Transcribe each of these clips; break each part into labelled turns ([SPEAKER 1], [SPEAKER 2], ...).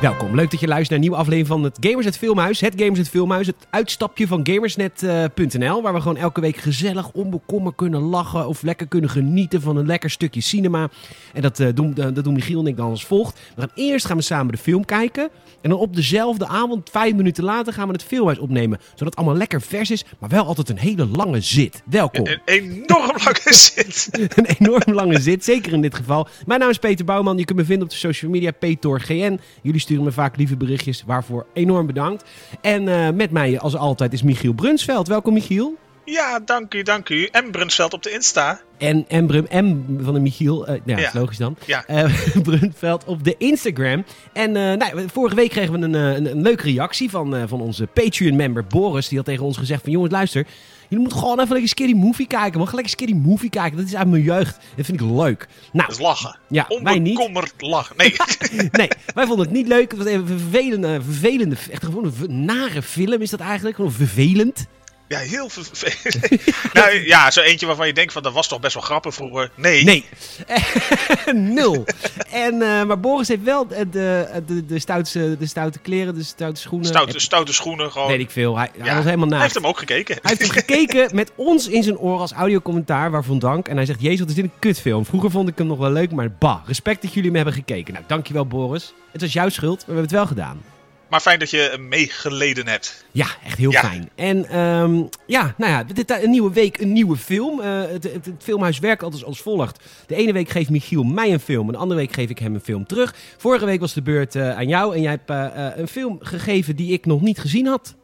[SPEAKER 1] Welkom, leuk dat je luistert naar een nieuwe aflevering van het Gamers het Filmhuis. Het Gamers het Filmhuis, het uitstapje van eh, gamersnet.nl. Waar we gewoon elke week gezellig onbekommer kunnen lachen of lekker kunnen genieten van een lekker stukje cinema. En dat, eh, doen, eh, dat doen Michiel en ik dan als volgt. We gaan eerst gaan we samen de film kijken. En dan op dezelfde avond, vijf minuten later, gaan we het filmhuis opnemen. Zodat het allemaal lekker vers is, maar wel altijd een hele lange zit. Welkom.
[SPEAKER 2] Een enorm lange zit.
[SPEAKER 1] een enorm lange zit, zeker in dit geval. Mijn naam is Peter Bouwman. Je kunt me vinden op de social media PetorGN. Jullie sturen me vaak lieve berichtjes, waarvoor enorm bedankt. En eh, met mij, als altijd, is Michiel Brunsveld. Welkom, Michiel.
[SPEAKER 2] Ja, dank u, dank u. En Brunsveld op de Insta.
[SPEAKER 1] En Embrum M van de Michiel, eh, nou ja,
[SPEAKER 2] Ja.
[SPEAKER 1] is logisch dan.
[SPEAKER 2] Ja.
[SPEAKER 1] Eh, Brunveld op de Instagram. En eh, nou, vorige week kregen we een, eh, een, een leuke reactie van, eh, van onze Patreon-member Boris. Die had tegen ons gezegd van, jongens, luister. Jullie moeten gewoon even lekker Scary Movie kijken. Man, ga lekker Scary Movie kijken. Dat is uit mijn jeugd. Dat vind ik leuk. Nou,
[SPEAKER 2] Dat is lachen.
[SPEAKER 1] Ja, wij niet.
[SPEAKER 2] Onbekommerd lachen. Nee,
[SPEAKER 1] Nee, wij vonden het niet leuk. Het was even een vervelende, vervelende, echt gewoon een v- nare film is dat eigenlijk. Gewoon vervelend.
[SPEAKER 2] ja, heel vervelend. nou ja, zo eentje waarvan je denkt van dat was toch best wel grappig vroeger. Nee.
[SPEAKER 1] Nee. Nul. En, eh, maar Boris heeft wel de, de, de, de, stoutse, de stoute kleren, de stoute schoenen.
[SPEAKER 2] Stoute, stoute schoenen gewoon.
[SPEAKER 1] Eh, Weet ik veel. Hij, hij
[SPEAKER 2] Ja,
[SPEAKER 1] was helemaal
[SPEAKER 2] Hij
[SPEAKER 1] naakt.
[SPEAKER 2] heeft hem ook gekeken.
[SPEAKER 1] Hij heeft hem gekeken met ons in zijn oren als audiocommentaar, waarvan dank. En hij zegt, jezus, wat is dit een kutfilm. Vroeger vond ik hem nog wel leuk, maar bah, respect dat jullie hem hebben gekeken. Nou, dankjewel Boris. Het was jouw schuld, maar we hebben het wel gedaan.
[SPEAKER 2] Maar fijn dat je hem meegeleden hebt.
[SPEAKER 1] Ja, echt heel
[SPEAKER 2] Ja.
[SPEAKER 1] fijn. En ehm, ja, nou ja, dit, een nieuwe week, een nieuwe film. Eh, het, het, het filmhuis werkt altijd als volgt. De ene week geeft Michiel mij een film, en de andere week geef ik hem een film terug. Vorige week was de beurt eh, aan jou en jij hebt eh, eh, een film gegeven die ik nog niet gezien had.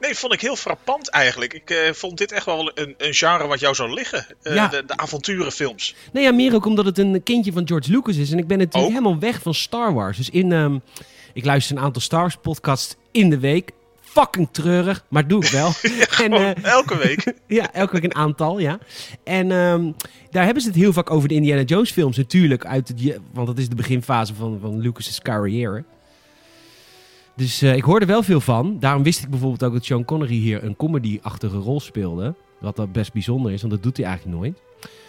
[SPEAKER 2] Nee, vond ik heel frappant eigenlijk. Ik eh, vond dit echt wel een, een genre wat jou zou liggen. Eh,
[SPEAKER 1] Ja.
[SPEAKER 2] de, de avonturenfilms.
[SPEAKER 1] Nee, ja, meer ook omdat het een kindje van George Lucas is. En ik ben natuurlijk
[SPEAKER 2] Oh.
[SPEAKER 1] helemaal weg van Star Wars. Dus in, ehm, ik luister een aantal Star Wars podcasts in de week. Fucking treurig, maar doe ik wel. en, eh,
[SPEAKER 2] Oh, Elke week.
[SPEAKER 1] Ja, elke week een aantal, ja. En ehm, daar hebben ze het heel vaak over de Indiana Jones films natuurlijk. Uit het, je- want dat is de beginfase van, van Lucas' carrière. Dus eh, ik hoorde wel veel van. Daarom wist ik bijvoorbeeld ook dat Sean Connery hier een comedy-achtige rol speelde. Wat dat best bijzonder is, want dat doet hij eigenlijk nooit.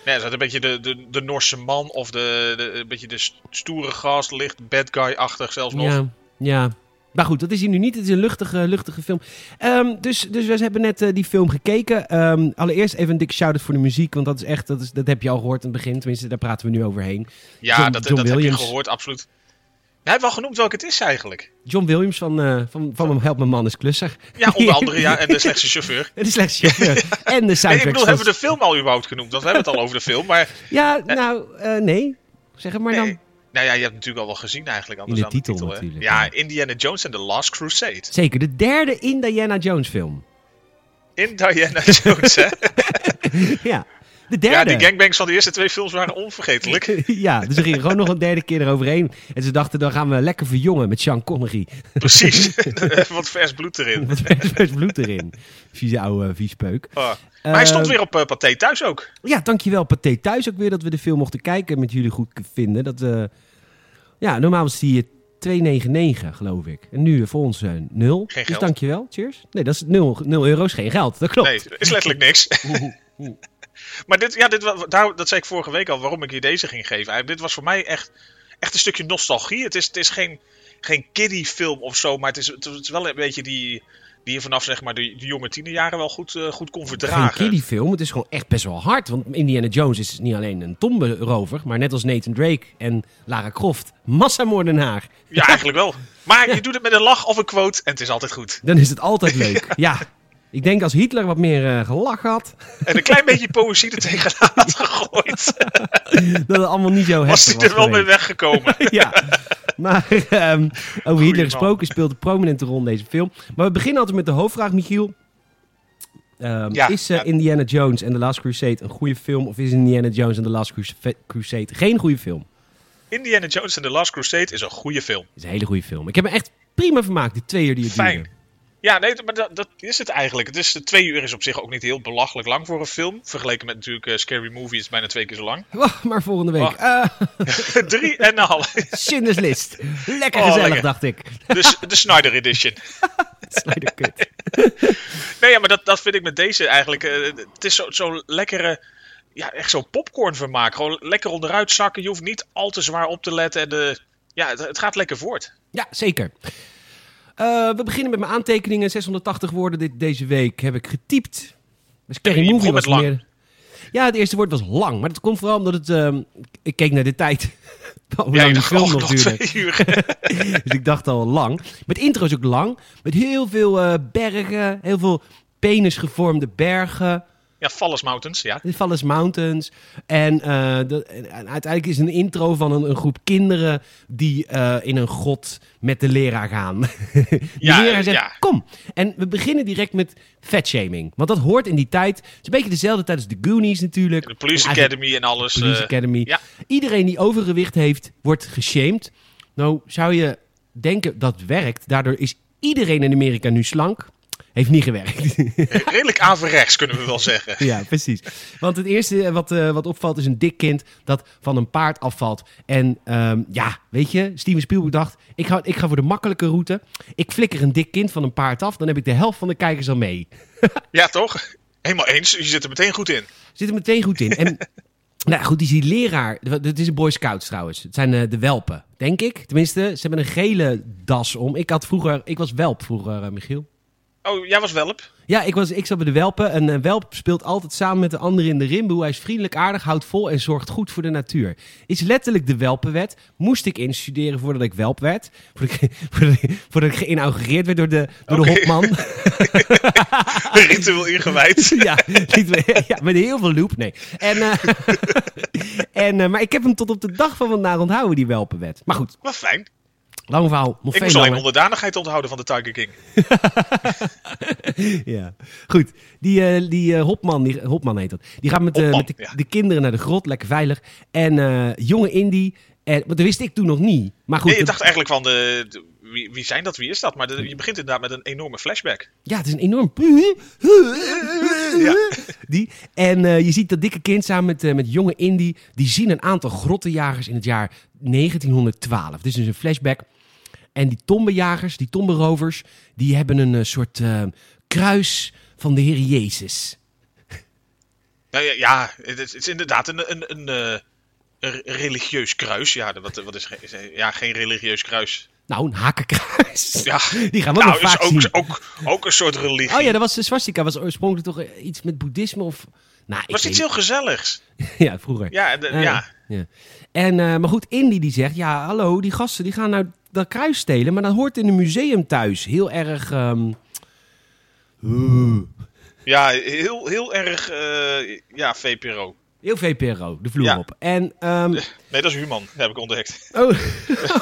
[SPEAKER 2] Nee, is dat een beetje de, de, de Noorse man of de, de, een beetje de st- stoere gast, licht bad guy-achtig zelfs nog.
[SPEAKER 1] Ja, ja. Maar goed, dat is hij nu niet. Het is een luchtige, luchtige film. Ehm, dus, dus we hebben net eh, die film gekeken. Ehm, allereerst even een dikke shout-out voor de muziek. Want dat is echt, dat, is, dat heb je al gehoord in het begin. Tenminste, daar praten we nu overheen.
[SPEAKER 2] Ja,
[SPEAKER 1] John-
[SPEAKER 2] dat,
[SPEAKER 1] John
[SPEAKER 2] dat heb je
[SPEAKER 1] Williams.
[SPEAKER 2] gehoord, absoluut. Hij heeft wel genoemd welke het is eigenlijk.
[SPEAKER 1] John Williams van, eh, van, van Help Mijn Man is Klusser.
[SPEAKER 2] Ja, onder andere ja, en de slechtste chauffeur.
[SPEAKER 1] Het is slechts chauffeur. En de
[SPEAKER 2] Nee,
[SPEAKER 1] soundtrack.
[SPEAKER 2] ik bedoel,
[SPEAKER 1] van-
[SPEAKER 2] hebben we de film al überhaupt genoemd? Want we hebben het al over de film, maar...
[SPEAKER 1] Ja, nou, eh, nee. Zeg het maar
[SPEAKER 2] Nee.
[SPEAKER 1] dan.
[SPEAKER 2] Nou ja, je hebt het natuurlijk al wel gezien eigenlijk. Anders
[SPEAKER 1] de
[SPEAKER 2] dan
[SPEAKER 1] titel
[SPEAKER 2] hè.
[SPEAKER 1] natuurlijk,
[SPEAKER 2] Ja,
[SPEAKER 1] ja.
[SPEAKER 2] Indiana Jones en The Last Crusade.
[SPEAKER 1] Zeker, de derde Indiana Jones film.
[SPEAKER 2] In Diana Jones, hè?
[SPEAKER 1] ja, de
[SPEAKER 2] Ja,
[SPEAKER 1] derde.
[SPEAKER 2] die gangbangs van de eerste twee films waren onvergetelijk.
[SPEAKER 1] ja, dus ze gingen gewoon nog een derde keer eroverheen. En ze dachten, dan gaan we lekker verjongen met Sean Connery.
[SPEAKER 2] Precies. Wat vers bloed erin.
[SPEAKER 1] Wat vers bloed erin. Vieze oude viespeuk.
[SPEAKER 2] Oh. Maar hij stond
[SPEAKER 1] Eh,
[SPEAKER 2] weer op eh, Pathé thuis ook.
[SPEAKER 1] Ja, dankjewel Pathé Thuis ook weer dat we de film mochten kijken en met jullie goed vinden. Dat, eh, ja, normaal was die eh, 2,99 geloof ik. En nu eh, voor ons eh, nul.
[SPEAKER 2] Geen
[SPEAKER 1] Dus
[SPEAKER 2] geld.
[SPEAKER 1] dankjewel, cheers. Nee, dat is nul, nul euro's, geen geld. Dat klopt.
[SPEAKER 2] Nee, er is letterlijk niks. maar dit, ja, dit, wa- daar, dat zei ik vorige week al, waarom ik je deze ging geven. Eigenlijk, dit was voor mij echt, echt een stukje nostalgie. Het is, het is geen, geen kiddie film of zo, maar het is, het is wel een beetje die, die je vanaf zeg maar, de, de jonge tienerjaren wel goed, eh, goed kon
[SPEAKER 1] geen
[SPEAKER 2] verdragen.
[SPEAKER 1] kiddie film, het is gewoon echt best wel hard. Want Indiana Jones is niet alleen een tomberover, maar net als Nathan Drake en Lara Croft, massamoordenaar.
[SPEAKER 2] Ja, eigenlijk wel. Maar je doet het met een lach of een quote en het is altijd goed.
[SPEAKER 1] Dan is het altijd leuk. ja. ik denk als Hitler wat meer eh gelach had,
[SPEAKER 2] En een klein beetje poëzie er tegenaan had gegooid,
[SPEAKER 1] dat het allemaal niet zo heftig was.
[SPEAKER 2] was hij er wel
[SPEAKER 1] geweest.
[SPEAKER 2] mee weggekomen.
[SPEAKER 1] ja. Maar ehm, over Hitler
[SPEAKER 2] man.
[SPEAKER 1] gesproken speelt een prominente rol in deze film. Maar we beginnen altijd met de hoofdvraag, Michiel. Ehm,
[SPEAKER 2] Ja,
[SPEAKER 1] is eh,
[SPEAKER 2] ja.
[SPEAKER 1] Indiana Jones en The Last Crusade een goede film? Of is Indiana Jones en The Last Crusa- Crusade geen goede film?
[SPEAKER 2] Indiana Jones and the Last Crusade is een goede film.
[SPEAKER 1] Het is een hele goede film. Ik heb me echt prima vermaakt, die twee uur die het
[SPEAKER 2] Fijn.
[SPEAKER 1] duurde.
[SPEAKER 2] Ja, nee, maar dat, dat is het eigenlijk. Het is, de twee uur is op zich ook niet heel belachelijk lang voor een film. Vergeleken met natuurlijk eh, Scary Movie is het bijna twee keer zo lang.
[SPEAKER 1] Wacht, maar volgende week.
[SPEAKER 2] Oh.
[SPEAKER 1] Eh
[SPEAKER 2] Drie en een half.
[SPEAKER 1] Schindler's List. Lekker
[SPEAKER 2] Oh,
[SPEAKER 1] gezellig,
[SPEAKER 2] lekker.
[SPEAKER 1] dacht ik.
[SPEAKER 2] Dus de Snyder Edition.
[SPEAKER 1] Snyder Cut.
[SPEAKER 2] Nee, ja, maar dat, dat vind ik met deze eigenlijk. eh, het is zo- zo'n lekkere. Ja, echt zo'n popcorn vermaak. Gewoon lekker onderuit zakken. Je hoeft niet al te zwaar op te letten. En de, ja, het, het gaat lekker voort.
[SPEAKER 1] Ja, zeker. Eh, we beginnen met mijn aantekeningen. 680 woorden dit, deze week heb ik getypt. Dus Scary
[SPEAKER 2] je begon
[SPEAKER 1] Movie was
[SPEAKER 2] met lang.
[SPEAKER 1] meer... Ja, het eerste woord was lang. Maar dat komt vooral omdat het... ehm, ik keek naar de tijd. Hoe lang
[SPEAKER 2] Ja, je
[SPEAKER 1] die
[SPEAKER 2] dacht,
[SPEAKER 1] film
[SPEAKER 2] oh,
[SPEAKER 1] nog
[SPEAKER 2] nog
[SPEAKER 1] duurde.
[SPEAKER 2] twee uur.
[SPEAKER 1] Dus ik dacht al lang. Met intro is ook lang. Met heel veel eh, bergen. Heel veel penisgevormde bergen.
[SPEAKER 2] ja, Fallis Mountains, ja.
[SPEAKER 1] De Valles Mountains. En, eh, de- en uiteindelijk is het een intro van een, een groep kinderen die eh, in een god met de leraar gaan. de
[SPEAKER 2] Ja,
[SPEAKER 1] leraar zegt,
[SPEAKER 2] ja.
[SPEAKER 1] kom. En we beginnen direct met fatshaming. Want dat hoort in die tijd. Het is een beetje dezelfde tijd als de Goonies natuurlijk.
[SPEAKER 2] De Police
[SPEAKER 1] En eigenlijk
[SPEAKER 2] Academy en alles.
[SPEAKER 1] de Police
[SPEAKER 2] eh,
[SPEAKER 1] Academy.
[SPEAKER 2] ja.
[SPEAKER 1] Iedereen die overgewicht heeft, wordt geshamed. Nou, zou je denken dat werkt. Daardoor is iedereen in Amerika nu slank. Heeft niet gewerkt.
[SPEAKER 2] redelijk averechts, kunnen we wel zeggen.
[SPEAKER 1] Ja, precies. Want het eerste wat, eh, wat opvalt is een dik kind dat van een paard afvalt. En ehm, ja, weet je, Steven Spielberg dacht, ik ga, ik ga voor de makkelijke route. Ik flikker een dik kind van een paard af, dan heb ik de helft van de kijkers al mee.
[SPEAKER 2] Ja, toch? Helemaal eens. Je zit er meteen goed in.
[SPEAKER 1] Zit er meteen goed in. En nou goed, die, die leraar, het is een Boy Scout trouwens. Het zijn eh, de welpen, denk ik. Tenminste, ze hebben een gele das om. Ik had vroeger, ik was welp vroeger, eh, Michiel.
[SPEAKER 2] Oh, jij was welp.
[SPEAKER 1] Ja, ik, was, ik zat bij de Welpen. En een Welp speelt altijd samen met de anderen in de rimboe. Hij is vriendelijk, aardig, houdt vol en zorgt goed voor de natuur. Is letterlijk de Welpenwet. Moest ik instuderen voordat ik Welp werd. Voordat ik, voordat ik, voordat ik geïnaugureerd werd door de, door de
[SPEAKER 2] Oké.
[SPEAKER 1] hopman.
[SPEAKER 2] Ritueel ingewijd.
[SPEAKER 1] ja, niet- ja, met heel veel loop. Nee. En, eh, en, eh, maar ik heb hem tot op de dag van vandaag onthouden, die Welpenwet. Maar goed,
[SPEAKER 2] Wat fijn.
[SPEAKER 1] lang verhaal. Nog
[SPEAKER 2] Ik
[SPEAKER 1] veel
[SPEAKER 2] moest alleen
[SPEAKER 1] langer.
[SPEAKER 2] onderdanigheid onthouden van de Tiger King.
[SPEAKER 1] Ja, goed. Die, eh, die eh, Hopman, die, Hopman heet dat. Die gaat met, eh,
[SPEAKER 2] Hopman,
[SPEAKER 1] met de,
[SPEAKER 2] ja.
[SPEAKER 1] de kinderen naar de grot, lekker veilig. En eh, jonge Indy. En, maar dat wist ik toen nog niet. Maar goed,
[SPEAKER 2] Nee, je
[SPEAKER 1] dat-
[SPEAKER 2] dacht eigenlijk van, de, de- wie, wie zijn dat, wie is dat? Maar de- je begint inderdaad met een enorme flashback.
[SPEAKER 1] ja, het is een enorm.
[SPEAKER 2] Uh-huh.
[SPEAKER 1] Die. En eh, je ziet dat dikke kind samen met, eh, met jonge Indy. Die zien een aantal grottenjagers in het jaar 1912. Dit is dus een flashback. En die tombenjagers, die tomberovers, die hebben een eh, soort eh, kruis van de Heer Jezus.
[SPEAKER 2] Nou ja, ja het, is- het is inderdaad een, een, een, eh, een religieus kruis. Ja, wat, wat is, ge- is- ja, geen religieus kruis.
[SPEAKER 1] Nou, een hakenkruis.
[SPEAKER 2] Ja.
[SPEAKER 1] Die gaan we
[SPEAKER 2] Nou,
[SPEAKER 1] nog
[SPEAKER 2] is
[SPEAKER 1] vaak zien.
[SPEAKER 2] ook, ook, ook een soort religie.
[SPEAKER 1] Oh ja, dat was de swastika. was oorspronkelijk toch eh, iets met boeddhisme of... Nou, ik
[SPEAKER 2] was
[SPEAKER 1] weet-
[SPEAKER 2] iets heel gezelligs.
[SPEAKER 1] Ja, vroeger.
[SPEAKER 2] Ja, en de-
[SPEAKER 1] Eh,
[SPEAKER 2] ja.
[SPEAKER 1] ja. En, eh, maar goed, Indy die zegt... Ja, hallo, die gasten die gaan nou dat kruis stelen... maar dat hoort in een museum thuis. Heel erg... ehm, eh,
[SPEAKER 2] ja, heel, heel erg eh, ja, VPRO.
[SPEAKER 1] heel VPRO, de vloer
[SPEAKER 2] Ja.
[SPEAKER 1] op. En... ehm,
[SPEAKER 2] Nee, dat is Human, heb ik ontdekt.
[SPEAKER 1] oh,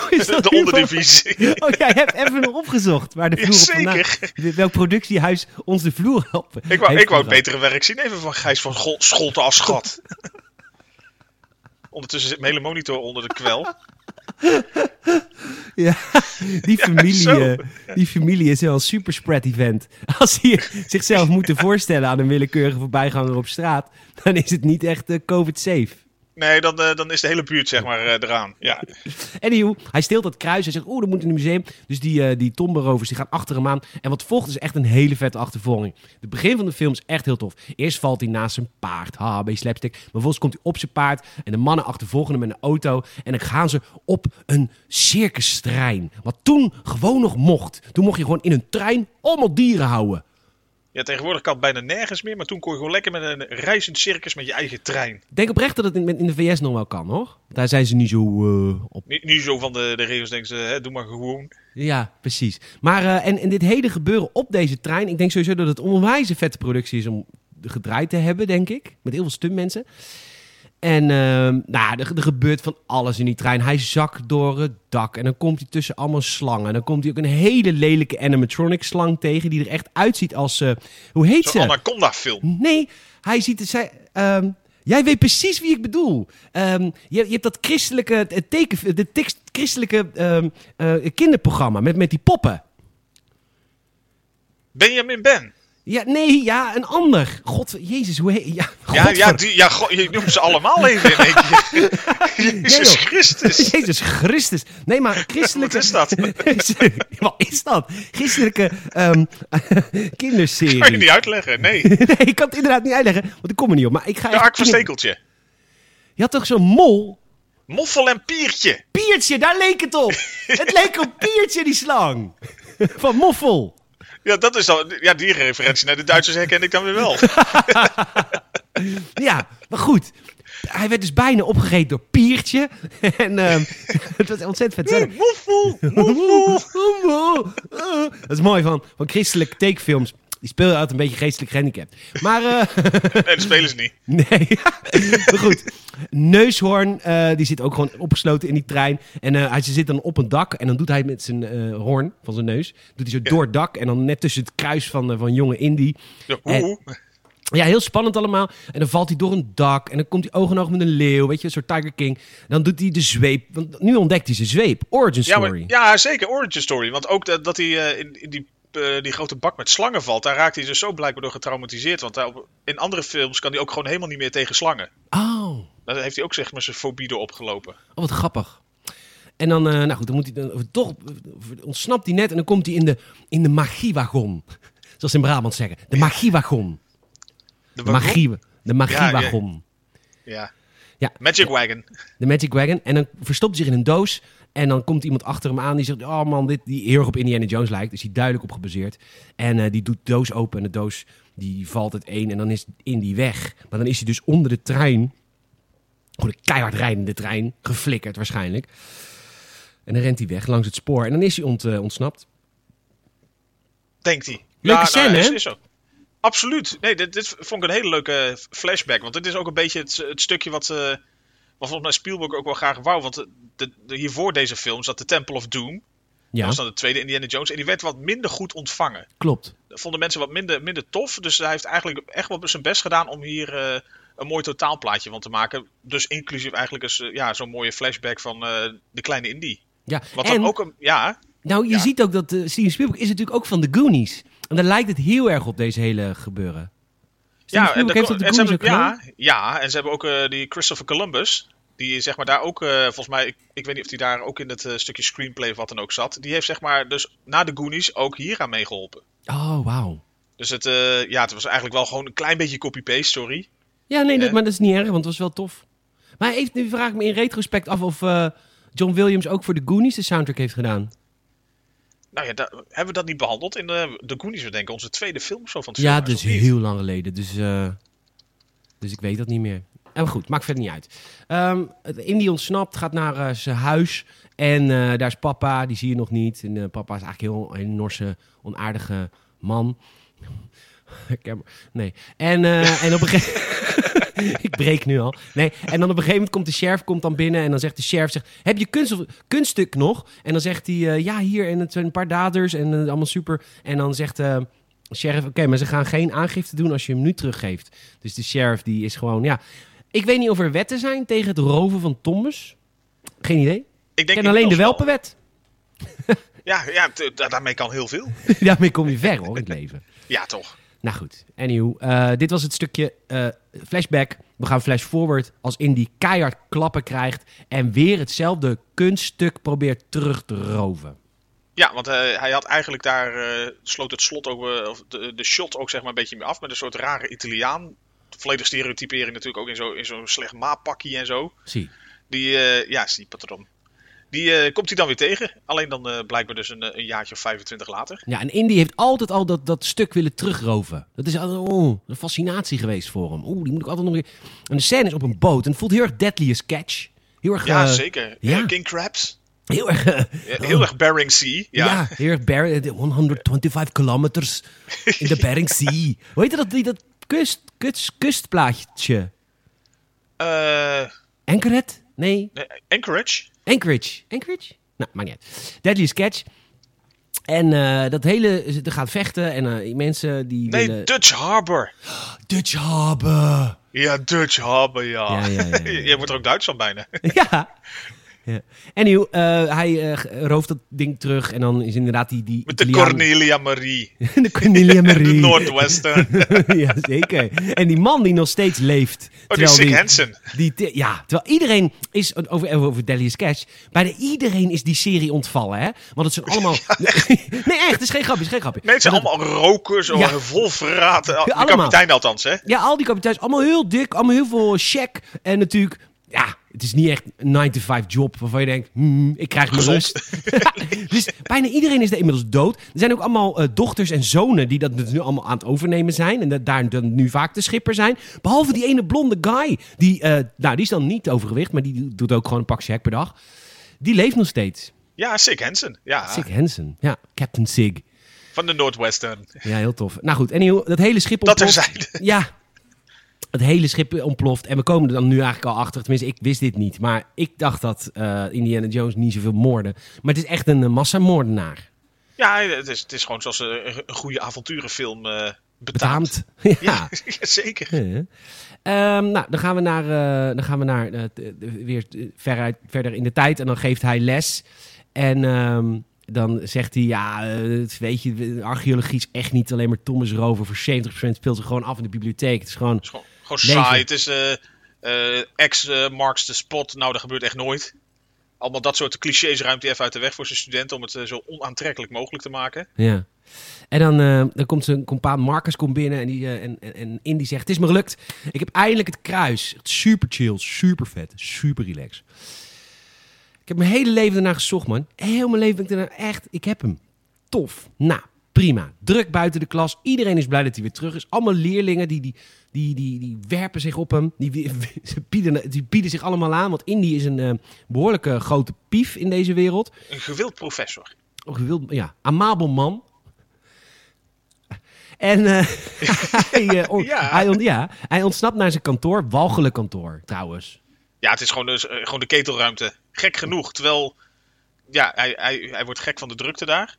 [SPEAKER 1] is dat
[SPEAKER 2] De
[SPEAKER 1] hier-
[SPEAKER 2] onderdivisie.
[SPEAKER 1] Oh, jij hebt even nog opgezocht waar de vloer op
[SPEAKER 2] Jazeker.
[SPEAKER 1] vandaan- Welk productiehuis ons de vloer op
[SPEAKER 2] Ik wou,
[SPEAKER 1] heeft
[SPEAKER 2] ik wou het
[SPEAKER 1] gebracht.
[SPEAKER 2] betere werk zien even van Gijs van Schol- Scholten als schat. Ondertussen zit mijn hele monitor onder de kwel.
[SPEAKER 1] Ja, die familie,
[SPEAKER 2] zo.
[SPEAKER 1] eh, die familie is wel een super spread event. Als ze hier zichzelf moeten voorstellen aan een willekeurige voorbijganger op straat, dan is het niet echt eh, COVID-safe.
[SPEAKER 2] Nee, dan, eh, dan is de hele buurt zeg maar eh, eraan. Ja.
[SPEAKER 1] Anyhow, hij steelt dat kruis. Hij zegt, oeh, dat moet in het museum. Dus die, eh die tomberovers die gaan achter hem aan. En wat volgt is echt een hele vette achtervolging. Het begin van de film is echt heel tof. Eerst valt hij naast zijn paard. Ha, een beetje slapstick. Maar vervolgens komt hij op zijn paard. En de mannen achtervolgen hem met een auto. En dan gaan ze op een circustrein. Wat toen gewoon nog mocht. Toen mocht je gewoon in een trein allemaal dieren houden.
[SPEAKER 2] ja, tegenwoordig kan het bijna nergens meer. Maar toen kon je gewoon lekker met een reizend circus met je eigen trein.
[SPEAKER 1] Ik denk oprecht dat het in, in de VS nog wel kan, hoor. Daar zijn ze niet zo eh, op
[SPEAKER 2] Nu, nu zo van de, de regels denken ze, hè, doe maar gewoon.
[SPEAKER 1] Ja, precies. Maar eh, en, en dit hele gebeuren op deze trein, ik denk sowieso dat het een onwijs vette productie is om gedraaid te hebben, denk ik. Met heel veel stuntmensen. En ehm, nou, er, er gebeurt van alles in die trein. Hij zakt door het dak en dan komt hij tussen allemaal slangen. En dan komt hij ook een hele lelijke animatronic slang tegen die er echt uitziet als... eh, hoe heet
[SPEAKER 2] Zo'n
[SPEAKER 1] ze?
[SPEAKER 2] anaconda film.
[SPEAKER 1] Nee, hij ziet het. Zij, ehm, jij weet precies wie ik bedoel. Ehm, je, je hebt dat christelijke het teken, de tekst, christelijke ehm, eh, kinderprogramma met, met die poppen.
[SPEAKER 2] Benjamin Ben.
[SPEAKER 1] Ja, nee, ja, een ander. God, Jezus, hoe heet... Ja,
[SPEAKER 2] Ja, ja,
[SPEAKER 1] godver-
[SPEAKER 2] die, ja go- je noemt ze allemaal even in één keer. Jezus
[SPEAKER 1] joh.
[SPEAKER 2] Christus.
[SPEAKER 1] Jezus Christus. Nee, maar
[SPEAKER 2] Wat
[SPEAKER 1] christelijke...
[SPEAKER 2] is dat?
[SPEAKER 1] Wat is dat? Christelijke ehm, kinderserie.
[SPEAKER 2] Kan je niet uitleggen, nee.
[SPEAKER 1] Nee, ik kan het inderdaad niet uitleggen, want ik kom er niet op. Maar ik ga
[SPEAKER 2] De
[SPEAKER 1] echt
[SPEAKER 2] Ark van
[SPEAKER 1] knippen.
[SPEAKER 2] Stekeltje.
[SPEAKER 1] Je had toch zo'n mol?
[SPEAKER 2] Moffel en Piertje.
[SPEAKER 1] Piertje, daar leek het op. het leek op Piertje, die slang. Van Moffel.
[SPEAKER 2] Ja, dat is al, ja, die referentie naar de Duitsers herken ik dan weer wel.
[SPEAKER 1] Ja, maar goed. Hij werd dus bijna opgegeten door Piertje. En ehm, het was ontzettend vet.
[SPEAKER 2] Hey,
[SPEAKER 1] verder.
[SPEAKER 2] Moffel,
[SPEAKER 1] Oeh,
[SPEAKER 2] moffel.
[SPEAKER 1] oeh, oeh, oeh. Dat is mooi van, van christelijke takefilms. Die speel je altijd een beetje geestelijk gehandicapt. Maar, eh,
[SPEAKER 2] Nee, dat spelen ze niet.
[SPEAKER 1] nee. maar goed. Neushoorn, eh, die zit ook gewoon opgesloten in die trein. En eh, hij zit dan op een dak. En dan doet hij met zijn eh, hoorn van zijn neus. Doet hij zo door het dak. En dan net tussen het kruis van, eh, van jonge Indy.
[SPEAKER 2] Ja,
[SPEAKER 1] Eh,
[SPEAKER 2] oeh.
[SPEAKER 1] Ja, heel spannend allemaal. En dan valt hij door een dak. En dan komt hij oog in oog met een leeuw. Weet je, een soort Tiger King. Dan doet hij de zweep. Want nu ontdekt hij zijn zweep. Origin
[SPEAKER 2] Ja,
[SPEAKER 1] story.
[SPEAKER 2] maar, ja, zeker. Origin Story. Want ook dat, dat hij eh, in, in die, eh, die grote bak met slangen valt, daar raakt hij dus zo blijkbaar door getraumatiseerd. Want hij op- in andere films kan hij ook gewoon helemaal niet meer tegen slangen.
[SPEAKER 1] Oh.
[SPEAKER 2] Daar heeft hij ook zeg maar zijn fobie door opgelopen.
[SPEAKER 1] Oh, wat grappig. En dan, eh, nou goed, dan moet hij dan, of toch of ontsnapt hij net en dan komt hij in de, in de magiewagon. Zoals ze in Brabant zeggen. De magiewagon.
[SPEAKER 2] De
[SPEAKER 1] De magie, de magiewagon.
[SPEAKER 2] Ja.
[SPEAKER 1] Ja.
[SPEAKER 2] Magic Wagon.
[SPEAKER 1] De Magic Wagon. En dan verstopt hij zich in een doos. En dan komt iemand achter hem aan die zegt: Oh man, dit die heel erg op Indiana Jones lijkt. Is hij duidelijk op gebaseerd. En eh, die doet de doos open. En de doos die valt het een. En dan is Indy weg. Maar dan is hij dus onder de trein. Gewoon een keihard rijdende trein. Geflikkerd waarschijnlijk. En dan rent hij weg langs het spoor. En dan is hij ont, eh, ontsnapt.
[SPEAKER 2] denkt hij.
[SPEAKER 1] Leuke
[SPEAKER 2] nou,
[SPEAKER 1] scène,
[SPEAKER 2] is-
[SPEAKER 1] hè?
[SPEAKER 2] is zo. Absoluut. Nee, dit, dit vond ik een hele leuke flashback. Want dit is ook een beetje het, het stukje wat, eh wat volgens mij Spielberg ook wel graag wou. Want de, de- hiervoor deze film zat de Temple of Doom. Dat
[SPEAKER 1] Ja,
[SPEAKER 2] was dan de tweede Indiana Jones. En die werd wat minder goed ontvangen.
[SPEAKER 1] klopt.
[SPEAKER 2] Dat vonden mensen wat minder, minder tof. Dus hij heeft eigenlijk echt wel zijn best gedaan om hier eh, een mooi totaalplaatje van te maken. Dus inclusief eigenlijk eens, eh, ja, zo'n mooie flashback van eh, de kleine Indie.
[SPEAKER 1] Ja.
[SPEAKER 2] Wat
[SPEAKER 1] en,
[SPEAKER 2] dan ook een... Ja,
[SPEAKER 1] nou, je
[SPEAKER 2] ja.
[SPEAKER 1] ziet ook dat eh, Steven Spielberg is natuurlijk ook van de Goonies. En daar lijkt het heel erg op deze hele gebeuren. Steven
[SPEAKER 2] Ja, en,
[SPEAKER 1] Spielberg
[SPEAKER 2] daar
[SPEAKER 1] heeft
[SPEAKER 2] ko-
[SPEAKER 1] dat de
[SPEAKER 2] en
[SPEAKER 1] Goonies
[SPEAKER 2] ze
[SPEAKER 1] ook
[SPEAKER 2] hebben,
[SPEAKER 1] gedaan.
[SPEAKER 2] ja, ja, en ze hebben ook eh, die Christopher Columbus. Die zeg maar daar ook, eh, volgens mij, ik, ik weet niet of die daar ook in het eh, stukje screenplay of wat dan ook zat. Die heeft zeg maar dus na de Goonies ook hier aan meegeholpen.
[SPEAKER 1] Oh, wauw.
[SPEAKER 2] Dus het, eh, ja, het was eigenlijk wel gewoon een klein beetje copy-paste, sorry.
[SPEAKER 1] Ja, nee, dat,
[SPEAKER 2] Hè?
[SPEAKER 1] maar dat is niet erg, want het was wel tof. Maar even, nu vraag ik me in retrospect af of eh, John Williams ook voor de Goonies de soundtrack heeft gedaan.
[SPEAKER 2] Nou ja, da- hebben we dat niet behandeld in eh, de, de Goonies, we denken, onze tweede film of zo van het
[SPEAKER 1] Ja,
[SPEAKER 2] filmhuis,
[SPEAKER 1] dus
[SPEAKER 2] of niet?
[SPEAKER 1] heel lang geleden. Dus, eh, dus ik weet dat niet meer. En maar goed, maakt verder niet uit. Ehm, het Indy ontsnapt, gaat naar eh, zijn huis. En eh, daar is papa, die zie je nog niet. En eh, papa is eigenlijk heel een Norse, onaardige man. Ik heb- nee. En, eh, en op een gegeven Ik breek nu al. Nee. En dan op een gegeven moment komt de sheriff komt dan binnen. En dan zegt de sheriff: zegt, Heb je kunst of- kunststuk nog? En dan zegt hij: eh, Ja, hier. En het zijn een paar daders. En eh, allemaal super. En dan zegt eh, de sheriff: Oké, maar ze gaan geen aangifte doen als je hem nu teruggeeft. Dus de sheriff die is gewoon: Ja. Ik weet niet of er wetten zijn tegen het roven van tombes. Geen idee.
[SPEAKER 2] Ik
[SPEAKER 1] Ik
[SPEAKER 2] denk
[SPEAKER 1] ken alleen de
[SPEAKER 2] inmiddels
[SPEAKER 1] welpenwet.
[SPEAKER 2] wel. Ja, ja t- da- daarmee kan heel veel.
[SPEAKER 1] Daarmee kom je ver hoor, in het leven.
[SPEAKER 2] Ja, toch.
[SPEAKER 1] Nou goed, anyhow. eh, dit was het stukje eh, flashback. We gaan flash forward als Indy keihard klappen krijgt... en weer hetzelfde kunststuk probeert terug te roven.
[SPEAKER 2] Ja, want eh, hij had eigenlijk daar eh, sloot het slot ook, eh, of de, de shot ook zeg maar een beetje mee af met een soort rare Italiaan. Volledig stereotypering natuurlijk ook in zo'n in zo'n slecht maappakkie en zo.
[SPEAKER 1] Zie.
[SPEAKER 2] Die, eh, ja, zie patroon. Die eh, komt hij dan weer tegen. Alleen dan eh, blijkbaar dus een, eh, een jaartje of 25 later.
[SPEAKER 1] Ja, en Indy heeft altijd al dat, dat stuk willen terugroven. Dat is altijd oh, een fascinatie geweest voor hem. Oeh, die moet ik altijd nog weer... En de scène is op een boot en het voelt heel erg Deadliest Catch. Heel erg...
[SPEAKER 2] Ja,
[SPEAKER 1] eh,
[SPEAKER 2] zeker.
[SPEAKER 1] ja.
[SPEAKER 2] Eh, King Crabs.
[SPEAKER 1] Heel erg... eh,
[SPEAKER 2] Ja, heel erg Bering Sea. Ja.
[SPEAKER 1] Ja, heel erg Bar- de 125 kilometers in de Bering Sea. Hoe heet dat, die- dat kust, kust, kustplaatje?
[SPEAKER 2] Eh,
[SPEAKER 1] Anchoret? Nee,
[SPEAKER 2] nee, Anchorage.
[SPEAKER 1] Anchorage. Anchorage? Nou, maakt niet uit. Deadly Sketch. En eh, dat hele, er gaat vechten en eh, die mensen die
[SPEAKER 2] Nee,
[SPEAKER 1] willen... eh.
[SPEAKER 2] Dutch Harbor.
[SPEAKER 1] Dutch Harbor!
[SPEAKER 2] Ja, Dutch Harbor, ja.
[SPEAKER 1] Ja, ja, ja, ja.
[SPEAKER 2] Je wordt er ook Duits van bijna.
[SPEAKER 1] ja. ja. Anyhow, eh, hij eh, rooft dat ding terug en dan is inderdaad die... die
[SPEAKER 2] Met de
[SPEAKER 1] Italiaan-
[SPEAKER 2] Cornelia Marie.
[SPEAKER 1] de Cornelia
[SPEAKER 2] En de
[SPEAKER 1] Marie.
[SPEAKER 2] Northwestern.
[SPEAKER 1] ja, zeker. En die man die nog steeds leeft. terwijl
[SPEAKER 2] Oh, Sick Hansen.
[SPEAKER 1] Die, te- ja, terwijl iedereen is, over, even over Deadliest Catch, bijna iedereen is die serie ontvallen, hè? Want het zijn allemaal... nee, echt, het is geen grapje, het is geen grapje.
[SPEAKER 2] Nee, het zijn
[SPEAKER 1] Maar dat-
[SPEAKER 2] allemaal rokers,
[SPEAKER 1] Ja.
[SPEAKER 2] oh, vol verraad. De
[SPEAKER 1] Allemaal.
[SPEAKER 2] kapitein althans, hè?
[SPEAKER 1] Ja, al die kapiteins, allemaal heel dik, allemaal heel veel check. En natuurlijk ja, het is niet echt een 9-to-5 job waarvan je denkt, hmm, ik krijg mijn
[SPEAKER 2] Gezond.
[SPEAKER 1] rust. dus bijna iedereen is er inmiddels dood. Er zijn ook allemaal eh, dochters en zonen die dat dus nu allemaal aan het overnemen zijn. En dat daar dan nu vaak de schipper zijn. Behalve die ene blonde guy. Die, eh, nou, die is dan niet overgewicht, maar die doet ook gewoon een pakje hek per dag. Die leeft nog steeds.
[SPEAKER 2] Ja, Sick Hansen. Ja,
[SPEAKER 1] Sig Hansen. Ja, Captain Sig.
[SPEAKER 2] van de Northwestern.
[SPEAKER 1] Ja, heel tof. Nou goed, anyhow, dat hele schip
[SPEAKER 2] Dat er
[SPEAKER 1] ontploft.
[SPEAKER 2] zijn.
[SPEAKER 1] Ja, het hele schip eh, ontploft. En we komen er dan nu eigenlijk al achter. Tenminste, ik wist dit niet. Maar ik dacht dat eh, Indiana Jones niet zoveel moorden. Maar het is echt een eh, massamoordenaar.
[SPEAKER 2] Ja, het is, het is gewoon zoals eh, een, een goede avonturenfilm eh betaamt.
[SPEAKER 1] Betaamd. Ja.
[SPEAKER 2] Ja, zeker.
[SPEAKER 1] Eh. Ehm, nou, dan gaan we naar, eh, dan gaan we naar eh, t- weer eh, veruit, verder in de tijd. En dan geeft hij les. En ehm, dan zegt hij, ja, eh, het- weet je, archeologie is echt niet alleen maar Thomas Rover. Voor 70% speelt ze gewoon af in de bibliotheek. Het is gewoon
[SPEAKER 2] Het is gewoon, gewoon
[SPEAKER 1] Leven.
[SPEAKER 2] saai. Het is eh eh, ex eh, marks the spot. Nou, dat gebeurt echt nooit. Allemaal dat soort clichés ruimt hij even uit de weg voor zijn studenten om het eh, zo onaantrekkelijk mogelijk te maken.
[SPEAKER 1] Ja. En dan, eh, dan komt zijn compaan Marcus komt binnen en, die, eh, en, en, en Indy zegt... Het is me gelukt. Ik heb eindelijk het kruis. Echt Super chill, super vet, super relaxed. Ik heb mijn hele leven daarna gezocht, man. Heel mijn leven ben ik daarna echt... Ik heb hem. Tof. Nou, prima. Druk buiten de klas. Iedereen is blij dat hij weer terug is. Allemaal leerlingen die, die, die, die, die werpen zich op hem. Die, die- ze bieden, die bieden zich allemaal aan. Want Indy is een eh, behoorlijke grote pief in deze wereld.
[SPEAKER 2] Een gewild professor.
[SPEAKER 1] Ook een wild, Oh, ja, amabel man. En eh, hij, eh, on-
[SPEAKER 2] Ja.
[SPEAKER 1] hij on- ja, hij ontsnapt naar zijn kantoor. Walgelijk kantoor, trouwens.
[SPEAKER 2] Ja, het is gewoon, dus, eh, gewoon de ketelruimte. Gek genoeg. Terwijl, ja, hij, hij, hij wordt gek van de drukte daar.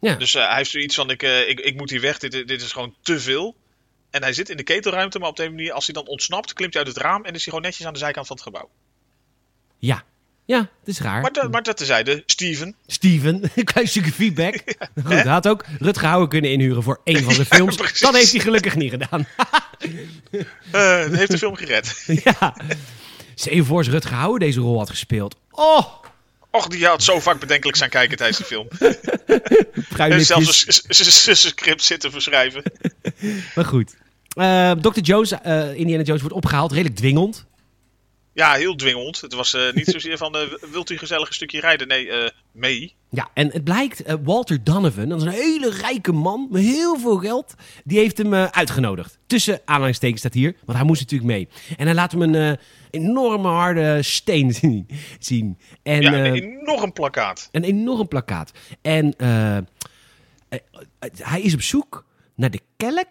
[SPEAKER 1] Ja.
[SPEAKER 2] Dus eh, hij heeft zoiets van, ik, eh, ik, ik moet hier weg. Dit, dit is gewoon te veel. En hij zit in de ketelruimte, maar op de manier, als hij dan ontsnapt, klimt hij uit het raam en is hij gewoon netjes aan de zijkant van het gebouw.
[SPEAKER 1] Ja. ja, het is raar.
[SPEAKER 2] Maar, dat maar dat tezijde, Steven.
[SPEAKER 1] Steven, een klein stukje feedback. Goed, hij had ook Rutger Hauer kunnen inhuren voor één van de films.
[SPEAKER 2] precies.
[SPEAKER 1] dat heeft hij gelukkig niet gedaan.
[SPEAKER 2] eh, heeft de film gered.
[SPEAKER 1] ja. Stel je voor als Rutger Hauer deze rol had gespeeld. Oh,
[SPEAKER 2] Och, die had zo vaak bedenkelijk zijn kijken tijdens de film. En
[SPEAKER 1] pruimlipjes.
[SPEAKER 2] zelfs een s- s- s- s- script zitten verschrijven.
[SPEAKER 1] Maar goed. Eh, Dr. Jones, eh, Indiana Jones wordt opgehaald. Redelijk dwingend.
[SPEAKER 2] Ja, heel dwingend. Het was eh, niet zozeer van, eh, wilt u een gezellig stukje rijden? Nee, eh, mee.
[SPEAKER 1] Ja, en het blijkt, eh, Walter Donovan, dat is een hele rijke man met heel veel geld, die heeft hem eh, uitgenodigd. Tussen aanhalingstekens staat hier, want hij moest natuurlijk mee. En hij laat hem een eh, enorme harde steen zien- zien. En,
[SPEAKER 2] Ja,
[SPEAKER 1] eh,
[SPEAKER 2] een enorm plakkaat.
[SPEAKER 1] een enorm plakkaat. En eh, eh, eh, hij is op zoek naar de kelk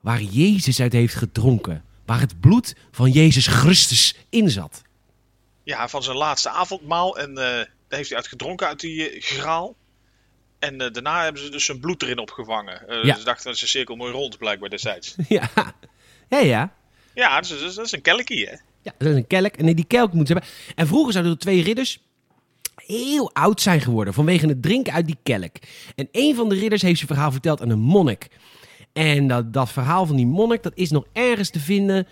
[SPEAKER 1] waar Jezus uit heeft gedronken. Waar het bloed van Jezus Christus in zat.
[SPEAKER 2] Ja, van zijn laatste avondmaal. En eh, daar heeft hij uit gedronken uit die eh, graal. En eh, daarna hebben ze dus zijn bloed erin opgevangen. Eh
[SPEAKER 1] Ja.
[SPEAKER 2] Ze dachten dat is een cirkel mooi rond, blijkbaar destijds.
[SPEAKER 1] ja, ja, ja.
[SPEAKER 2] ja, dus, dus- dat is een kelkie, hè?
[SPEAKER 1] Ja, dat is een kelk. En die kelk moeten ze hebben. En vroeger zouden er twee ridders heel oud zijn geworden vanwege het drinken uit die kelk. En een van de ridders heeft zijn verhaal verteld aan een monnik. En dat, dat verhaal van die monnik, dat is nog ergens te vinden.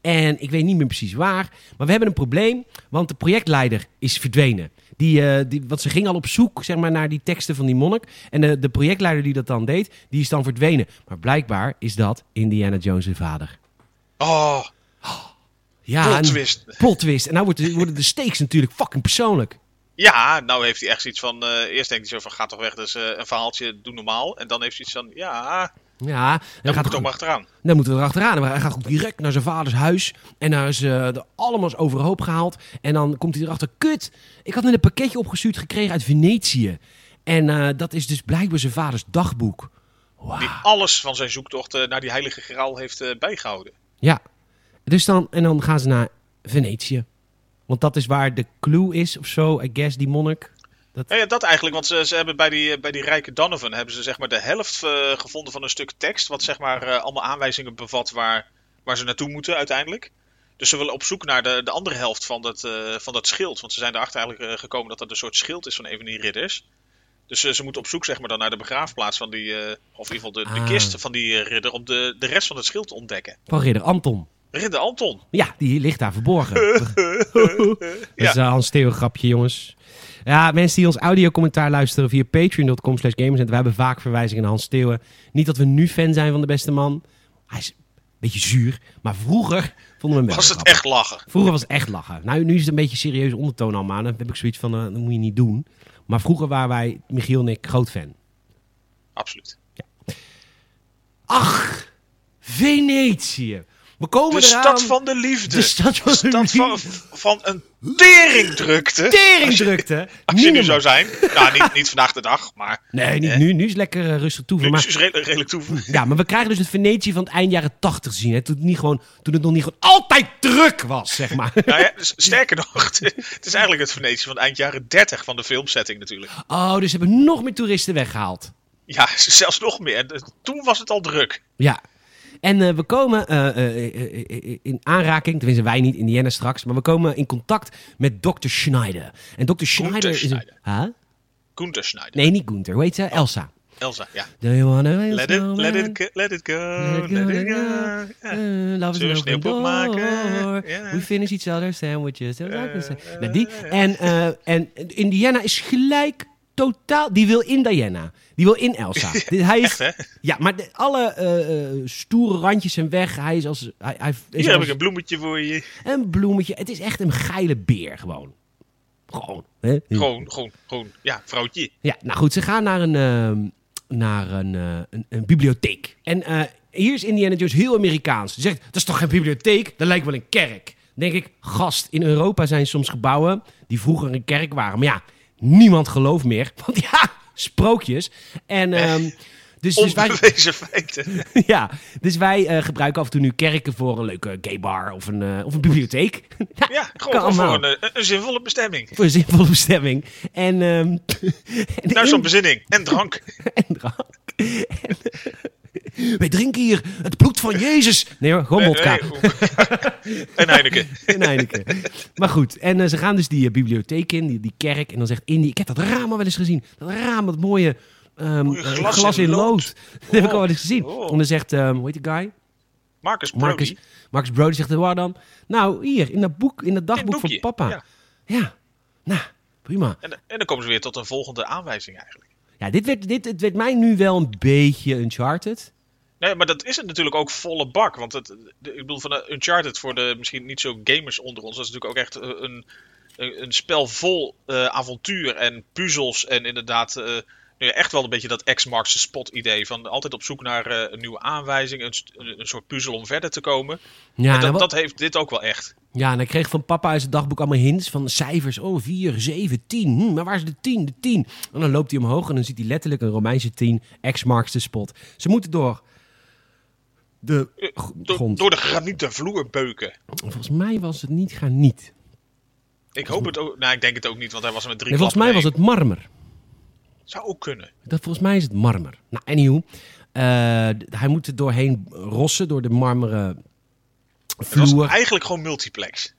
[SPEAKER 1] En ik weet niet meer precies waar. Maar we hebben een probleem, want de projectleider is verdwenen. Die, eh, die, want ze ging al op zoek zeg maar, naar die teksten van die monnik. En de, de projectleider die dat dan deed, die is dan verdwenen. Maar blijkbaar is dat Indiana Jones' vader.
[SPEAKER 2] Oh,
[SPEAKER 1] Ja,
[SPEAKER 2] Plot
[SPEAKER 1] en-
[SPEAKER 2] twist.
[SPEAKER 1] Plot twist. En nou wordt- worden de stakes natuurlijk fucking persoonlijk.
[SPEAKER 2] Ja, nou heeft hij echt zoiets van... eh, eerst denkt hij zo van, ga toch weg, dat is eh, een verhaaltje, doe normaal. En dan heeft hij iets van, ja,
[SPEAKER 1] Ja, dan,
[SPEAKER 2] dan
[SPEAKER 1] gaat
[SPEAKER 2] moet ik toch maar achteraan.
[SPEAKER 1] dan moeten we erachteraan. Maar hij gaat ook direct naar zijn vaders huis. En daar is eh, de allemaal is overhoop gehaald. En dan komt hij erachter. Kut, ik had net een pakketje opgestuurd gekregen uit Venetië. En eh, dat is dus blijkbaar zijn vaders dagboek.
[SPEAKER 2] Die
[SPEAKER 1] Wauw.
[SPEAKER 2] alles van zijn zoektocht eh, naar die heilige graal heeft eh, bijgehouden.
[SPEAKER 1] Ja. Dus dan, en dan gaan ze naar Venetië. Want dat is waar de clue is of zo, I guess, die monnik.
[SPEAKER 2] Ja, ja, dat eigenlijk, want ze, ze hebben bij die, eh, bij die rijke Donovan hebben ze zeg maar de helft eh, gevonden van een stuk tekst, wat zeg maar eh, allemaal aanwijzingen bevat waar, waar ze naartoe moeten uiteindelijk. Dus ze willen op zoek naar de, de andere helft van dat, eh, van dat schild, want ze zijn erachter eigenlijk eh, gekomen dat dat een soort schild is van een van die ridders. Dus eh, ze moeten op zoek zeg maar dan naar de begraafplaats van die, eh, of in ieder geval de, de
[SPEAKER 1] Ah.
[SPEAKER 2] kist van die eh, ridder, om de, de rest van het schild te ontdekken.
[SPEAKER 1] Van ridder Anton.
[SPEAKER 2] Ridder Anton.
[SPEAKER 1] Ja, die ligt daar verborgen. Dat is een Hans Theo grapje, jongens. Ja, mensen die ons audiocommentaar luisteren via patreon.com slash gamersnet. We hebben vaak verwijzingen naar Hans Theo. Niet dat we nu fan zijn van de beste man. Hij is een beetje zuur. Maar vroeger Vonden we hem wel
[SPEAKER 2] Was het
[SPEAKER 1] grappig.
[SPEAKER 2] echt lachen?
[SPEAKER 1] Vroeger was het echt lachen. Nou, nu is het een beetje serieuze ondertoon allemaal. Dan heb ik zoiets van, eh, dat moet je niet doen. Maar vroeger waren wij, Michiel en ik, groot fan.
[SPEAKER 2] Absoluut.
[SPEAKER 1] Ach, Venetië. We komen
[SPEAKER 2] De
[SPEAKER 1] eraan.
[SPEAKER 2] stad van de liefde.
[SPEAKER 1] De stad van de
[SPEAKER 2] stad van,
[SPEAKER 1] liefde.
[SPEAKER 2] van een teringdrukte.
[SPEAKER 1] Teringdrukte.
[SPEAKER 2] Als je nu
[SPEAKER 1] Niet
[SPEAKER 2] zou zijn. Nou, niet, niet vandaag de dag, maar.
[SPEAKER 1] Nee, niet nu. Nu is het lekker eh, rustig toe.
[SPEAKER 2] Nu
[SPEAKER 1] maar-
[SPEAKER 2] is het redelijk, redelijk toe. Nou
[SPEAKER 1] Ja, maar we krijgen dus het Venetië van het eind jaren 80 te zien. Hè? Toen, het niet gewoon, toen het nog niet gewoon altijd druk was, zeg maar.
[SPEAKER 2] Nou ja, dus sterker nog, het is eigenlijk het Venetië van eind jaren 30 van de filmsetting natuurlijk.
[SPEAKER 1] Oh, dus ze hebben nog meer toeristen weggehaald.
[SPEAKER 2] Ja, zelfs nog meer. De- Toen was het al druk.
[SPEAKER 1] Ja. En eh, we komen eh, eh, eh, eh, in aanraking, tenminste wij niet, Indiana straks, maar we komen in contact met Dr. Schneider. En Dr. Schneider is een...
[SPEAKER 2] Schneider.
[SPEAKER 1] Huh?
[SPEAKER 2] Gunther Schneider.
[SPEAKER 1] Nee, niet Gunther. Hoe heet ze? Elsa.
[SPEAKER 2] Elsa, ja.
[SPEAKER 1] Do you wanna be a
[SPEAKER 2] Let it,
[SPEAKER 1] snowman?
[SPEAKER 2] let it, go, let it go,
[SPEAKER 1] Let it go,
[SPEAKER 2] let
[SPEAKER 1] let
[SPEAKER 2] it
[SPEAKER 1] it
[SPEAKER 2] go. Ja.
[SPEAKER 1] Eh, love is
[SPEAKER 2] Zullen we
[SPEAKER 1] an open
[SPEAKER 2] sneeuwpop maken?
[SPEAKER 1] door.
[SPEAKER 2] Ja.
[SPEAKER 1] We finish each other's sandwiches. Uh,
[SPEAKER 2] eh,
[SPEAKER 1] nou, die. En, eh, en Indiana is gelijk totaal... Die wil in Diana. Die wil in Elsa. Dit- hij is,
[SPEAKER 2] Echt, hè?
[SPEAKER 1] Ja, maar de- alle eh, eh, stoere randjes zijn weg. Hij is als... Hij, hij is
[SPEAKER 2] Hier heb
[SPEAKER 1] als
[SPEAKER 2] ik een bloemetje voor je.
[SPEAKER 1] een bloemetje. Het is echt een geile beer gewoon. Gewoon. Hè?
[SPEAKER 2] Gewoon, gewoon, gewoon. Ja, vrouwtje.
[SPEAKER 1] Ja, nou goed, ze gaan naar een, ehm, naar een, eh, een, een bibliotheek. En eh, hier is Indiana Jones heel Amerikaans. Ze zegt, dat is toch geen bibliotheek? Dat lijkt wel een kerk. Dan denk ik, gast, in Europa zijn soms gebouwen die vroeger een kerk waren. Maar ja, niemand gelooft meer. Want ja, sprookjes. En... ehm, dus, dus wij,
[SPEAKER 2] Onbewezen feiten.
[SPEAKER 1] ja, dus wij eh, gebruiken af en toe nu kerken voor een leuke gaybar of een, eh, of een bibliotheek.
[SPEAKER 2] Ja,
[SPEAKER 1] Kan
[SPEAKER 2] gewoon voor
[SPEAKER 1] allemaal.
[SPEAKER 2] een, eh, een zinvolle bestemming.
[SPEAKER 1] Voor een zinvolle bestemming. En, ehm en
[SPEAKER 2] Naar
[SPEAKER 1] in-
[SPEAKER 2] zo'n bezinning. En drank.
[SPEAKER 1] en drank. En, eh, Wij drinken hier het bloed van Jezus. Nee hoor, gewoon wodka.
[SPEAKER 2] Nee, nee. oh. en Heineken.
[SPEAKER 1] En Heineken. Maar goed, en eh, ze gaan dus die eh, bibliotheek in, die, die kerk. En dan zegt Indy, ik heb dat raam al wel eens gezien. Dat raam, dat mooie ehm,
[SPEAKER 2] Mooie
[SPEAKER 1] eh,
[SPEAKER 2] glas
[SPEAKER 1] glas,
[SPEAKER 2] in
[SPEAKER 1] in, lood.
[SPEAKER 2] lood.
[SPEAKER 1] Dat heb ik al
[SPEAKER 2] Oh,
[SPEAKER 1] wel eens gezien.
[SPEAKER 2] oh.
[SPEAKER 1] En dan zegt, ehm, hoe heet die guy?
[SPEAKER 2] Marcus Brody.
[SPEAKER 1] Marcus, Marcus Brody zegt, waar dan? Nou, hier, in dat boek, in dat
[SPEAKER 2] In het
[SPEAKER 1] dagboek van
[SPEAKER 2] boekje.
[SPEAKER 1] papa.
[SPEAKER 2] Ja.
[SPEAKER 1] ja. nou, prima.
[SPEAKER 2] En, en dan komen ze weer tot een volgende aanwijzing eigenlijk.
[SPEAKER 1] Ja, dit werd, dit, het werd mij nu wel een beetje Uncharted.
[SPEAKER 2] Nee, maar dat is het natuurlijk ook volle bak. Want het, de- ik bedoel, van de Uncharted voor de misschien niet zo gamers onder ons. Dat is natuurlijk ook echt eh, een, een, een spel vol eh, avontuur en puzzels. En inderdaad, eh, nou ja, echt wel een beetje dat X marks the spot idee. Van altijd op zoek naar eh, een nieuwe aanwijzing. Een, st- een, een soort puzzel om verder te komen.
[SPEAKER 1] Ja,
[SPEAKER 2] en
[SPEAKER 1] nou,
[SPEAKER 2] dat,
[SPEAKER 1] wat-
[SPEAKER 2] dat heeft dit ook wel echt.
[SPEAKER 1] Ja, en hij kreeg van papa uit zijn dagboek allemaal hints van cijfers. Oh, 4, 7, 10. Hm, maar waar is de 10? De 10. En dan loopt hij omhoog en dan ziet hij letterlijk een Romeinse 10. X marks the spot. Ze moeten door de g-
[SPEAKER 2] Eh, Door-
[SPEAKER 1] grond.
[SPEAKER 2] door de granieten vloer beuken.
[SPEAKER 1] Volgens mij was het niet graniet.
[SPEAKER 2] Ik hoop het ook. Nou, ik denk het ook niet, want hij was er met drie
[SPEAKER 1] Nee, volgens mij
[SPEAKER 2] klappen
[SPEAKER 1] was het marmer.
[SPEAKER 2] heen. Zou ook kunnen.
[SPEAKER 1] Dat, volgens mij is het marmer. Nou, anyhow. eh, d- hij moet er doorheen rossen door de marmeren
[SPEAKER 2] Het was
[SPEAKER 1] vloer.
[SPEAKER 2] eigenlijk gewoon multiplex.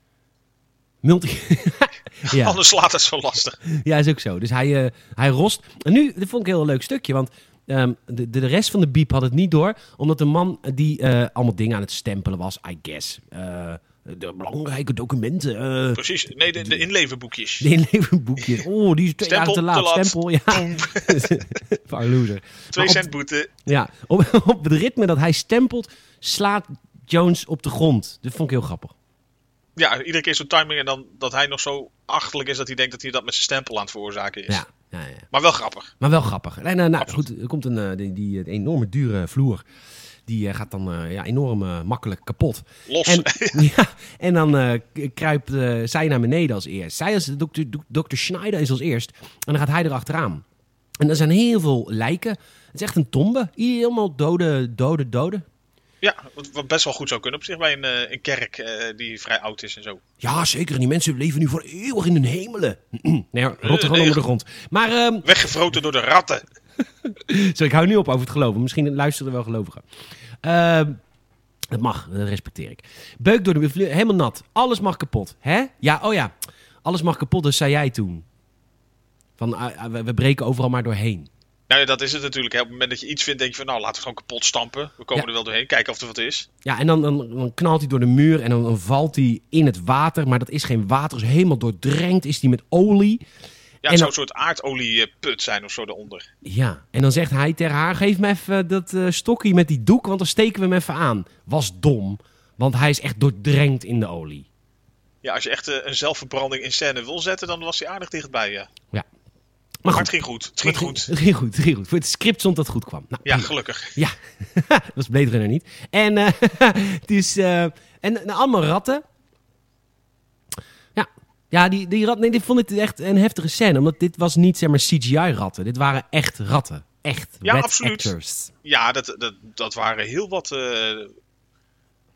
[SPEAKER 1] Multi- ja.
[SPEAKER 2] Anders slaat het zo lastig.
[SPEAKER 1] Ja, is ook zo. Dus hij, eh, hij rost. En nu, dit vond ik een heel leuk stukje, want ehm, de, de rest van de biep had het niet door. Omdat de man die eh, allemaal dingen aan het stempelen was, I guess. Eh, de belangrijke documenten. eh,
[SPEAKER 2] Precies. Nee, de, de inlevenboekjes.
[SPEAKER 1] de inlevenboekjes. Oh, die is twee dagen
[SPEAKER 2] Stempel,
[SPEAKER 1] te
[SPEAKER 2] te laat.
[SPEAKER 1] laat. Stempel, ja. Far loser. Maar
[SPEAKER 2] Twee
[SPEAKER 1] op-
[SPEAKER 2] cent boete.
[SPEAKER 1] ja, op, op het ritme dat hij stempelt, slaat Jones op de grond. Dat vond ik heel grappig.
[SPEAKER 2] Ja, iedere keer zo'n timing en dan dat hij nog zo achterlijk is dat hij denkt dat hij dat met zijn stempel aan het veroorzaken is.
[SPEAKER 1] Ja, ja, ja.
[SPEAKER 2] Maar wel grappig.
[SPEAKER 1] Maar wel grappig. En, eh, nou, goed, er komt een eh, die, die, een enorme dure vloer. Die eh, gaat dan eh, ja, enorm eh, makkelijk kapot.
[SPEAKER 2] Los.
[SPEAKER 1] En, ja, en dan eh, k- kruipt eh, zij naar beneden als eerst. Zij als dokter, dokter Schneider is als eerst. En dan gaat hij erachteraan. En er zijn heel veel lijken. Het is echt een tombe. Helemaal dode, dode, dode.
[SPEAKER 2] Ja, wat, wat best wel goed zou kunnen op zich bij een, eh, een kerk eh, die vrij oud is en zo.
[SPEAKER 1] Ja, zeker. En die mensen leven nu voor eeuwig in hun hemelen. nee, hoor, rotten
[SPEAKER 2] Eh, nee.
[SPEAKER 1] gewoon onder de grond. Maar ehm,
[SPEAKER 2] Weggevroten door de ratten.
[SPEAKER 1] Zo, ik hou nu op over het geloven. Misschien luisteren er wel gelovigen. Ehm, dat mag, dat respecteer ik. Beuk door de vlu- helemaal nat. Alles mag kapot. Hè? Ja, oh ja. Alles mag kapot, dat zei jij toen. Van, ah, ah, we, we breken overal maar doorheen.
[SPEAKER 2] Nou ja, dat is het natuurlijk. Hè. Op het moment dat je iets vindt, denk je van nou, laten we gewoon kapot stampen. We komen
[SPEAKER 1] Ja.
[SPEAKER 2] er wel doorheen, kijken of er wat is.
[SPEAKER 1] Ja, en dan, dan, dan knalt hij door de muur en dan, dan valt hij in het water. Maar dat is geen water, is helemaal doordrenkt. Is hij met olie. En
[SPEAKER 2] Ja, het zou
[SPEAKER 1] dan-
[SPEAKER 2] een soort aardolieput zijn of zo daaronder.
[SPEAKER 1] Ja, en dan zegt eh, hij tegen haar: geef me even dat eh stokkie met die doek, want dan steken we hem even aan. Was dom. Want hij is echt doordrenkt in de olie.
[SPEAKER 2] Ja, als je echt eh, een zelfverbranding in scène wil zetten, dan was hij aardig dichtbij, ja.
[SPEAKER 1] Maar
[SPEAKER 2] Maar
[SPEAKER 1] goed,
[SPEAKER 2] het ging goed. Het ging
[SPEAKER 1] maar
[SPEAKER 2] goed.
[SPEAKER 1] Het ging goed, het ging goed. Voor het script stond dat goed kwam. Nou,
[SPEAKER 2] Ja,
[SPEAKER 1] prima.
[SPEAKER 2] gelukkig.
[SPEAKER 1] Ja, dat was Blade Runner niet. En, eh dus, eh, en, en allemaal ratten. Ja, ja die, die rat, nee, dit vond ik echt een heftige scène. Omdat dit was niet zeg maar CGI-ratten. Dit waren echt ratten. Echt
[SPEAKER 2] Ja,
[SPEAKER 1] rat
[SPEAKER 2] absoluut.
[SPEAKER 1] actors.
[SPEAKER 2] Ja, dat, dat, dat waren heel wat. eh, Nou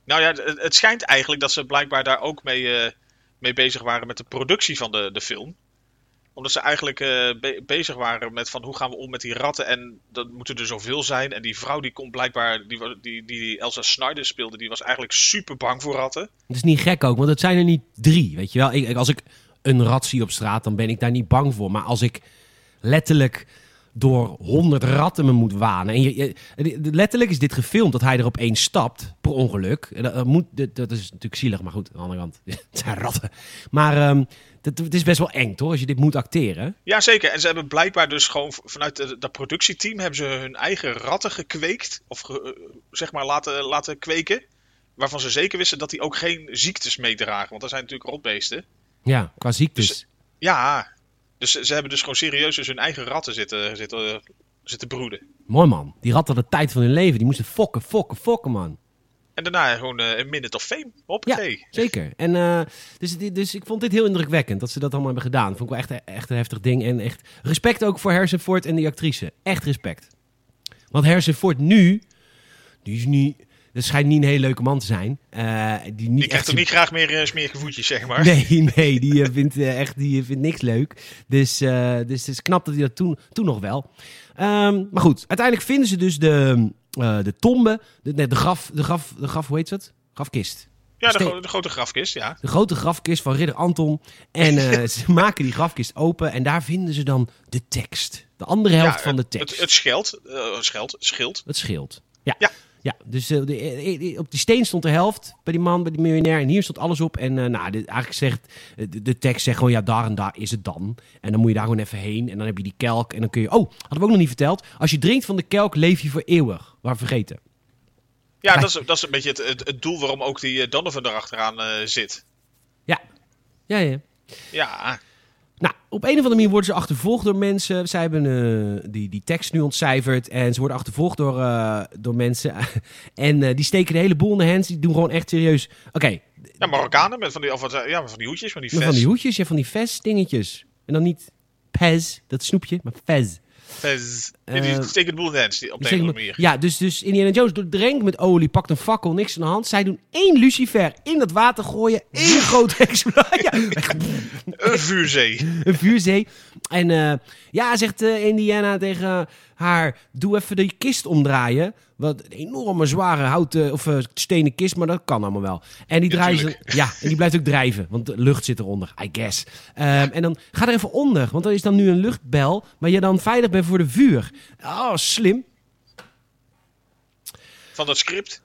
[SPEAKER 2] ja, het, het schijnt eigenlijk dat ze blijkbaar daar ook mee, eh, mee bezig waren met de productie van de, de film. Omdat ze eigenlijk eh, be- bezig waren met van hoe gaan we om met die ratten en dat moeten er zoveel zijn. En die vrouw die komt blijkbaar, die, wa- die, die Elsa Snyder speelde, die was eigenlijk super bang voor ratten.
[SPEAKER 1] Dat is niet gek ook, want het zijn er niet drie. Weet je wel, ik, ik- als ik een rat zie op straat, dan ben ik daar niet bang voor. Maar als ik letterlijk door honderd ratten me moet wanen. En je, je- de- de- letterlijk is dit gefilmd dat hij er opeens stapt, per ongeluk. En Dat, dat moet, dat, dat is natuurlijk zielig, maar goed, aan de andere kant, het zijn ratten. Maar ehm, dat, het is best wel eng, toch, als je dit moet acteren.
[SPEAKER 2] Ja, zeker. En ze hebben blijkbaar dus gewoon v- vanuit de- dat productieteam hebben ze hun eigen ratten gekweekt. Of ge- eh, zeg maar laten, laten kweken. Waarvan ze zeker wisten dat die ook geen ziektes meedragen. Want dat zijn natuurlijk rotbeesten.
[SPEAKER 1] Ja, qua ziektes.
[SPEAKER 2] Ja, dus ze ze hebben dus gewoon serieus dus hun eigen ratten zitten, zitten, eh, zitten broeden.
[SPEAKER 1] Mooi man, die ratten hadden tijd van hun leven. Die moesten fokken, fokken, fokken, man.
[SPEAKER 2] En daarna gewoon eh, een minute of fame.
[SPEAKER 1] Ja,
[SPEAKER 2] Hoppakee.
[SPEAKER 1] zeker. En, eh, dus, dit- dus ik vond dit heel indrukwekkend dat ze dat allemaal hebben gedaan. Vond ik wel echt, echt een heftig ding. En echt respect ook voor Harrison Ford en die actrice. Echt respect. Want Harrison Ford nu, die is niet... Dat schijnt niet een hele leuke man te zijn. Eh, die niet
[SPEAKER 2] Die krijgt
[SPEAKER 1] echt
[SPEAKER 2] toch
[SPEAKER 1] zijn-
[SPEAKER 2] niet graag meer eh, smerige voetjes, zeg maar.
[SPEAKER 1] Nee, nee, die eh, vindt eh, echt die eh, vindt niks leuk. Dus, eh, dus het is knap dat hij dat toen, toen nog wel. Ehm, maar goed, uiteindelijk vinden ze dus de, eh, de tombe, de, nee, de graf, de graf, de graf, hoe heet dat? Grafkist.
[SPEAKER 2] Ja, de,
[SPEAKER 1] Ste-
[SPEAKER 2] gro- de grote grafkist, ja.
[SPEAKER 1] De grote grafkist van ridder Anton. En eh, ze maken die grafkist open en daar vinden ze dan de tekst. De andere helft
[SPEAKER 2] ja,
[SPEAKER 1] van de
[SPEAKER 2] het-
[SPEAKER 1] tekst.
[SPEAKER 2] Het, het scheld, eh, scheld, schild.
[SPEAKER 1] Het scheelt. Ja. ja.
[SPEAKER 2] Ja.
[SPEAKER 1] dus eh, de- eh, eh, op die steen stond de helft bij die man, bij die miljonair. En hier stond alles op. En eh, nou, dit, eigenlijk zegt eh, de, de tekst zegt gewoon, ja, daar en daar is het dan. En dan moet je daar gewoon even heen. En dan heb je die kelk. En dan kun je, oh, hadden we ook nog niet verteld. Als je drinkt van de kelk, leef je voor eeuwig. Waar vergeten.
[SPEAKER 2] Ja,
[SPEAKER 1] Ja.
[SPEAKER 2] dat is, dat is een beetje het, het, het doel waarom ook die eh, Donovan erachteraan eh zit.
[SPEAKER 1] Ja. Ja, ja.
[SPEAKER 2] Ja,
[SPEAKER 1] Nou, op een of andere manier worden ze achtervolgd door mensen. Zij hebben eh, die, die tekst nu ontcijferd. En ze worden achtervolgd door, eh, door mensen. en eh, die steken de hele boel in de hands. Die doen gewoon echt serieus. Oké,
[SPEAKER 2] ja Marokkanen met van die, of wat, eh, ja, met van die hoedjes, van die vest.
[SPEAKER 1] van die hoedjes, ja, van die vest-dingetjes. En dan niet pez, dat snoepje, maar vez.
[SPEAKER 2] vest. Ja, die
[SPEAKER 1] Eh,
[SPEAKER 2] steken de boel in de hands, die- op de
[SPEAKER 1] Dus
[SPEAKER 2] een of
[SPEAKER 1] zeg
[SPEAKER 2] andere
[SPEAKER 1] maar-
[SPEAKER 2] manier.
[SPEAKER 1] ja, dus, dus Indiana Jones doordrenkt met olie, pakt een fakkel, niks aan de hand. Zij doen één lucifer in dat water gooien, één grote explosie. Ja,
[SPEAKER 2] Een vuurzee.
[SPEAKER 1] een vuurzee. En eh, ja, zegt eh, Indiana tegen haar: doe even de kist omdraaien. Wat een enorme zware houten of eh, stenen kist, maar dat kan allemaal wel. En die
[SPEAKER 2] Ja,
[SPEAKER 1] draaien ze.
[SPEAKER 2] tuurlijk.
[SPEAKER 1] Ja, en die blijft ook drijven, want de lucht zit eronder, I guess. Ehm, En dan ga er even onder, want er is dan nu een luchtbel, maar je dan veilig bent voor de vuur. Oh, slim.
[SPEAKER 2] Van dat script.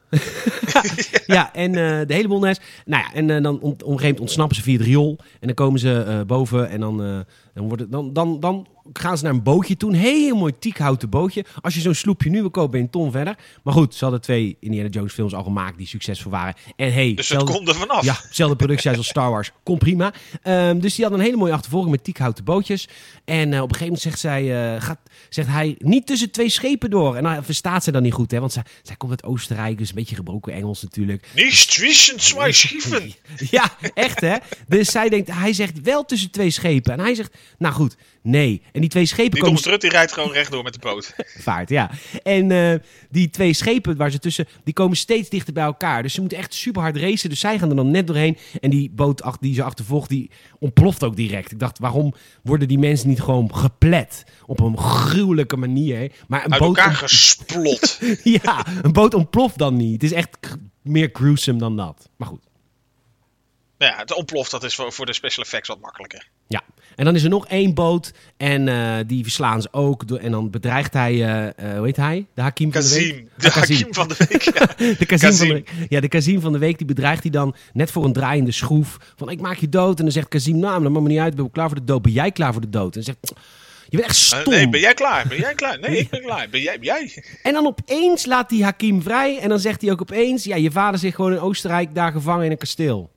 [SPEAKER 1] Ja, en eh, de hele boel nest. Nou ja, en eh, dan om, op een gegeven moment ontsnappen ze via het riool. En dan komen ze eh, boven en dan, eh, dan, wordt het, dan, dan, dan gaan ze naar een bootje toe. Een heel mooi tiekhouten bootje. Als je zo'n sloepje nu wil kopen, ben je een ton verder. Maar goed, ze hadden twee Indiana Jones films al gemaakt die succesvol waren. En hey,
[SPEAKER 2] Dus het
[SPEAKER 1] zelfde-
[SPEAKER 2] komt er vanaf.
[SPEAKER 1] ja, hetzelfde productiehuis als Star Wars. Kom prima. Ehm, dus die had een hele mooie achtervolging met tiekhouten bootjes. En eh, op een gegeven moment zegt, zij, eh, gaat, zegt hij niet tussen twee schepen door. En dan verstaat ze dan niet goed, hè? Want zij, zij komt uit Oostenrijk, dus een beetje gebroken Engels natuurlijk.
[SPEAKER 2] Niet tussen twee schieven.
[SPEAKER 1] Ja, echt hè? Dus zij denkt, hij zegt wel tussen twee schepen. En hij zegt, nou goed, nee. En die twee schepen
[SPEAKER 2] Die
[SPEAKER 1] komen
[SPEAKER 2] Tom Strut die rijdt gewoon rechtdoor met de boot.
[SPEAKER 1] vaart, ja. En eh, die twee schepen waar ze tussen, die komen steeds dichter bij elkaar. Dus ze moeten echt super hard racen. Dus zij gaan er dan net doorheen. En die boot ach- die ze achtervolgt, die ontploft ook direct. Ik dacht, waarom worden die mensen niet gewoon geplet? Op een gruwelijke manier. Maar een
[SPEAKER 2] Uit
[SPEAKER 1] boot
[SPEAKER 2] elkaar gesplot.
[SPEAKER 1] ja, een boot ontploft dan niet. Het is echt g- meer gruesome dan dat. Maar goed.
[SPEAKER 2] Nou ja, het ontploft, dat is voor, voor de special effects wat makkelijker.
[SPEAKER 1] Ja, en dan is er nog één boot en eh, die verslaan ze ook. Door- En dan bedreigt hij, eh, eh, hoe heet hij? De Hakim van de Week?
[SPEAKER 2] Kazim, de
[SPEAKER 1] Ah, Kazim.
[SPEAKER 2] Hakim van de week. ja.
[SPEAKER 1] De Kazim, Van de,
[SPEAKER 2] Kazim.
[SPEAKER 1] Week. ja, de Kazim van de Week die bedreigt hij dan net voor een draaiende schroef. Van ik maak je dood. En dan zegt Kazim, nou, dat maakt me niet uit. Ben ik klaar voor de dood? Ben jij klaar voor de dood? En dan zegt, je Je bent echt stom.
[SPEAKER 2] Eh, nee, ben jij klaar? Ben jij klaar? Nee, ik ben klaar. Ben jij? Ben jij?
[SPEAKER 1] En dan opeens laat hij Hakim vrij. En dan zegt hij ook opeens: Ja, je vader zit gewoon in Oostenrijk daar gevangen in een kasteel.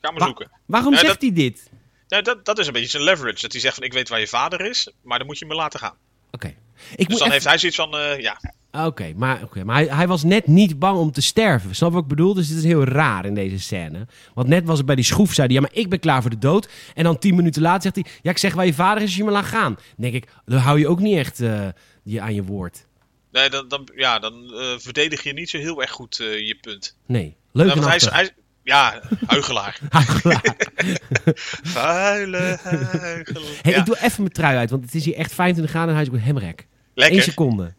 [SPEAKER 2] Ga maar
[SPEAKER 1] Wa-
[SPEAKER 2] zoeken.
[SPEAKER 1] Waarom
[SPEAKER 2] Ja,
[SPEAKER 1] zegt
[SPEAKER 2] dat-
[SPEAKER 1] hij dit?
[SPEAKER 2] Nou, dat, dat is een beetje zijn leverage. Dat hij zegt van ik weet waar je vader is, maar dan moet je me laten gaan.
[SPEAKER 1] Oké. Ik
[SPEAKER 2] Dus
[SPEAKER 1] moet
[SPEAKER 2] dan
[SPEAKER 1] even-
[SPEAKER 2] heeft hij zoiets van, eh, ja,
[SPEAKER 1] Ah, Oké, maar, oké, maar hij, hij was net niet bang om te sterven. Snap je wat ik bedoel? Dus dit is heel raar in deze scène. Want net was het bij die schroef, zei hij, ja, maar ik ben klaar voor de dood. En dan tien minuten later zegt hij, ja, ik zeg waar je vader is als je me laat gaan. Dan denk ik, dan hou je ook niet echt eh, je aan je woord.
[SPEAKER 2] nee, dan, dan, ja, dan eh, verdedig je niet zo heel erg goed eh, je punt.
[SPEAKER 1] Nee, leuk
[SPEAKER 2] Ja,
[SPEAKER 1] en
[SPEAKER 2] want hij is,
[SPEAKER 1] achter.
[SPEAKER 2] hij, is- ja, huigelaar.
[SPEAKER 1] Huigelaar.
[SPEAKER 2] Vuile huigelaar.
[SPEAKER 1] hey,
[SPEAKER 2] Ja,
[SPEAKER 1] Ik doe even mijn trui uit, want het is hier echt 25 graden en hij is ook een hemrek. Eén
[SPEAKER 2] lekker.
[SPEAKER 1] seconde.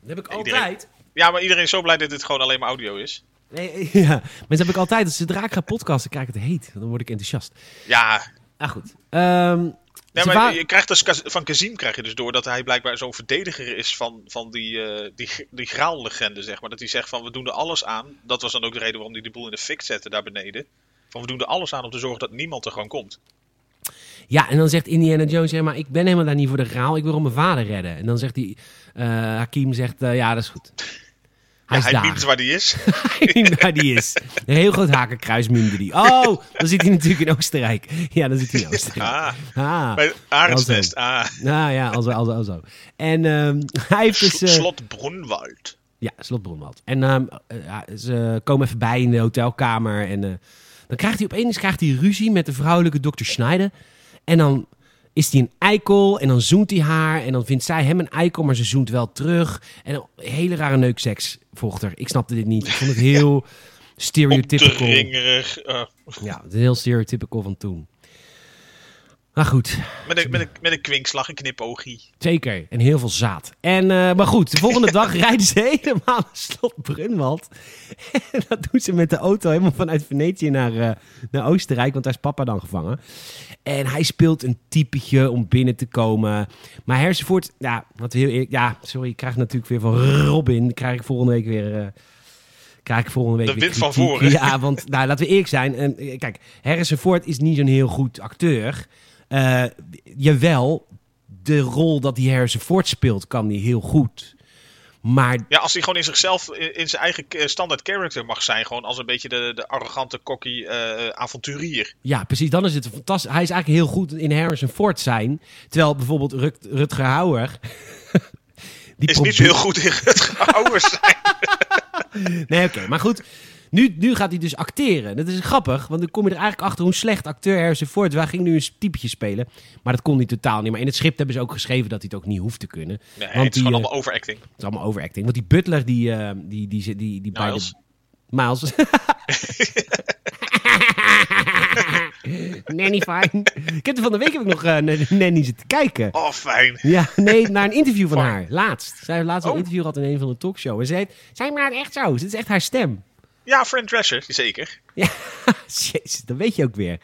[SPEAKER 1] Dat heb ik
[SPEAKER 2] Iedereen-
[SPEAKER 1] altijd.
[SPEAKER 2] Ja, maar iedereen is zo blij dat dit gewoon alleen maar audio is.
[SPEAKER 1] Nee, ja. Maar dat heb ik altijd. Als zodra ik ga podcasten, krijg ik het heet. Dan word ik enthousiast.
[SPEAKER 2] Ja,
[SPEAKER 1] Ah, goed. Ehm,
[SPEAKER 2] nee,
[SPEAKER 1] ze
[SPEAKER 2] maar
[SPEAKER 1] waren-
[SPEAKER 2] je krijgt dus, Kaz- van Kazim krijg je dus door dat hij blijkbaar zo'n verdediger is van, van die, eh, die, die graallegende, zeg maar. Dat hij zegt van, we doen er alles aan. Dat was dan ook de reden waarom hij de boel in de fik zette daar beneden. Van, we doen er alles aan om te zorgen dat niemand er gewoon komt.
[SPEAKER 1] Ja, en dan zegt Indiana Jones, zeg maar, ik ben helemaal daar niet voor de graal. Ik wil om mijn vader redden. En dan zegt die eh, Hakim, zegt, eh, ja, dat is goed. Hij
[SPEAKER 2] Ja,
[SPEAKER 1] is
[SPEAKER 2] hij
[SPEAKER 1] daar.
[SPEAKER 2] biedt waar hij is.
[SPEAKER 1] Hij weet waar die is. Een heel groot hakenkruis minder die. Oh, dan zit hij natuurlijk in Oostenrijk. Ja, dan zit hij in Oostenrijk.
[SPEAKER 2] Ah,
[SPEAKER 1] Ah,
[SPEAKER 2] bij het Arendsnest.
[SPEAKER 1] Alzo.
[SPEAKER 2] Ah,
[SPEAKER 1] nou ja, alzo, alzo, alzo. En ehm, hij heeft dus...
[SPEAKER 2] Sl-
[SPEAKER 1] eh,
[SPEAKER 2] Slot Bronwald.
[SPEAKER 1] Ja, slot Bronwald. En ehm, eh, ja, ze komen even bij in de hotelkamer. En eh, dan krijgt hij opeens krijgt hij ruzie met de vrouwelijke dokter Schneider. En dan is hij een eikel. En dan zoent hij haar. En dan vindt zij hem een eikel, maar ze zoent wel terug. En een hele rare neukseks volgt er. Ik snapte dit niet. Ik vond het heel stereotypical.
[SPEAKER 2] Opdringerig. eh,
[SPEAKER 1] Ja, het is heel stereotypical van toen. Maar goed,
[SPEAKER 2] met, een, met, een, met een kwinkslag, een knipoogie.
[SPEAKER 1] Zeker. En heel veel zaad. En, eh, maar goed, de volgende dag rijden ze helemaal naar slot Brunwald. En dat doen ze met de auto helemaal vanuit Venetië naar, eh, naar Oostenrijk. Want daar is papa dan gevangen. En hij speelt een typetje om binnen te komen. Maar Hersenvoort, ja, wat heel eerlijk, ja, sorry, ik krijg natuurlijk weer van Robin. Krijg ik volgende week weer. eh, Krijg ik volgende week
[SPEAKER 2] Dat
[SPEAKER 1] weer
[SPEAKER 2] wint van
[SPEAKER 1] kritiek.
[SPEAKER 2] voren.
[SPEAKER 1] Ja, want nou, laten we eerlijk zijn. En, eh, kijk, Harrison Ford is niet zo'n heel goed acteur. Eh, jawel, de rol dat die Harrison Ford speelt, kan die heel goed. Maar
[SPEAKER 2] Ja, als hij gewoon in zichzelf, in, in zijn eigen eh, standaard character mag zijn. Gewoon als een beetje de, de arrogante, kokkie eh, avonturier.
[SPEAKER 1] ja, precies, dan is het fantastisch. Hij is eigenlijk heel goed in Harrison Ford zijn. Terwijl bijvoorbeeld Rut- Rutger Hauer... die
[SPEAKER 2] Is niet
[SPEAKER 1] probeert-
[SPEAKER 2] zo heel goed in het gehouden zijn.
[SPEAKER 1] Nee, oké, maar goed. Nu, nu gaat hij dus acteren. Dat is grappig, want dan kom je er eigenlijk achter hoe slecht acteur Harrison Ford... Waar ging nu een typetje spelen, maar dat kon hij totaal niet. Maar in het script hebben ze ook geschreven dat hij het ook niet hoeft te kunnen.
[SPEAKER 2] Nee,
[SPEAKER 1] Want
[SPEAKER 2] het is
[SPEAKER 1] die,
[SPEAKER 2] gewoon
[SPEAKER 1] eh,
[SPEAKER 2] allemaal overacting.
[SPEAKER 1] Het is allemaal overacting. Want die butler die... eh, die, die, die, die, die bij de-
[SPEAKER 2] Miles.
[SPEAKER 1] Miles. Nanny fine. Ik heb er van de week heb ik nog eh, naar de Nanny zitten kijken.
[SPEAKER 2] Oh, fijn.
[SPEAKER 1] Ja, nee, naar een interview van
[SPEAKER 2] Fine.
[SPEAKER 1] haar. Laatst. Zij heeft laatst
[SPEAKER 2] Oh.
[SPEAKER 1] een interview gehad in een van de talkshows. En ze heet, zij maakt echt zo. Dit is echt haar stem.
[SPEAKER 2] Ja, Friend Dresser, zeker.
[SPEAKER 1] Ja, jezus, dat weet je ook weer.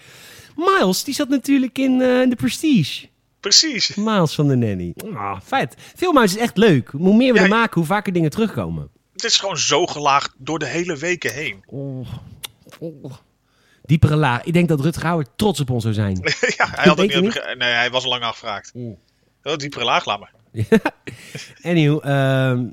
[SPEAKER 1] Miles, die zat natuurlijk in eh, in The Prestige.
[SPEAKER 2] Precies.
[SPEAKER 1] Miles van de Nanny. Ah, vet. Filmhuis is echt leuk. Hoe meer we
[SPEAKER 2] Ja,
[SPEAKER 1] er
[SPEAKER 2] je-
[SPEAKER 1] maken, hoe vaker dingen terugkomen.
[SPEAKER 2] Het is gewoon zo gelaagd door de hele weken heen.
[SPEAKER 1] Oh, oh. Diepere laag. Ik denk dat Rutger Hauer trots op ons zou zijn.
[SPEAKER 2] ja, hij
[SPEAKER 1] Weet
[SPEAKER 2] had het
[SPEAKER 1] je niet?
[SPEAKER 2] niet. bege- Nee, hij was al lang afgevraagd.
[SPEAKER 1] Oeh.
[SPEAKER 2] Oh, diepere laag, laat maar.
[SPEAKER 1] Anyhow, ehm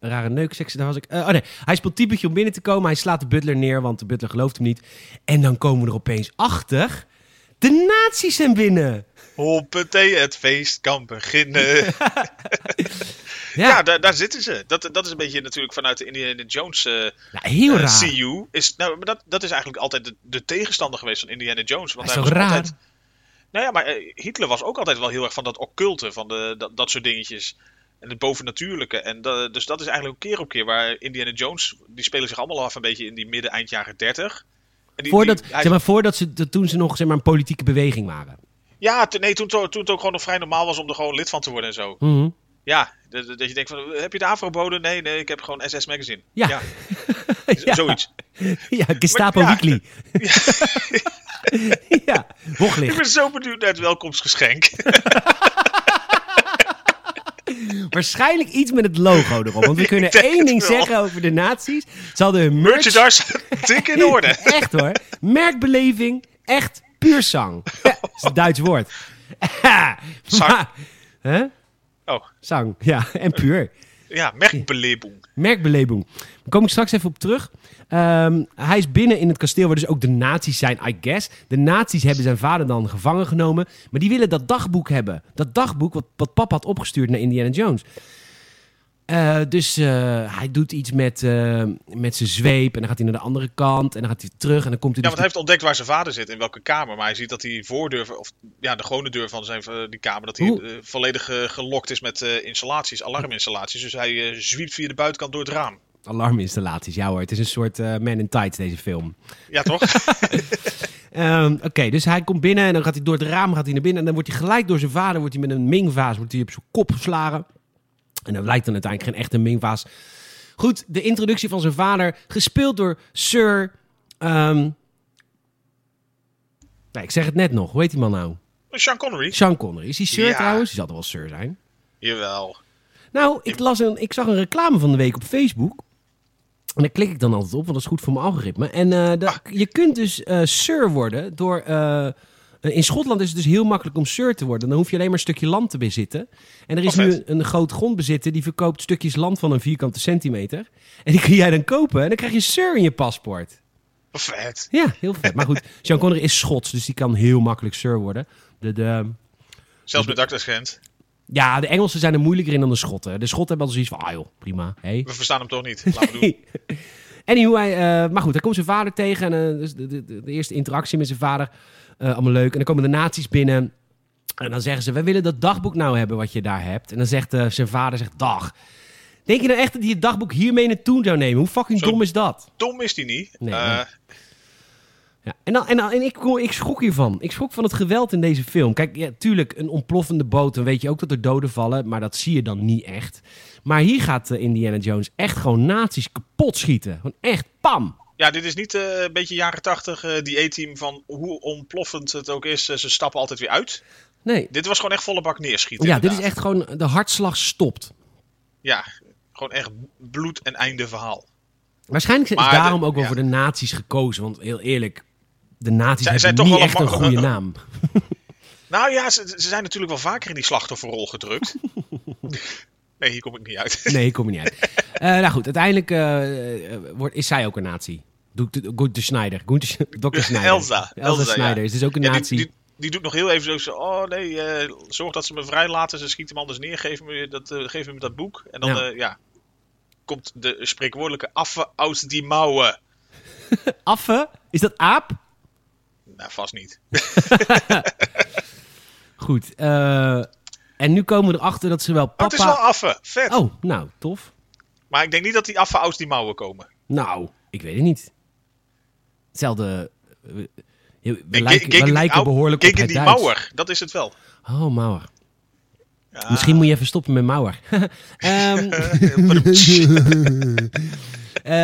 [SPEAKER 1] rare neukseks, daar was ik. Eh, oh nee, hij speelt typetje om binnen te komen. Hij slaat de butler neer, want de butler gelooft hem niet. En dan komen we er opeens achter. De nazi's zijn binnen.
[SPEAKER 2] Hoppatee, het feest kan beginnen.
[SPEAKER 1] Ja,
[SPEAKER 2] Ja, daar, daar zitten ze. Dat, dat is een beetje natuurlijk vanuit de Indiana Jones eh
[SPEAKER 1] nou, heel
[SPEAKER 2] eh,
[SPEAKER 1] raar.
[SPEAKER 2] CU. Is, nou, maar dat, dat is eigenlijk altijd de, de tegenstander geweest van Indiana Jones. Want
[SPEAKER 1] Hij is
[SPEAKER 2] hij
[SPEAKER 1] toch
[SPEAKER 2] was
[SPEAKER 1] raar?
[SPEAKER 2] altijd. Nou ja, maar eh, Hitler was ook altijd wel heel erg van dat occulte, van de, dat, dat soort dingetjes. En het bovennatuurlijke. En da- dus dat is eigenlijk ook keer op keer waar Indiana Jones. Die spelen zich allemaal af een beetje in die midden, eind jaren 30. En die-
[SPEAKER 1] Voordat,
[SPEAKER 2] die- hij-
[SPEAKER 1] zeg maar, voordat ze, dat- toen ze nog zeg maar, een politieke beweging waren.
[SPEAKER 2] Ja, toen- nee, toen, toen het ook gewoon nog vrij normaal was om er gewoon lid van te worden en zo.
[SPEAKER 1] Mhm.
[SPEAKER 2] Ja, dat, dat je denkt van, eh, heb je de afverboden? Nee, nee, ik heb gewoon SS Magazine.
[SPEAKER 1] Ja.
[SPEAKER 2] Z-
[SPEAKER 1] ja,
[SPEAKER 2] Zoiets.
[SPEAKER 1] ja, Gestapo
[SPEAKER 2] Maar- ja.
[SPEAKER 1] Weekly. ja,
[SPEAKER 2] Ik
[SPEAKER 1] Woglicht.
[SPEAKER 2] ben zo benieuwd naar het welkomstgeschenk.
[SPEAKER 1] Waarschijnlijk iets met het logo erop. Want we kunnen
[SPEAKER 2] denk
[SPEAKER 1] één
[SPEAKER 2] het
[SPEAKER 1] ding
[SPEAKER 2] wel.
[SPEAKER 1] zeggen over de nazi's. Ze hadden hun merch
[SPEAKER 2] Merchandise, dik in orde.
[SPEAKER 1] Echt hoor. Merkbeleving. Echt Puursang. dat is een Duits woord.
[SPEAKER 2] Zang.
[SPEAKER 1] Hè?
[SPEAKER 2] Oh,
[SPEAKER 1] Zang, ja. En puur.
[SPEAKER 2] ja, merkbelebung.
[SPEAKER 1] Merkbelebing. Daar kom ik straks even op terug. Ehm, hij is binnen in het kasteel waar dus ook de nazi's zijn, I guess. De nazi's hebben zijn vader dan gevangen genomen. Maar die willen dat dagboek hebben. Dat dagboek wat, wat papa had opgestuurd naar Indiana Jones. Eh, dus eh, hij doet iets met, eh, met zijn zweep. En dan gaat hij naar de andere kant. En dan gaat hij terug. En dan komt hij
[SPEAKER 2] Ja,
[SPEAKER 1] dus
[SPEAKER 2] want hij heeft ontdekt waar zijn vader zit, in welke kamer. Maar hij ziet dat die voordeur, of ja, de gewone deur van zijn, eh, die kamer, dat hij
[SPEAKER 1] Hoe-
[SPEAKER 2] eh, volledig eh, gelokt is met eh, installaties, alarminstallaties. Dus hij eh, zwiept via de buitenkant door het raam.
[SPEAKER 1] alarminstallaties. Ja hoor, het is een soort eh, Man in Tights deze film.
[SPEAKER 2] Ja, toch?
[SPEAKER 1] Ehm, Oké, dus hij komt binnen en dan gaat hij door het raam gaat hij naar binnen. En dan wordt hij gelijk door zijn vader, wordt hij met een mingvaas, wordt hij op zijn kop geslagen. En dat lijkt dan uiteindelijk geen echte mingvaas. Goed, de introductie van zijn vader, gespeeld door Sir... ehm, Nee, ik zeg het net nog. Hoe heet die man nou?
[SPEAKER 2] Sean Connery.
[SPEAKER 1] Sean Connery. Is hij Sir
[SPEAKER 2] Ja.
[SPEAKER 1] trouwens? Die zal er wel Sir zijn.
[SPEAKER 2] Jawel.
[SPEAKER 1] Nou, ik, las een, ik zag een reclame van de week op Facebook. En daar klik ik dan altijd op, want dat is goed voor mijn algoritme. En eh, da- je kunt dus eh, sir worden door... eh, in Schotland is het dus heel makkelijk om sir te worden. Dan hoef je alleen maar een stukje land te bezitten. En er is
[SPEAKER 2] Oh,
[SPEAKER 1] nu
[SPEAKER 2] vet.
[SPEAKER 1] een, een groot grondbezitter die verkoopt stukjes land van een vierkante centimeter. En die kun jij dan kopen en dan krijg je sir in je paspoort.
[SPEAKER 2] Vet.
[SPEAKER 1] Ja, heel vet. Maar goed, Sean Connery is Schots, dus die kan heel makkelijk sir worden. De, de,
[SPEAKER 2] Zelfs
[SPEAKER 1] Hm.
[SPEAKER 2] met Douglas Gent.
[SPEAKER 1] ja, de Engelsen zijn er moeilijker in dan de Schotten. De Schotten hebben altijd zoiets van, ah joh, prima. Hey.
[SPEAKER 2] We verstaan hem toch niet. Laten we doen.
[SPEAKER 1] Hey. Anywho, hij, eh, maar goed, hij komt zijn vader tegen. En, eh, dus de, de, de- de eerste interactie met zijn vader, eh, allemaal leuk. En dan komen de nazi's binnen. En dan zeggen ze, wij willen dat dagboek nou hebben wat je daar hebt. En dan zegt eh, zijn vader, zegt, dag. Denk je nou echt dat hij het dagboek hiermee naartoe zou nemen? Hoe fucking
[SPEAKER 2] Zo-
[SPEAKER 1] dom is dat?
[SPEAKER 2] Dom is die niet.
[SPEAKER 1] Nee,
[SPEAKER 2] Eh,
[SPEAKER 1] nee. Ja, en dan, en, dan- en ik, ik schrok hiervan. Ik schrok van het geweld in deze film. Kijk, ja, tuurlijk, een ontploffende boot. Dan weet je ook dat er doden vallen. Maar dat zie je dan niet echt. Maar hier gaat eh, Indiana Jones echt gewoon nazi's kapot schieten. Gewoon echt, pam.
[SPEAKER 2] ja, dit is niet eh, een beetje jaren tachtig eh, die E-team van hoe ontploffend het ook is. eh, ze stappen altijd weer uit.
[SPEAKER 1] Nee.
[SPEAKER 2] Dit was gewoon echt volle bak neerschieten.
[SPEAKER 1] Ja, dit is
[SPEAKER 2] inderdaad.
[SPEAKER 1] echt gewoon de hartslag stopt.
[SPEAKER 2] Ja, gewoon echt bloed en einde verhaal.
[SPEAKER 1] Waarschijnlijk is
[SPEAKER 2] Maar de-
[SPEAKER 1] daarom ook wel
[SPEAKER 2] ja.
[SPEAKER 1] voor de nazi's gekozen. Want heel eerlijk, de nazi's
[SPEAKER 2] Zij-
[SPEAKER 1] hebben
[SPEAKER 2] zijn toch
[SPEAKER 1] niet
[SPEAKER 2] wel een
[SPEAKER 1] echt een
[SPEAKER 2] ma-
[SPEAKER 1] goede naam.
[SPEAKER 2] Nou ja, ze, ze zijn natuurlijk wel vaker in die slachtofferrol gedrukt. nee, hier kom ik niet uit.
[SPEAKER 1] Nee, ik kom er niet uit. Eh, nou goed, uiteindelijk eh, eh, wordt, is zij ook een nazi. Doe- doe- Gunther Schneider. Gunther, Dr. Schneider.
[SPEAKER 2] Elsa. Elsa, ja.
[SPEAKER 1] Schneider is dus ook een
[SPEAKER 2] Ja, die,
[SPEAKER 1] nazi.
[SPEAKER 2] die, die doet nog heel even zo. zo, Oh nee, eh, zorg dat ze me vrij laten. Ze schiet hem anders neer. Geef me dat, eh, geef me dat boek. En dan
[SPEAKER 1] Ja.
[SPEAKER 2] ja. ja, komt de spreekwoordelijke affe uit die mouwen.
[SPEAKER 1] Affe? Is dat aap?
[SPEAKER 2] Nou, vast niet.
[SPEAKER 1] Goed. eh, en nu komen we erachter dat ze wel
[SPEAKER 2] Oh, het is wel
[SPEAKER 1] papa...
[SPEAKER 2] affe. Vet.
[SPEAKER 1] Oh, nou, tof.
[SPEAKER 2] Maar ik denk niet dat die affe uit die mouwen komen.
[SPEAKER 1] Nou, ik weet het niet. Hetzelfde... eh, We, we
[SPEAKER 2] Nee,
[SPEAKER 1] lijken,
[SPEAKER 2] ge-
[SPEAKER 1] we
[SPEAKER 2] gegen die
[SPEAKER 1] lijken
[SPEAKER 2] ouw-
[SPEAKER 1] behoorlijk op
[SPEAKER 2] gegen
[SPEAKER 1] het
[SPEAKER 2] die
[SPEAKER 1] Duits.
[SPEAKER 2] mouwer. Dat is het wel.
[SPEAKER 1] Oh, Mauer.
[SPEAKER 2] Ja.
[SPEAKER 1] Misschien moet je even stoppen met Mauer. Ehm,
[SPEAKER 2] eh,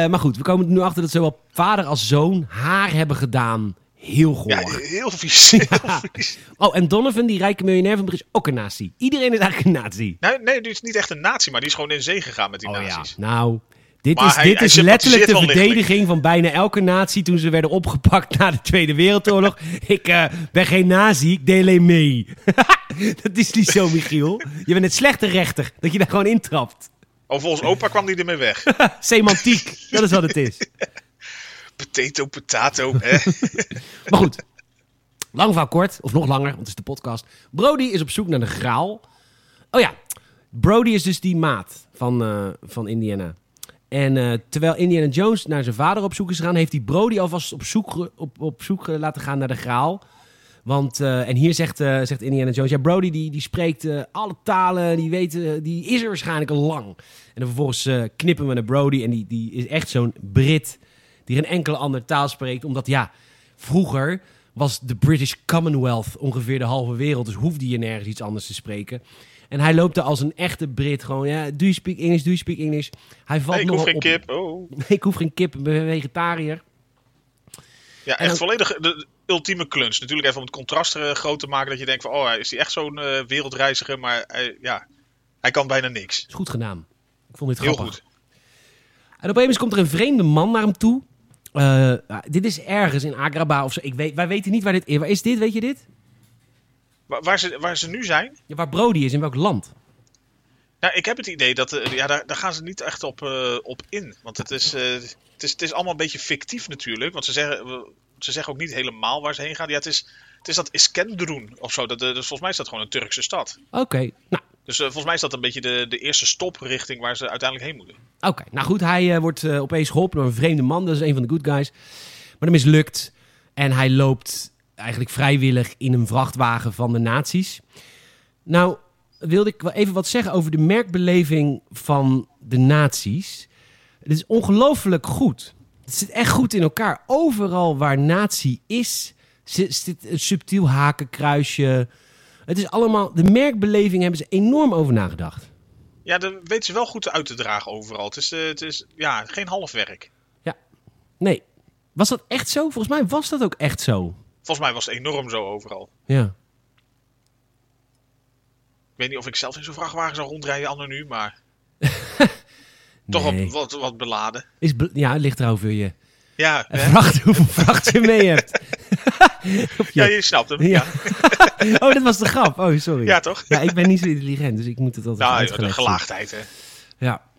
[SPEAKER 1] eh, maar goed, we komen er nu achter dat zowel vader als zoon haar hebben gedaan. Heel goor.
[SPEAKER 2] Ja, heel vies. Heel vies.
[SPEAKER 1] Oh, en Donovan, die rijke miljonair van Brits, is ook een nazi. Iedereen is eigenlijk een nazi.
[SPEAKER 2] Nou, nee, die is niet echt een nazi, maar die is gewoon in zee gegaan met die
[SPEAKER 1] Oh ja,
[SPEAKER 2] nazi's.
[SPEAKER 1] nou. Dit
[SPEAKER 2] Maar
[SPEAKER 1] is,
[SPEAKER 2] hij-
[SPEAKER 1] dit
[SPEAKER 2] hij
[SPEAKER 1] is letterlijk
[SPEAKER 2] sympathiseert
[SPEAKER 1] de
[SPEAKER 2] wel lichtelijk.
[SPEAKER 1] verdediging van bijna elke natie toen ze werden opgepakt na de Tweede Wereldoorlog. ik eh, ben geen nazi, ik deel alleen mee. dat is niet zo, Michiel. Je bent het slechte rechter, dat je daar gewoon intrapt.
[SPEAKER 2] Oh, volgens opa kwam die ermee weg.
[SPEAKER 1] Semantiek, dat is wat het is.
[SPEAKER 2] potato, potato, hè?
[SPEAKER 1] Maar goed, lang verhaal kort, of nog langer, want het is de podcast. Brody is op zoek naar de graal. Oh ja, Brody is dus die maat van, eh, van Indiana. En eh, terwijl Indiana Jones naar zijn vader op zoek is gegaan, heeft hij Brody alvast op zoek, ge- op, op zoek eh, laten gaan naar de graal. Want, eh, en hier zegt, eh, zegt Indiana Jones, ja, Brody die, die spreekt eh, alle talen, die, weet, eh, die is er waarschijnlijk al lang. En dan vervolgens eh, knippen we naar Brody en die, die is echt zo'n Brit die geen enkele andere taal spreekt. Omdat ja, vroeger was de British Commonwealth ongeveer de halve wereld, dus hoefde je nergens iets anders te spreken. En hij loopt daar als een echte Brit gewoon, ja, do you speak English, do you speak English. Hij valt
[SPEAKER 2] Nee, ik
[SPEAKER 1] nog
[SPEAKER 2] hoef geen
[SPEAKER 1] op.
[SPEAKER 2] kip. Oh.
[SPEAKER 1] ik hoef geen kip, ik ben vegetariër.
[SPEAKER 2] Ja,
[SPEAKER 1] En
[SPEAKER 2] echt
[SPEAKER 1] dan-
[SPEAKER 2] volledig de, de ultieme kluns. Natuurlijk even om het contrast eh, groot te maken. Dat je denkt van, oh, hij- is die echt zo'n eh, wereldreiziger? Maar hij, ja, hij kan bijna niks.
[SPEAKER 1] Is goed gedaan. Ik vond dit
[SPEAKER 2] Heel
[SPEAKER 1] grappig.
[SPEAKER 2] goed.
[SPEAKER 1] En opeens komt er een vreemde man naar hem toe. Eh, dit is ergens in Agraba of zo. Ik weet, wij weten niet waar dit is. Waar is dit, weet je dit?
[SPEAKER 2] Wa- Waar, ze, waar ze nu zijn?
[SPEAKER 1] Ja, waar Brody is, in welk land?
[SPEAKER 2] Nou, ik heb het idee dat eh, ja, daar, daar gaan ze niet echt op, eh, op in. Want het is, eh, het, is, het is allemaal een beetje fictief natuurlijk. Want ze zeggen, we- ze zeggen ook niet helemaal waar ze heen gaan. Ja, het is, het is dat Iskenderun of zo. Dat, eh, dus volgens mij is dat gewoon een Turkse stad.
[SPEAKER 1] Oké, nou,
[SPEAKER 2] Dus eh, volgens mij is dat een beetje de, de eerste stop richting waar ze uiteindelijk heen moeten.
[SPEAKER 1] oké. nou goed, hij eh, wordt eh, opeens geholpen door een vreemde man. Dat is een van de good guys. Maar dat mislukt. En hij loopt eigenlijk vrijwillig in een vrachtwagen van de nazi's. Nou, wilde ik wel even wat zeggen over de merkbeleving van de nazi's. Het is ongelooflijk goed. Het zit echt goed in elkaar. Overal waar nazi is, zi- zit een subtiel hakenkruisje. Het is allemaal... De merkbeleving hebben ze enorm over nagedacht.
[SPEAKER 2] Ja, dat weten ze wel goed uit te dragen overal. Het is, eh, het is ja, geen halfwerk.
[SPEAKER 1] Nee. Was dat echt zo? Volgens mij was dat ook echt zo.
[SPEAKER 2] Volgens mij was het enorm zo overal.
[SPEAKER 1] Ja.
[SPEAKER 2] Ik weet niet of ik zelf in zo'n vrachtwagen zou rondrijden, Anno nu, maar toch
[SPEAKER 1] Nee.
[SPEAKER 2] wat, wat, wat beladen.
[SPEAKER 1] Is bl- ja, het ligt er over je.
[SPEAKER 2] Ja,
[SPEAKER 1] En
[SPEAKER 2] hè?
[SPEAKER 1] vracht hoeveel vracht je mee hebt. Of
[SPEAKER 2] ja,
[SPEAKER 1] je-
[SPEAKER 2] je snapt hem.
[SPEAKER 1] Ja.
[SPEAKER 2] Ja,
[SPEAKER 1] Oh, dat was de grap. Oh, sorry.
[SPEAKER 2] ja toch?
[SPEAKER 1] Ja, ik ben niet zo intelligent, dus ik moet het altijd
[SPEAKER 2] Nou, de
[SPEAKER 1] uitgelegd
[SPEAKER 2] gelaagdheid, hè.
[SPEAKER 1] zien. Ja.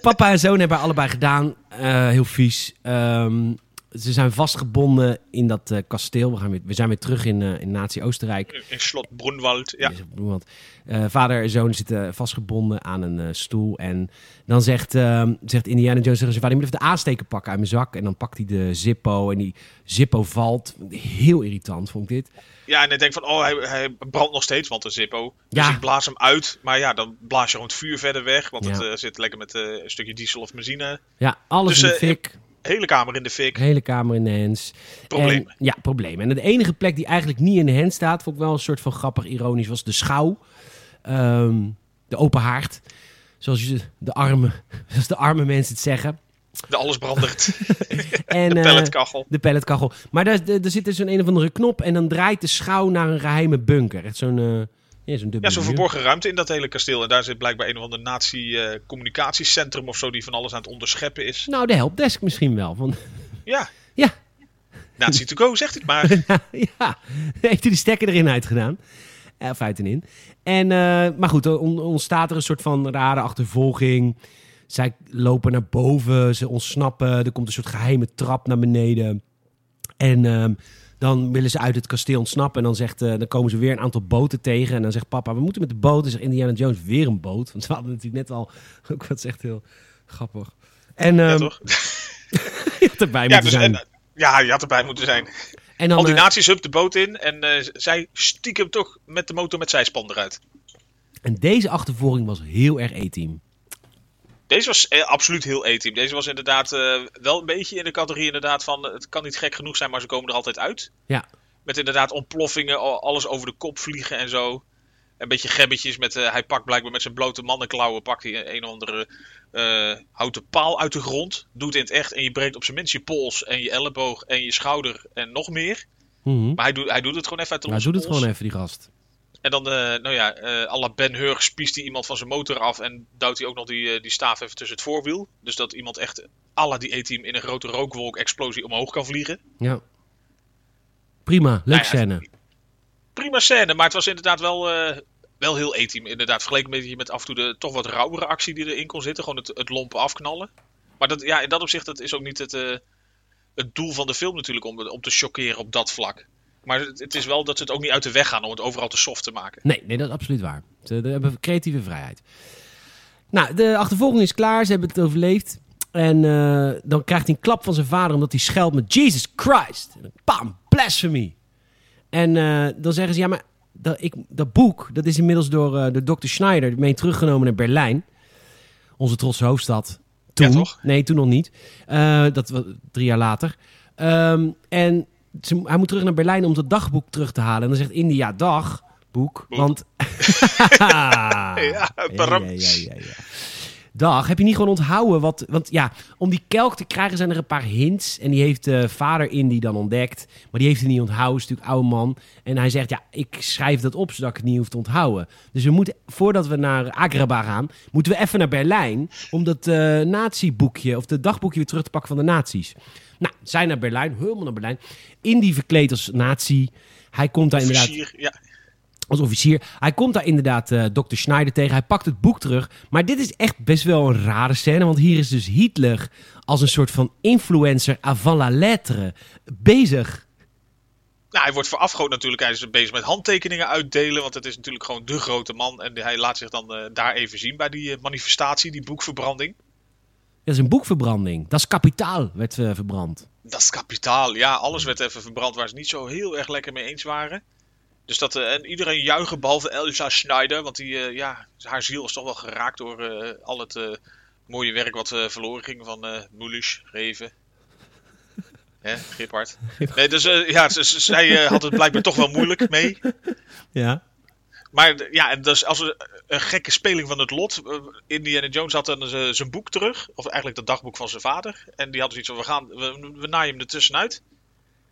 [SPEAKER 1] Papa en zoon hebben allebei gedaan. Eh, heel vies. Ehm, ze zijn vastgebonden in dat eh, kasteel. We, gaan weer, we zijn weer terug in, eh, in Nazi-Oostenrijk.
[SPEAKER 2] In slot Brunwald. Ja.
[SPEAKER 1] Dus op het moment, eh, vader en zoon zitten vastgebonden aan een eh, stoel. En dan zegt, ehm, zegt Indiana Jones tegen zijn vader... je moet even de aansteker pakken uit mijn zak. En dan pakt hij de Zippo en die Zippo valt. Heel irritant vond ik dit.
[SPEAKER 2] ja, en ik denk van, oh, hij, hij brandt nog steeds, want een Zippo. Dus
[SPEAKER 1] Ja.
[SPEAKER 2] ik blaas hem uit. Maar ja, dan blaas je gewoon het vuur verder weg. Want het
[SPEAKER 1] Ja.
[SPEAKER 2] eh, zit lekker met eh, een stukje diesel of benzine.
[SPEAKER 1] Ja, alles
[SPEAKER 2] Dus,
[SPEAKER 1] in de
[SPEAKER 2] eh,
[SPEAKER 1] fik.
[SPEAKER 2] Hele kamer in de fik.
[SPEAKER 1] De hele kamer in de hens.
[SPEAKER 2] Probleem.
[SPEAKER 1] En, ja, probleem. En de enige plek die eigenlijk niet in de hens staat... vond ik wel een soort van grappig ironisch... was de schouw. Ehm, de open haard. Zoals je- de arme, zoals de arme mensen het zeggen.
[SPEAKER 2] De alles brandert.
[SPEAKER 1] En,
[SPEAKER 2] de
[SPEAKER 1] eh,
[SPEAKER 2] pelletkachel.
[SPEAKER 1] De pelletkachel. Maar daar, daar daar zit dus een, een of andere knop en dan draait de schouw naar een geheime bunker. Echt zo'n eh ja, zo'n
[SPEAKER 2] Ja,
[SPEAKER 1] dubbele
[SPEAKER 2] zo'n
[SPEAKER 1] muur.
[SPEAKER 2] verborgen ruimte in dat hele kasteel. En daar zit blijkbaar een of ander nazi-communicatiecentrum eh, of zo... die van alles aan het onderscheppen is.
[SPEAKER 1] Nou, de helpdesk misschien wel. Want,
[SPEAKER 2] Ja,
[SPEAKER 1] ja,
[SPEAKER 2] nazi to go, zegt het maar.
[SPEAKER 1] ja, heeft hij de stekker erin uitgedaan. Eh, Of uit en in. En, eh, maar goed, er on- ontstaat er een soort van rare achtervolging. Zij lopen naar boven, ze ontsnappen. Er komt een soort geheime trap naar beneden. En ehm, dan willen ze uit het kasteel ontsnappen. En dan, zegt, eh, dan komen ze weer een aantal boten tegen. En dan zegt papa, we moeten met de boot. En zegt Indiana Jones, weer een boot. Want ze hadden natuurlijk net al... Ook wat zegt heel grappig. En
[SPEAKER 2] Ja,
[SPEAKER 1] ehm,
[SPEAKER 2] toch?
[SPEAKER 1] je had erbij
[SPEAKER 2] Ja,
[SPEAKER 1] moeten
[SPEAKER 2] dus,
[SPEAKER 1] zijn.
[SPEAKER 2] en, ja, je had erbij moeten zijn.
[SPEAKER 1] en dan,
[SPEAKER 2] Al die
[SPEAKER 1] eh,
[SPEAKER 2] nazi's hup de boot in en eh, z- zij stiekem toch met de motor met zijspan eruit.
[SPEAKER 1] en deze achtervolging was heel erg E-team.
[SPEAKER 2] Deze was eh, absoluut heel E-team. Deze was inderdaad eh, wel een beetje in de categorie inderdaad van eh, het kan niet gek genoeg zijn, maar ze komen er altijd uit.
[SPEAKER 1] Ja.
[SPEAKER 2] Met inderdaad ontploffingen, al- alles over de kop vliegen en zo. Een beetje gebbetjes met, eh, hij pakt blijkbaar met zijn blote mannenklauwen, pakt hij een of andere eh, houten paal uit de grond. Doet in het echt en je breekt op zijn minst je pols en je elleboog en je schouder en nog meer.
[SPEAKER 1] Mhm.
[SPEAKER 2] Maar hij, doet hij doet het gewoon even uit de
[SPEAKER 1] Maar
[SPEAKER 2] losse
[SPEAKER 1] Nou, doe het
[SPEAKER 2] pols.
[SPEAKER 1] gewoon even, die gast.
[SPEAKER 2] En dan, eh, nou ja, eh à la Ben Hur spiest hij iemand van zijn motor af en duwt hij ook nog die, eh, die staaf even tussen het voorwiel. Dus dat iemand echt à la die E-team in een grote rookwolk explosie omhoog kan vliegen.
[SPEAKER 1] Ja. Prima, leuk
[SPEAKER 2] Nou ja,
[SPEAKER 1] scène.
[SPEAKER 2] Prima scène, maar het was inderdaad wel, eh, wel heel E-team. Inderdaad, vergeleken met, met af en toe de toch wat rauwere actie die erin kon zitten. Gewoon het, het lompen afknallen. Maar dat, ja, in dat opzicht dat is ook niet het, eh, het doel van de film natuurlijk, om, om te chockeren op dat vlak. Maar het, het is wel dat ze het ook niet uit de weg gaan om het overal te soft te maken.
[SPEAKER 1] Nee, nee, dat is absoluut waar. Ze ze hebben creatieve vrijheid. Nou, de achtervolging is klaar. Ze hebben het overleefd. En eh, dan krijgt hij een klap van zijn vader omdat hij scheldt met Jesus Christ. En dan, Bam, blasphemy. En eh, dan zeggen ze, ja, maar dat, ik, dat boek, dat is inmiddels door, eh door Dr. Schneider mee teruggenomen naar Berlijn. Onze trotse hoofdstad. Toen.
[SPEAKER 2] Ja, toch?
[SPEAKER 1] Nee, toen nog niet. Eh, dat was drie jaar later. Ehm, en ze- hij moet terug naar Berlijn om dat dagboek terug te halen. En dan zegt India, dag, boek. Want... ja,
[SPEAKER 2] param.
[SPEAKER 1] ja, ja, ja. Dag, heb je niet gewoon onthouden wat... Want ja, om die kelk te krijgen zijn er een paar hints. En die heeft de vader in die dan ontdekt. Maar die heeft hij niet onthouden, is natuurlijk oude man. En hij zegt, ja, ik schrijf dat op zodat ik het niet hoef te onthouden. Dus we moeten, voordat we naar Agrabah gaan, moeten we even naar Berlijn. Om dat eh nazi-boekje, of de dagboekje weer terug te pakken van de nazi's. Nou, zij naar Berlijn, helemaal naar Berlijn. Indy verkleed als nazi. Hij komt daar inderdaad
[SPEAKER 2] Officier, ja.
[SPEAKER 1] als officier. Hij komt daar inderdaad eh Dr. Schneider tegen. Hij pakt het boek terug. Maar dit is echt best wel een rare scène. Want hier is dus Hitler als een soort van influencer avant la lettre bezig.
[SPEAKER 2] Nou, hij wordt voorafgoed natuurlijk. Hij is bezig met handtekeningen uitdelen. Want het is natuurlijk gewoon de grote man. En hij laat zich dan eh, daar even zien bij die eh, manifestatie, die boekverbranding.
[SPEAKER 1] Dat is een boekverbranding. Dat is kapitaal, werd eh, verbrand.
[SPEAKER 2] Dat is kapitaal. Ja, alles werd even verbrand waar ze niet zo heel erg lekker mee eens waren. Dus dat, eh, en iedereen juichen, behalve Elsa Schneider. Want die, eh, ja, haar ziel is toch wel geraakt door eh, al het eh, mooie werk wat eh, verloren ging van eh Mulisch, Reven. Hè, Gippard. Nee, dus eh, ja, ze- ze- zij eh, had het blijkbaar toch wel moeilijk mee.
[SPEAKER 1] Ja.
[SPEAKER 2] Maar d- ja, en dus als er een gekke speling van het lot. eh, Indiana Jones had dan z- zijn boek terug. Of eigenlijk dat dagboek van zijn vader. En die had dus iets van, we, gaan, we, we naaien hem er tussenuit.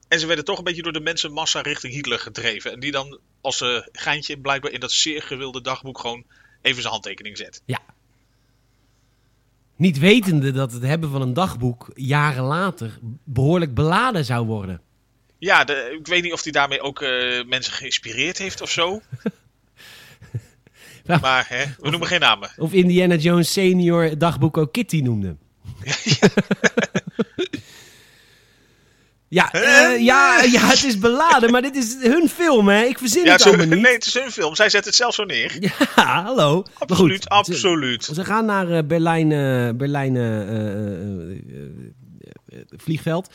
[SPEAKER 2] En ze werden toch een beetje door de mensenmassa richting Hitler gedreven. En die dan als eh, geintje blijkbaar in dat zeer gewilde dagboek gewoon even zijn handtekening zet.
[SPEAKER 1] Ja. Niet wetende dat het hebben van een dagboek jaren later behoorlijk beladen zou worden.
[SPEAKER 2] Ja, de- ik weet niet of hij daarmee ook eh, mensen geïnspireerd heeft of zo.
[SPEAKER 1] Nou.
[SPEAKER 2] Maar hè, we noemen geen namen.
[SPEAKER 1] Of Indiana Jones senior het dagboek ook Kitty noemde. Ja, eh, ja, ja, het is beladen, maar dit is hun film, hè? Ik verzin het
[SPEAKER 2] Ja, het is
[SPEAKER 1] allemaal
[SPEAKER 2] hun-
[SPEAKER 1] niet.
[SPEAKER 2] nee, het is hun film. Zij zet het zelf zo neer.
[SPEAKER 1] Ja, hallo. Maar goed,
[SPEAKER 2] Absoluut,
[SPEAKER 1] ze-
[SPEAKER 2] absoluut.
[SPEAKER 1] Ze, gaan naar eh, Berlijn, eh, Berlijn eh, eh, eh, eh, vliegveld.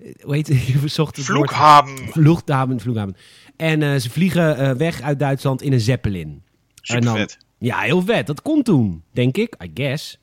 [SPEAKER 1] Eh, Hoe heet het? Je verzocht het woord.
[SPEAKER 2] Vloekhaam.
[SPEAKER 1] Vluchthaven, vluchthaven. En eh, ze vliegen eh, weg uit Duitsland in een Zeppelin. En dan-
[SPEAKER 2] Supervet.
[SPEAKER 1] Ja, heel vet. Dat kon toen, denk ik. I guess.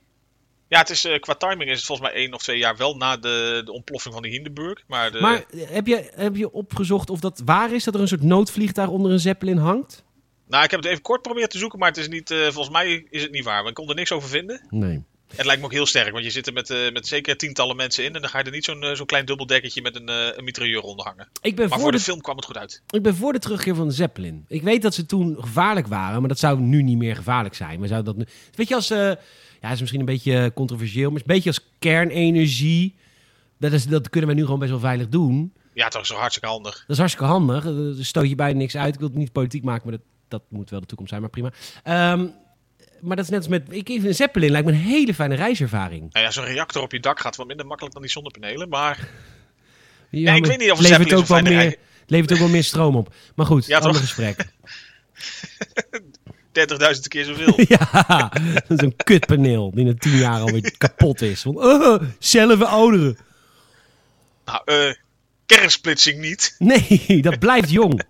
[SPEAKER 2] Ja, het is, eh, qua timing is het volgens mij één of twee jaar wel na de, de ontploffing van de Hindenburg. Maar, de,
[SPEAKER 1] Maar eh, heb je, heb je opgezocht of dat waar is? Dat er een soort noodvliegtuig onder een Zeppelin hangt?
[SPEAKER 2] nou, ik heb het even kort proberen te zoeken, maar het is niet, eh, volgens mij is het niet waar. Want ik kon er niks over vinden.
[SPEAKER 1] Nee.
[SPEAKER 2] Het lijkt me ook heel sterk, want je zit er met, eh, met zeker tientallen mensen in. En dan ga je er niet zo'n eh, zo'n klein dubbeldekkertje met een, eh, een mitrailleur onder hangen.
[SPEAKER 1] Ik ben,
[SPEAKER 2] Maar
[SPEAKER 1] voor
[SPEAKER 2] voor de
[SPEAKER 1] de,
[SPEAKER 2] film kwam het goed uit.
[SPEAKER 1] ik ben voor de terugkeer van de Zeppelin. Ik weet dat ze toen gevaarlijk waren, maar dat zou nu niet meer gevaarlijk zijn. Maar zou dat nu... Weet je, als... eh, ja, is misschien een beetje controversieel, maar is een beetje als kernenergie. Dat, is, dat kunnen wij nu gewoon best wel veilig doen.
[SPEAKER 2] Ja, toch zo hartstikke handig.
[SPEAKER 1] Dat is hartstikke handig. Eh, Daar stoot je bijna niks uit. Ik wil het niet politiek maken, maar dat, dat moet wel de toekomst zijn. Maar prima. Ehm, maar dat is net als met... Ik, een Zeppelin lijkt me een hele fijne reiservaring.
[SPEAKER 2] Nou ja, zo'n reactor op je dak gaat wel minder makkelijk dan die zonnepanelen. Maar
[SPEAKER 1] Ja,
[SPEAKER 2] ik
[SPEAKER 1] maar
[SPEAKER 2] weet niet of een
[SPEAKER 1] levert
[SPEAKER 2] Zeppelin
[SPEAKER 1] ook
[SPEAKER 2] zo'n
[SPEAKER 1] wel
[SPEAKER 2] fijne
[SPEAKER 1] meer, levert ook wel meer stroom op. Maar goed,
[SPEAKER 2] Ja,
[SPEAKER 1] ander
[SPEAKER 2] toch?
[SPEAKER 1] gesprek.
[SPEAKER 2] 30.000 keer zoveel.
[SPEAKER 1] ja, zo'n kutpaneel die na tien jaar alweer kapot is. Want, eh, cellen verouderen.
[SPEAKER 2] nou, eh, kernsplitsing niet.
[SPEAKER 1] Nee, dat blijft jong.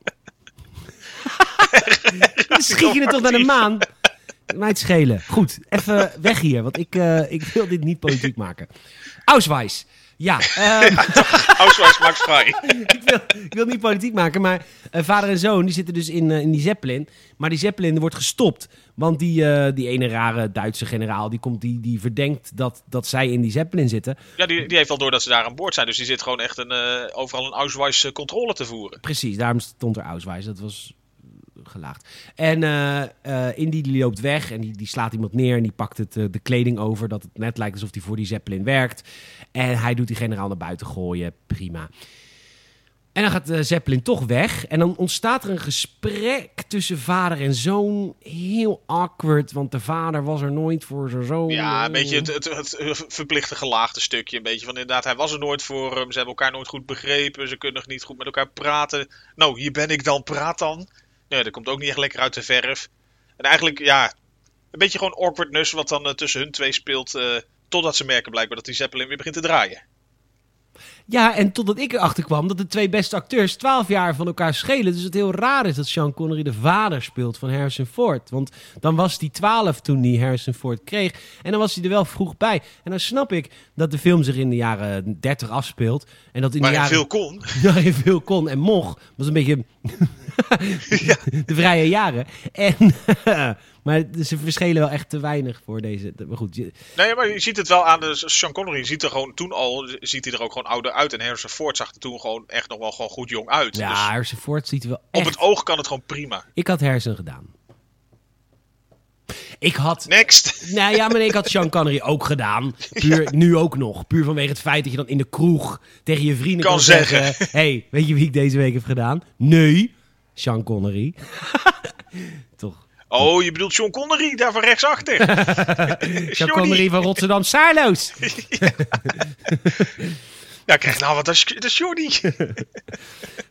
[SPEAKER 1] Dan schiet je het toch naar de maan. Mij het schelen. Goed, even weg hier, want ik, eh, ik wil dit niet politiek maken. Auswijs. Ja, ehm,
[SPEAKER 2] Housewives maakt vrij.
[SPEAKER 1] ik, wil, ik wil het niet politiek maken, maar eh, vader en zoon die zitten dus in, eh, in die Zeppelin. Maar die Zeppelin wordt gestopt, want die, eh, die ene rare Duitse generaal die, komt, die, die verdenkt dat, dat zij in die Zeppelin zitten.
[SPEAKER 2] Ja, die, die heeft wel door dat ze daar aan boord zijn. Dus die zit gewoon echt een, eh, overal een Auschwitz eh, controle te voeren.
[SPEAKER 1] Precies, daarom stond er Auswijs. Dat was eh, gelaagd. En eh, eh, Indy die loopt weg en die, die slaat iemand neer en die pakt het, eh, de kleding over. Dat het net lijkt alsof hij voor die Zeppelin werkt. En hij doet die generaal naar buiten gooien. Prima. En dan gaat eh, Zeppelin toch weg. En dan ontstaat er een gesprek tussen vader en zoon. Heel awkward, want de vader was er nooit voor zijn zoon.
[SPEAKER 2] Ja, een beetje het, het, het eh, verplichte gelaagde stukje. Een beetje van inderdaad, hij was er nooit voor hem. Ze hebben elkaar nooit goed begrepen. Ze kunnen nog niet goed met elkaar praten. Nou, hier ben ik dan, praat dan. Nee, dat komt ook niet echt lekker uit de verf. En eigenlijk, ja, een beetje gewoon awkwardness wat dan eh, tussen hun twee speelt. eh, totdat ze merken blijkbaar dat die Zeppelin weer begint te draaien.
[SPEAKER 1] Ja, en totdat ik erachter kwam dat de twee beste acteurs 12 jaar van elkaar schelen. Dus het heel raar is dat Sean Connery de vader speelt van Harrison Ford. Want dan was hij 12 toen hij Harrison Ford kreeg. En dan was hij er wel vroeg bij. En dan snap ik dat de film zich in de jaren 30 afspeelt. En dat in
[SPEAKER 2] Maar
[SPEAKER 1] de
[SPEAKER 2] hij
[SPEAKER 1] jaren
[SPEAKER 2] veel kon.
[SPEAKER 1] ja, je veel kon en mocht. Dat was een beetje de vrije jaren. En, maar ze verschelen wel echt te weinig voor deze. Maar goed, je-
[SPEAKER 2] Nee, maar je ziet het wel aan de Sean Connery. Je ziet er gewoon toen al, ziet hij er ook gewoon ouder uit. En Harrison Ford zag er toen gewoon echt nog wel gewoon goed jong uit.
[SPEAKER 1] ja,
[SPEAKER 2] Dus
[SPEAKER 1] Harrison Ford ziet er wel
[SPEAKER 2] op
[SPEAKER 1] echt...
[SPEAKER 2] het oog kan het gewoon prima.
[SPEAKER 1] Ik had Harrison gedaan. Ik had...
[SPEAKER 2] Next.
[SPEAKER 1] Nou ja, maar nee, ik had Sean Connery ook gedaan. Puur, Nu ook nog. Puur vanwege het feit dat je dan in de kroeg tegen je vrienden kan,
[SPEAKER 2] Kan
[SPEAKER 1] zeggen...
[SPEAKER 2] zeggen.
[SPEAKER 1] hey, weet je wie ik deze week heb gedaan? Nee, Sean Connery. Toch.
[SPEAKER 2] Oh, je bedoelt Sean Connery, daar van rechtsachter.
[SPEAKER 1] Sean
[SPEAKER 2] Johnny.
[SPEAKER 1] Connery van Rotterdam Saarloos.
[SPEAKER 2] Ja, krijg nou wat, dat is, dat is Johnny.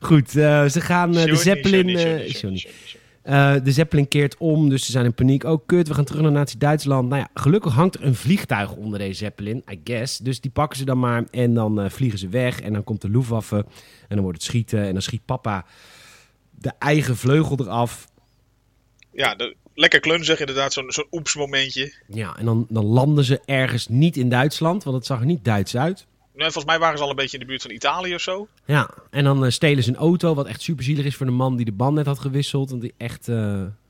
[SPEAKER 1] Goed, eh, ze gaan eh, de
[SPEAKER 2] Johnny,
[SPEAKER 1] Zeppelin...
[SPEAKER 2] Johnny,
[SPEAKER 1] eh,
[SPEAKER 2] Johnny, Johnny,
[SPEAKER 1] Johnny.
[SPEAKER 2] Johnny, Johnny.
[SPEAKER 1] Eh, de Zeppelin keert om, dus ze zijn in paniek. Oh, kut, we gaan terug naar Nazi-Duitsland. Nou ja, gelukkig hangt er een vliegtuig onder deze Zeppelin, I guess. Dus die pakken ze dan maar en dan eh, vliegen ze weg. En dan komt de Luftwaffe en dan wordt het schieten. En dan schiet papa de eigen vleugel eraf.
[SPEAKER 2] Ja, de, lekker klunzig inderdaad, zo'n zo'n oepsmomentje.
[SPEAKER 1] Ja, en dan, dan landen ze ergens niet in Duitsland, want het zag er niet Duits uit.
[SPEAKER 2] Nee, Nou, volgens mij waren ze al een beetje in de buurt van Italië of zo.
[SPEAKER 1] Ja, en dan eh, stelen ze een auto, wat echt superzielig is voor de man die de band net had gewisseld. Want die echt, eh,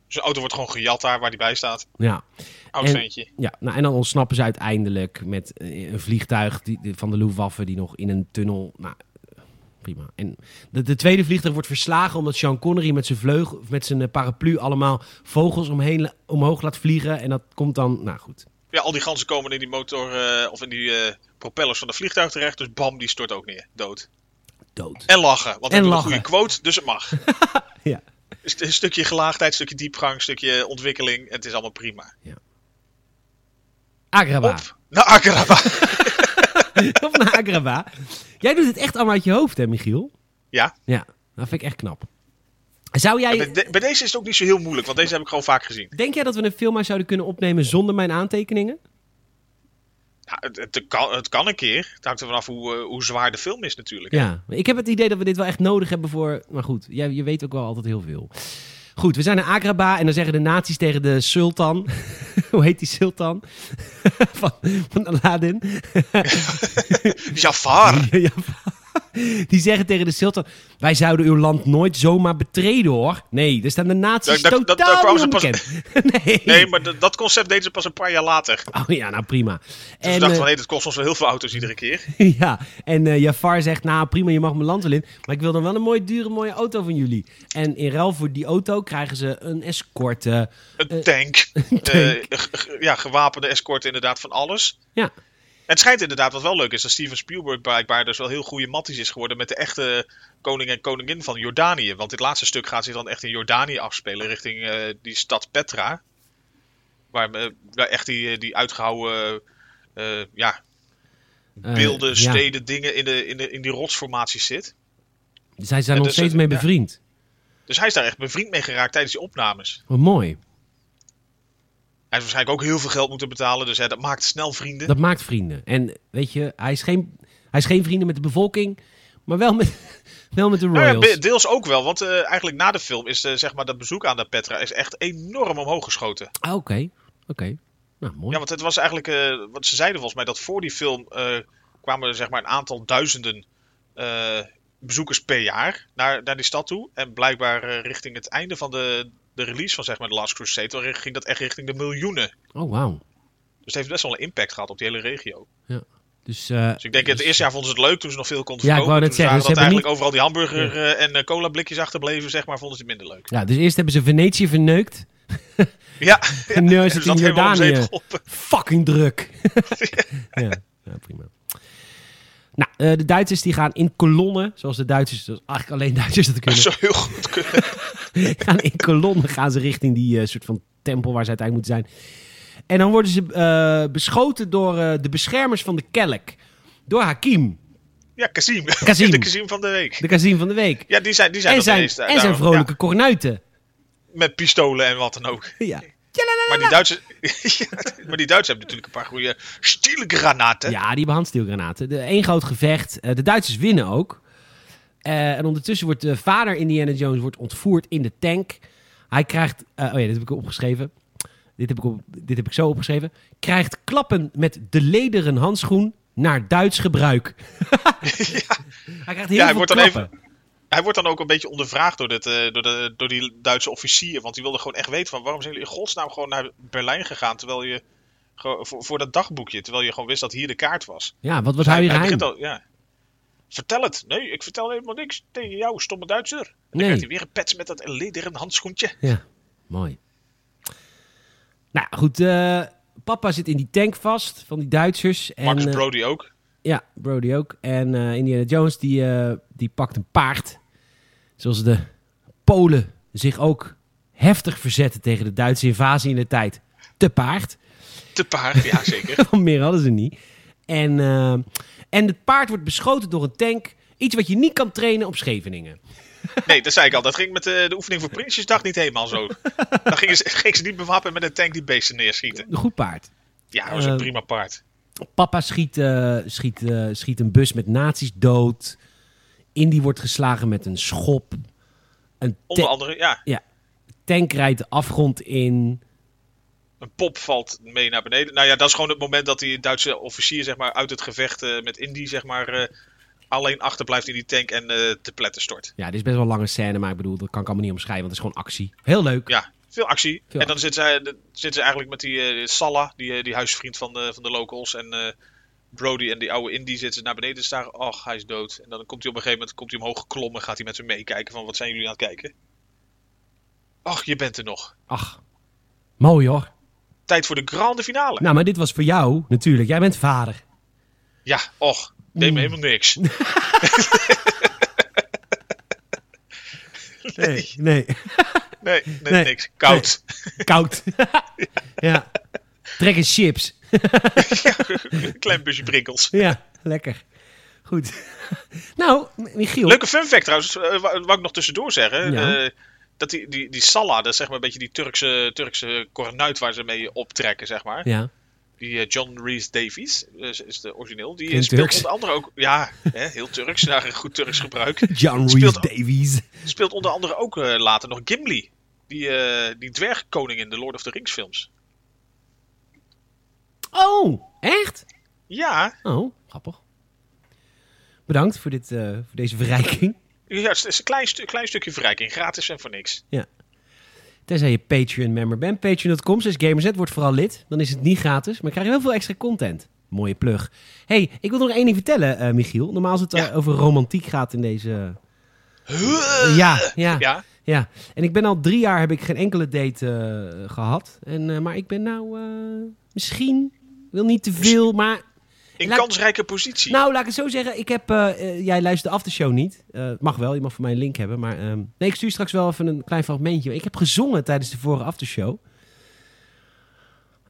[SPEAKER 2] Zijn auto wordt gewoon gejat daar waar hij bij staat.
[SPEAKER 1] ja,
[SPEAKER 2] Oud
[SPEAKER 1] En-
[SPEAKER 2] ventje.
[SPEAKER 1] Ja, nou, en dan ontsnappen ze uiteindelijk met eh, een vliegtuig die, die- van de Luftwaffe die nog in een tunnel... Nou, eh, prima. En de, de tweede vliegtuig wordt verslagen omdat Sean Connery met zijn vleugel, of met zijn eh, paraplu allemaal vogels omheen, omhoog laat vliegen. En dat komt dan... Nou goed,
[SPEAKER 2] Ja, al die ganzen komen in die motor eh, of in die eh, propellers van de vliegtuig terecht. Dus bam, die stort ook neer. Dood.
[SPEAKER 1] dood.
[SPEAKER 2] En lachen. Want
[SPEAKER 1] En
[SPEAKER 2] hij doet
[SPEAKER 1] lachen.
[SPEAKER 2] een goede quote, dus het mag.
[SPEAKER 1] Ja.
[SPEAKER 2] St- Een stukje gelaagdheid, een stukje diepgang, een stukje ontwikkeling. Het is allemaal prima.
[SPEAKER 1] Agraba.
[SPEAKER 2] Op naar Akraba.
[SPEAKER 1] Of naar Agraba. Jij doet het echt allemaal uit je hoofd, hè, Michiel?
[SPEAKER 2] Ja.
[SPEAKER 1] Ja, dat vind ik echt knap. Zou jij...
[SPEAKER 2] Bij, de- bij deze is het ook niet zo heel moeilijk, want deze heb ik gewoon vaak gezien.
[SPEAKER 1] Denk jij dat we een film uit zouden kunnen opnemen zonder mijn aantekeningen?
[SPEAKER 2] Ja, het, het, kan, het kan een keer. Het hangt er vanaf hoe, eh, hoe zwaar de film is natuurlijk.
[SPEAKER 1] Ja, maar ik heb het idee dat we dit wel echt nodig hebben voor... Maar goed, jij, je weet ook wel altijd heel veel. Goed, we zijn naar Agraba en dan zeggen de nazi's tegen de sultan... Hoe heet die sultan? van, van Aladdin.
[SPEAKER 2] Jafar.
[SPEAKER 1] Ja, die zeggen tegen de sultan... Wij zouden uw land nooit zomaar betreden, hoor. Nee, daar staan de nazi's
[SPEAKER 2] Dat- dat- dat-
[SPEAKER 1] totaal
[SPEAKER 2] dat kwamen
[SPEAKER 1] niet
[SPEAKER 2] ze pas-
[SPEAKER 1] onbekend. nee.
[SPEAKER 2] Nee, maar dat- dat concept deden ze pas een paar jaar later. Dus
[SPEAKER 1] Oh ja, nou prima.
[SPEAKER 2] we
[SPEAKER 1] eh,
[SPEAKER 2] dachten van, hé, dat kost ons wel heel veel auto's iedere keer.
[SPEAKER 1] ja, en eh, Jafar zegt, nou prima, je mag mijn land wel in, maar ik wil dan wel een mooie, dure, mooie auto van jullie. En in ruil voor die auto krijgen ze een escorte.
[SPEAKER 2] Een tank.
[SPEAKER 1] tank.
[SPEAKER 2] Eh, g- g- ja, gewapende escort inderdaad van alles.
[SPEAKER 1] Ja,
[SPEAKER 2] En het schijnt inderdaad wat wel leuk is dat Steven Spielberg blijkbaar dus wel heel goede matties is geworden met de echte koning en koningin van Jordanië. Want dit laatste stuk gaat zich dan echt in Jordanië afspelen, richting eh, die stad Petra. Waar, eh, waar echt die, die uitgehouden eh, ja,
[SPEAKER 1] eh,
[SPEAKER 2] beelden,
[SPEAKER 1] ja.
[SPEAKER 2] steden, dingen in, de, in, de, in die rotsformaties zit.
[SPEAKER 1] Zij zijn
[SPEAKER 2] Ja,
[SPEAKER 1] nog
[SPEAKER 2] dus
[SPEAKER 1] steeds
[SPEAKER 2] het-
[SPEAKER 1] mee
[SPEAKER 2] ja.
[SPEAKER 1] bevriend.
[SPEAKER 2] Dus hij is daar echt bevriend mee geraakt tijdens die opnames.
[SPEAKER 1] Wat mooi.
[SPEAKER 2] Hij heeft waarschijnlijk ook heel veel geld moeten betalen, dus hè, dat maakt snel vrienden.
[SPEAKER 1] Dat maakt vrienden. En weet je, hij is geen, hij is geen vrienden met de bevolking, maar wel met, wel met de
[SPEAKER 2] Nou ja,
[SPEAKER 1] royals.
[SPEAKER 2] be- deels ook wel, want eh, eigenlijk na de film is eh, zeg maar dat bezoek aan de Petra is echt enorm omhoog geschoten.
[SPEAKER 1] Ah, Oké, oké. Nou, mooi.
[SPEAKER 2] Ja, want het was eigenlijk, eh, wat ze zeiden volgens mij, dat voor die film eh, kwamen er zeg maar een aantal duizenden eh, bezoekers per jaar naar, naar die stad toe. En blijkbaar eh, richting het einde van de, de release van zeg maar The Last Crusade, waarin ging dat echt richting de miljoenen.
[SPEAKER 1] Oh, wauw.
[SPEAKER 2] Dus het heeft best wel een impact gehad op die hele regio.
[SPEAKER 1] Dus, eh,
[SPEAKER 2] Dus ik denk, het eerste jaar vonden ze het leuk toen ze nog veel konden
[SPEAKER 1] Ja, ik wou
[SPEAKER 2] verkopen.
[SPEAKER 1] net
[SPEAKER 2] Toen
[SPEAKER 1] zeggen,
[SPEAKER 2] zagen dat
[SPEAKER 1] ze hebben
[SPEAKER 2] eigenlijk overal die hamburger eh, en eh, cola blikjes achterbleven, zeg maar, vonden ze het minder leuk.
[SPEAKER 1] ja, dus eerst hebben ze Venetië verneukt.
[SPEAKER 2] Ja,
[SPEAKER 1] En nu is het
[SPEAKER 2] er
[SPEAKER 1] in
[SPEAKER 2] zat helemaal om
[SPEAKER 1] Jordanië.
[SPEAKER 2] zeep geholpen.
[SPEAKER 1] fucking druk. ja, ja, prima. Nou, eh, de Duitsers die gaan in kolonnen, zoals de Duitsers, zoals eigenlijk alleen Duitsers dat
[SPEAKER 2] Dat
[SPEAKER 1] kunnen,
[SPEAKER 2] zou heel goed kunnen.
[SPEAKER 1] gaan in kolonnen gaan ze richting die eh, soort van tempel waar ze uiteindelijk moeten zijn. En dan worden ze eh, beschoten door eh, de beschermers van de kelk, door Hakim,
[SPEAKER 2] Ja, Kazim.
[SPEAKER 1] Kazim.
[SPEAKER 2] De Kazim van de week.
[SPEAKER 1] de kazin van de week.
[SPEAKER 2] Ja, die zijn, die zijn
[SPEAKER 1] en
[SPEAKER 2] dat
[SPEAKER 1] zijn,
[SPEAKER 2] ineens eh, daar-
[SPEAKER 1] en zijn
[SPEAKER 2] daarom.
[SPEAKER 1] vrolijke kornuiten.
[SPEAKER 2] Ja, met pistolen en wat dan ook.
[SPEAKER 1] Ja.
[SPEAKER 2] Maar die Duitsers, Ja, maar die Duitsers hebben natuurlijk een paar goede stielgranaten.
[SPEAKER 1] Ja, die hebben handstielgranaten. De één groot gevecht. Eh, de Duitsers winnen ook. Eh, en ondertussen wordt de vader Indiana Jones wordt ontvoerd in de tank. Hij krijgt... eh, oh ja, dit heb ik opgeschreven. Dit heb ik, op, dit heb ik zo opgeschreven. Krijgt klappen met de lederen handschoen naar Duits gebruik. Hij krijgt heel
[SPEAKER 2] Ja, hij
[SPEAKER 1] veel
[SPEAKER 2] wordt dan
[SPEAKER 1] klappen.
[SPEAKER 2] even- Hij wordt dan ook een beetje ondervraagd door, dit, eh, door, de, door die Duitse officier. Want die wilde gewoon echt weten van waarom zijn jullie in godsnaam gewoon naar Berlijn gegaan. Terwijl je gewoon- voor, voor dat dagboekje. Terwijl je gewoon wist dat hier de kaart was.
[SPEAKER 1] Ja, wat, wat
[SPEAKER 2] hij,
[SPEAKER 1] hou je
[SPEAKER 2] hij
[SPEAKER 1] geheim?
[SPEAKER 2] begint al, ja. Vertel het. Nee, ik vertel helemaal niks tegen jou, stomme Duitser. En dan
[SPEAKER 1] Nee.
[SPEAKER 2] krijgt hij weer een pets met dat lederen handschoentje.
[SPEAKER 1] Ja, mooi. Nou goed, eh, papa zit in die tank vast van die Duitsers. En,
[SPEAKER 2] Max
[SPEAKER 1] eh,
[SPEAKER 2] Brody ook.
[SPEAKER 1] Ja, Brody ook. En eh, Indiana Jones die, eh, die pakt een paard. Zoals de Polen zich ook heftig verzetten tegen de Duitse invasie in de tijd. Te paard.
[SPEAKER 2] Te paard, ja zeker.
[SPEAKER 1] Want meer hadden ze niet. En, eh, en het paard wordt beschoten door een tank. Iets wat je niet kan trainen op Scheveningen.
[SPEAKER 2] Nee, dat zei ik al. Dat ging met eh, de, de oefening voor Prinsjesdag niet helemaal zo. Dan gingen ze, gingen ze niet bewapen met een tank die beesten neerschieten.
[SPEAKER 1] Een goed paard.
[SPEAKER 2] Ja, dat was een
[SPEAKER 1] Eh,
[SPEAKER 2] prima paard.
[SPEAKER 1] Papa schiet, eh, schiet, eh, schiet een bus met nazi's dood. Indy wordt geslagen met een schop. Een
[SPEAKER 2] Onder
[SPEAKER 1] ta-
[SPEAKER 2] andere, ja,
[SPEAKER 1] tank rijdt de afgrond in.
[SPEAKER 2] Een pop valt mee naar beneden. Nou ja, dat is gewoon het moment dat die Duitse officier zeg maar, uit het gevecht eh, met Indy zeg maar, eh, alleen achterblijft in die tank en eh, te pletten stort.
[SPEAKER 1] Ja, dit is best wel een lange scène, maar ik bedoel, dat kan ik allemaal niet omschrijven, want het is gewoon actie. Heel leuk.
[SPEAKER 2] Ja, veel actie.
[SPEAKER 1] Veel
[SPEAKER 2] en dan zitten ze, dan zitten ze eigenlijk met die eh, Salla, die, eh, die huisvriend van de, van de locals. En eh, Brody en die oude Indy zitten ze naar beneden te staren. Och, hij is dood. En dan komt hij op een gegeven moment komt hij omhoog geklommen. Gaat hij met ze meekijken van wat zijn jullie aan het kijken? Ach, je bent er nog.
[SPEAKER 1] Ach, mooi hoor.
[SPEAKER 2] Tijd voor de grande finale.
[SPEAKER 1] Nou, maar dit was voor jou natuurlijk. Jij bent vader.
[SPEAKER 2] Ja, och, deed me helemaal niks.
[SPEAKER 1] Nee, nee.
[SPEAKER 2] Nee, nee,
[SPEAKER 1] Nee.
[SPEAKER 2] niks. Koud.
[SPEAKER 1] Koud. ja. Trek eens chips.
[SPEAKER 2] Een klein busje prikkels.
[SPEAKER 1] Ja, lekker. Goed. nou, Michiel.
[SPEAKER 2] Leuke fun fact trouwens, eh, wa- wou ik nog tussendoor zeggen.
[SPEAKER 1] Ja.
[SPEAKER 2] eh, dat die, die, die Salla, dat is zeg maar een beetje die Turkse, Turkse kornuit waar ze mee optrekken, zeg maar.
[SPEAKER 1] Ja,
[SPEAKER 2] Die eh, John Rhys Davies eh, is, is de origineel. Die eh,
[SPEAKER 1] Klinkt
[SPEAKER 2] speelt
[SPEAKER 1] Turks.
[SPEAKER 2] onder andere ook, ja, hè, heel Turks, naar een goed Turks gebruik.
[SPEAKER 1] John Reese
[SPEAKER 2] Speelt ook-
[SPEAKER 1] Davies.
[SPEAKER 2] Speelt onder andere ook eh, later nog Gimli. Die, eh, die dwergkoning in de Lord of the Rings films.
[SPEAKER 1] Oh, echt?
[SPEAKER 2] Ja,
[SPEAKER 1] Oh, grappig. Bedankt voor, dit, eh, voor deze verrijking.
[SPEAKER 2] ja het is een klein, stu- klein stukje verrijking. Gratis en voor niks.
[SPEAKER 1] Tenzij je Patreon-member bent. Patreon.com slash Gamerset wordt vooral lid. Dan is het niet gratis, maar krijg je heel veel extra content. Mooie plug. hey, ik wil nog één ding vertellen, eh, Michiel. Normaal als het eh,
[SPEAKER 2] Ja.
[SPEAKER 1] over romantiek gaat in deze... Ja, ja, ja,
[SPEAKER 2] Ja,
[SPEAKER 1] En ik ben al drie jaar, heb ik geen enkele date eh, gehad. En, eh, maar ik ben nou eh, misschien, wil niet te veel, maar...
[SPEAKER 2] in
[SPEAKER 1] Laat-
[SPEAKER 2] kansrijke positie.
[SPEAKER 1] Nou, laat ik het zo zeggen. Ik heb, eh, eh, jij luistert de aftershow niet. Eh, Het mag wel, je mag voor mij een link hebben. Maar ehm, nee, ik stuur straks wel even een klein fragmentje. Ik heb gezongen tijdens de vorige aftershow.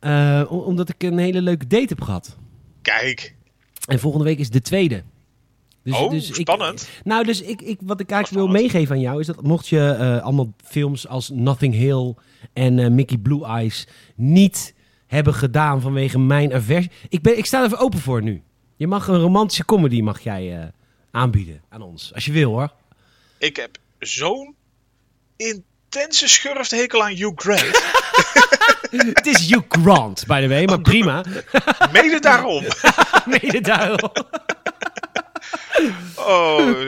[SPEAKER 1] Eh, om- omdat ik een hele leuke date heb gehad.
[SPEAKER 2] Kijk,
[SPEAKER 1] En volgende week is de tweede. Dus,
[SPEAKER 2] oh,
[SPEAKER 1] dus ik-
[SPEAKER 2] spannend.
[SPEAKER 1] nou, dus ik, ik, wat ik eigenlijk wil
[SPEAKER 2] Spannend.
[SPEAKER 1] meegeven aan jou is dat mocht je eh, allemaal films als Nothing Hill en eh, Mickey Blue Eyes niet hebben gedaan vanwege mijn aversie. Ik, ben, ik sta er even open voor nu. Je mag een romantische comedy mag jij eh, aanbieden aan ons. Als je wil hoor.
[SPEAKER 2] Ik heb zo'n intense schurfthekel aan Hugh Grant.
[SPEAKER 1] Het is Hugh Grant, by the way, maar prima.
[SPEAKER 2] Mede daarom.
[SPEAKER 1] Mede daarom.
[SPEAKER 2] Oh,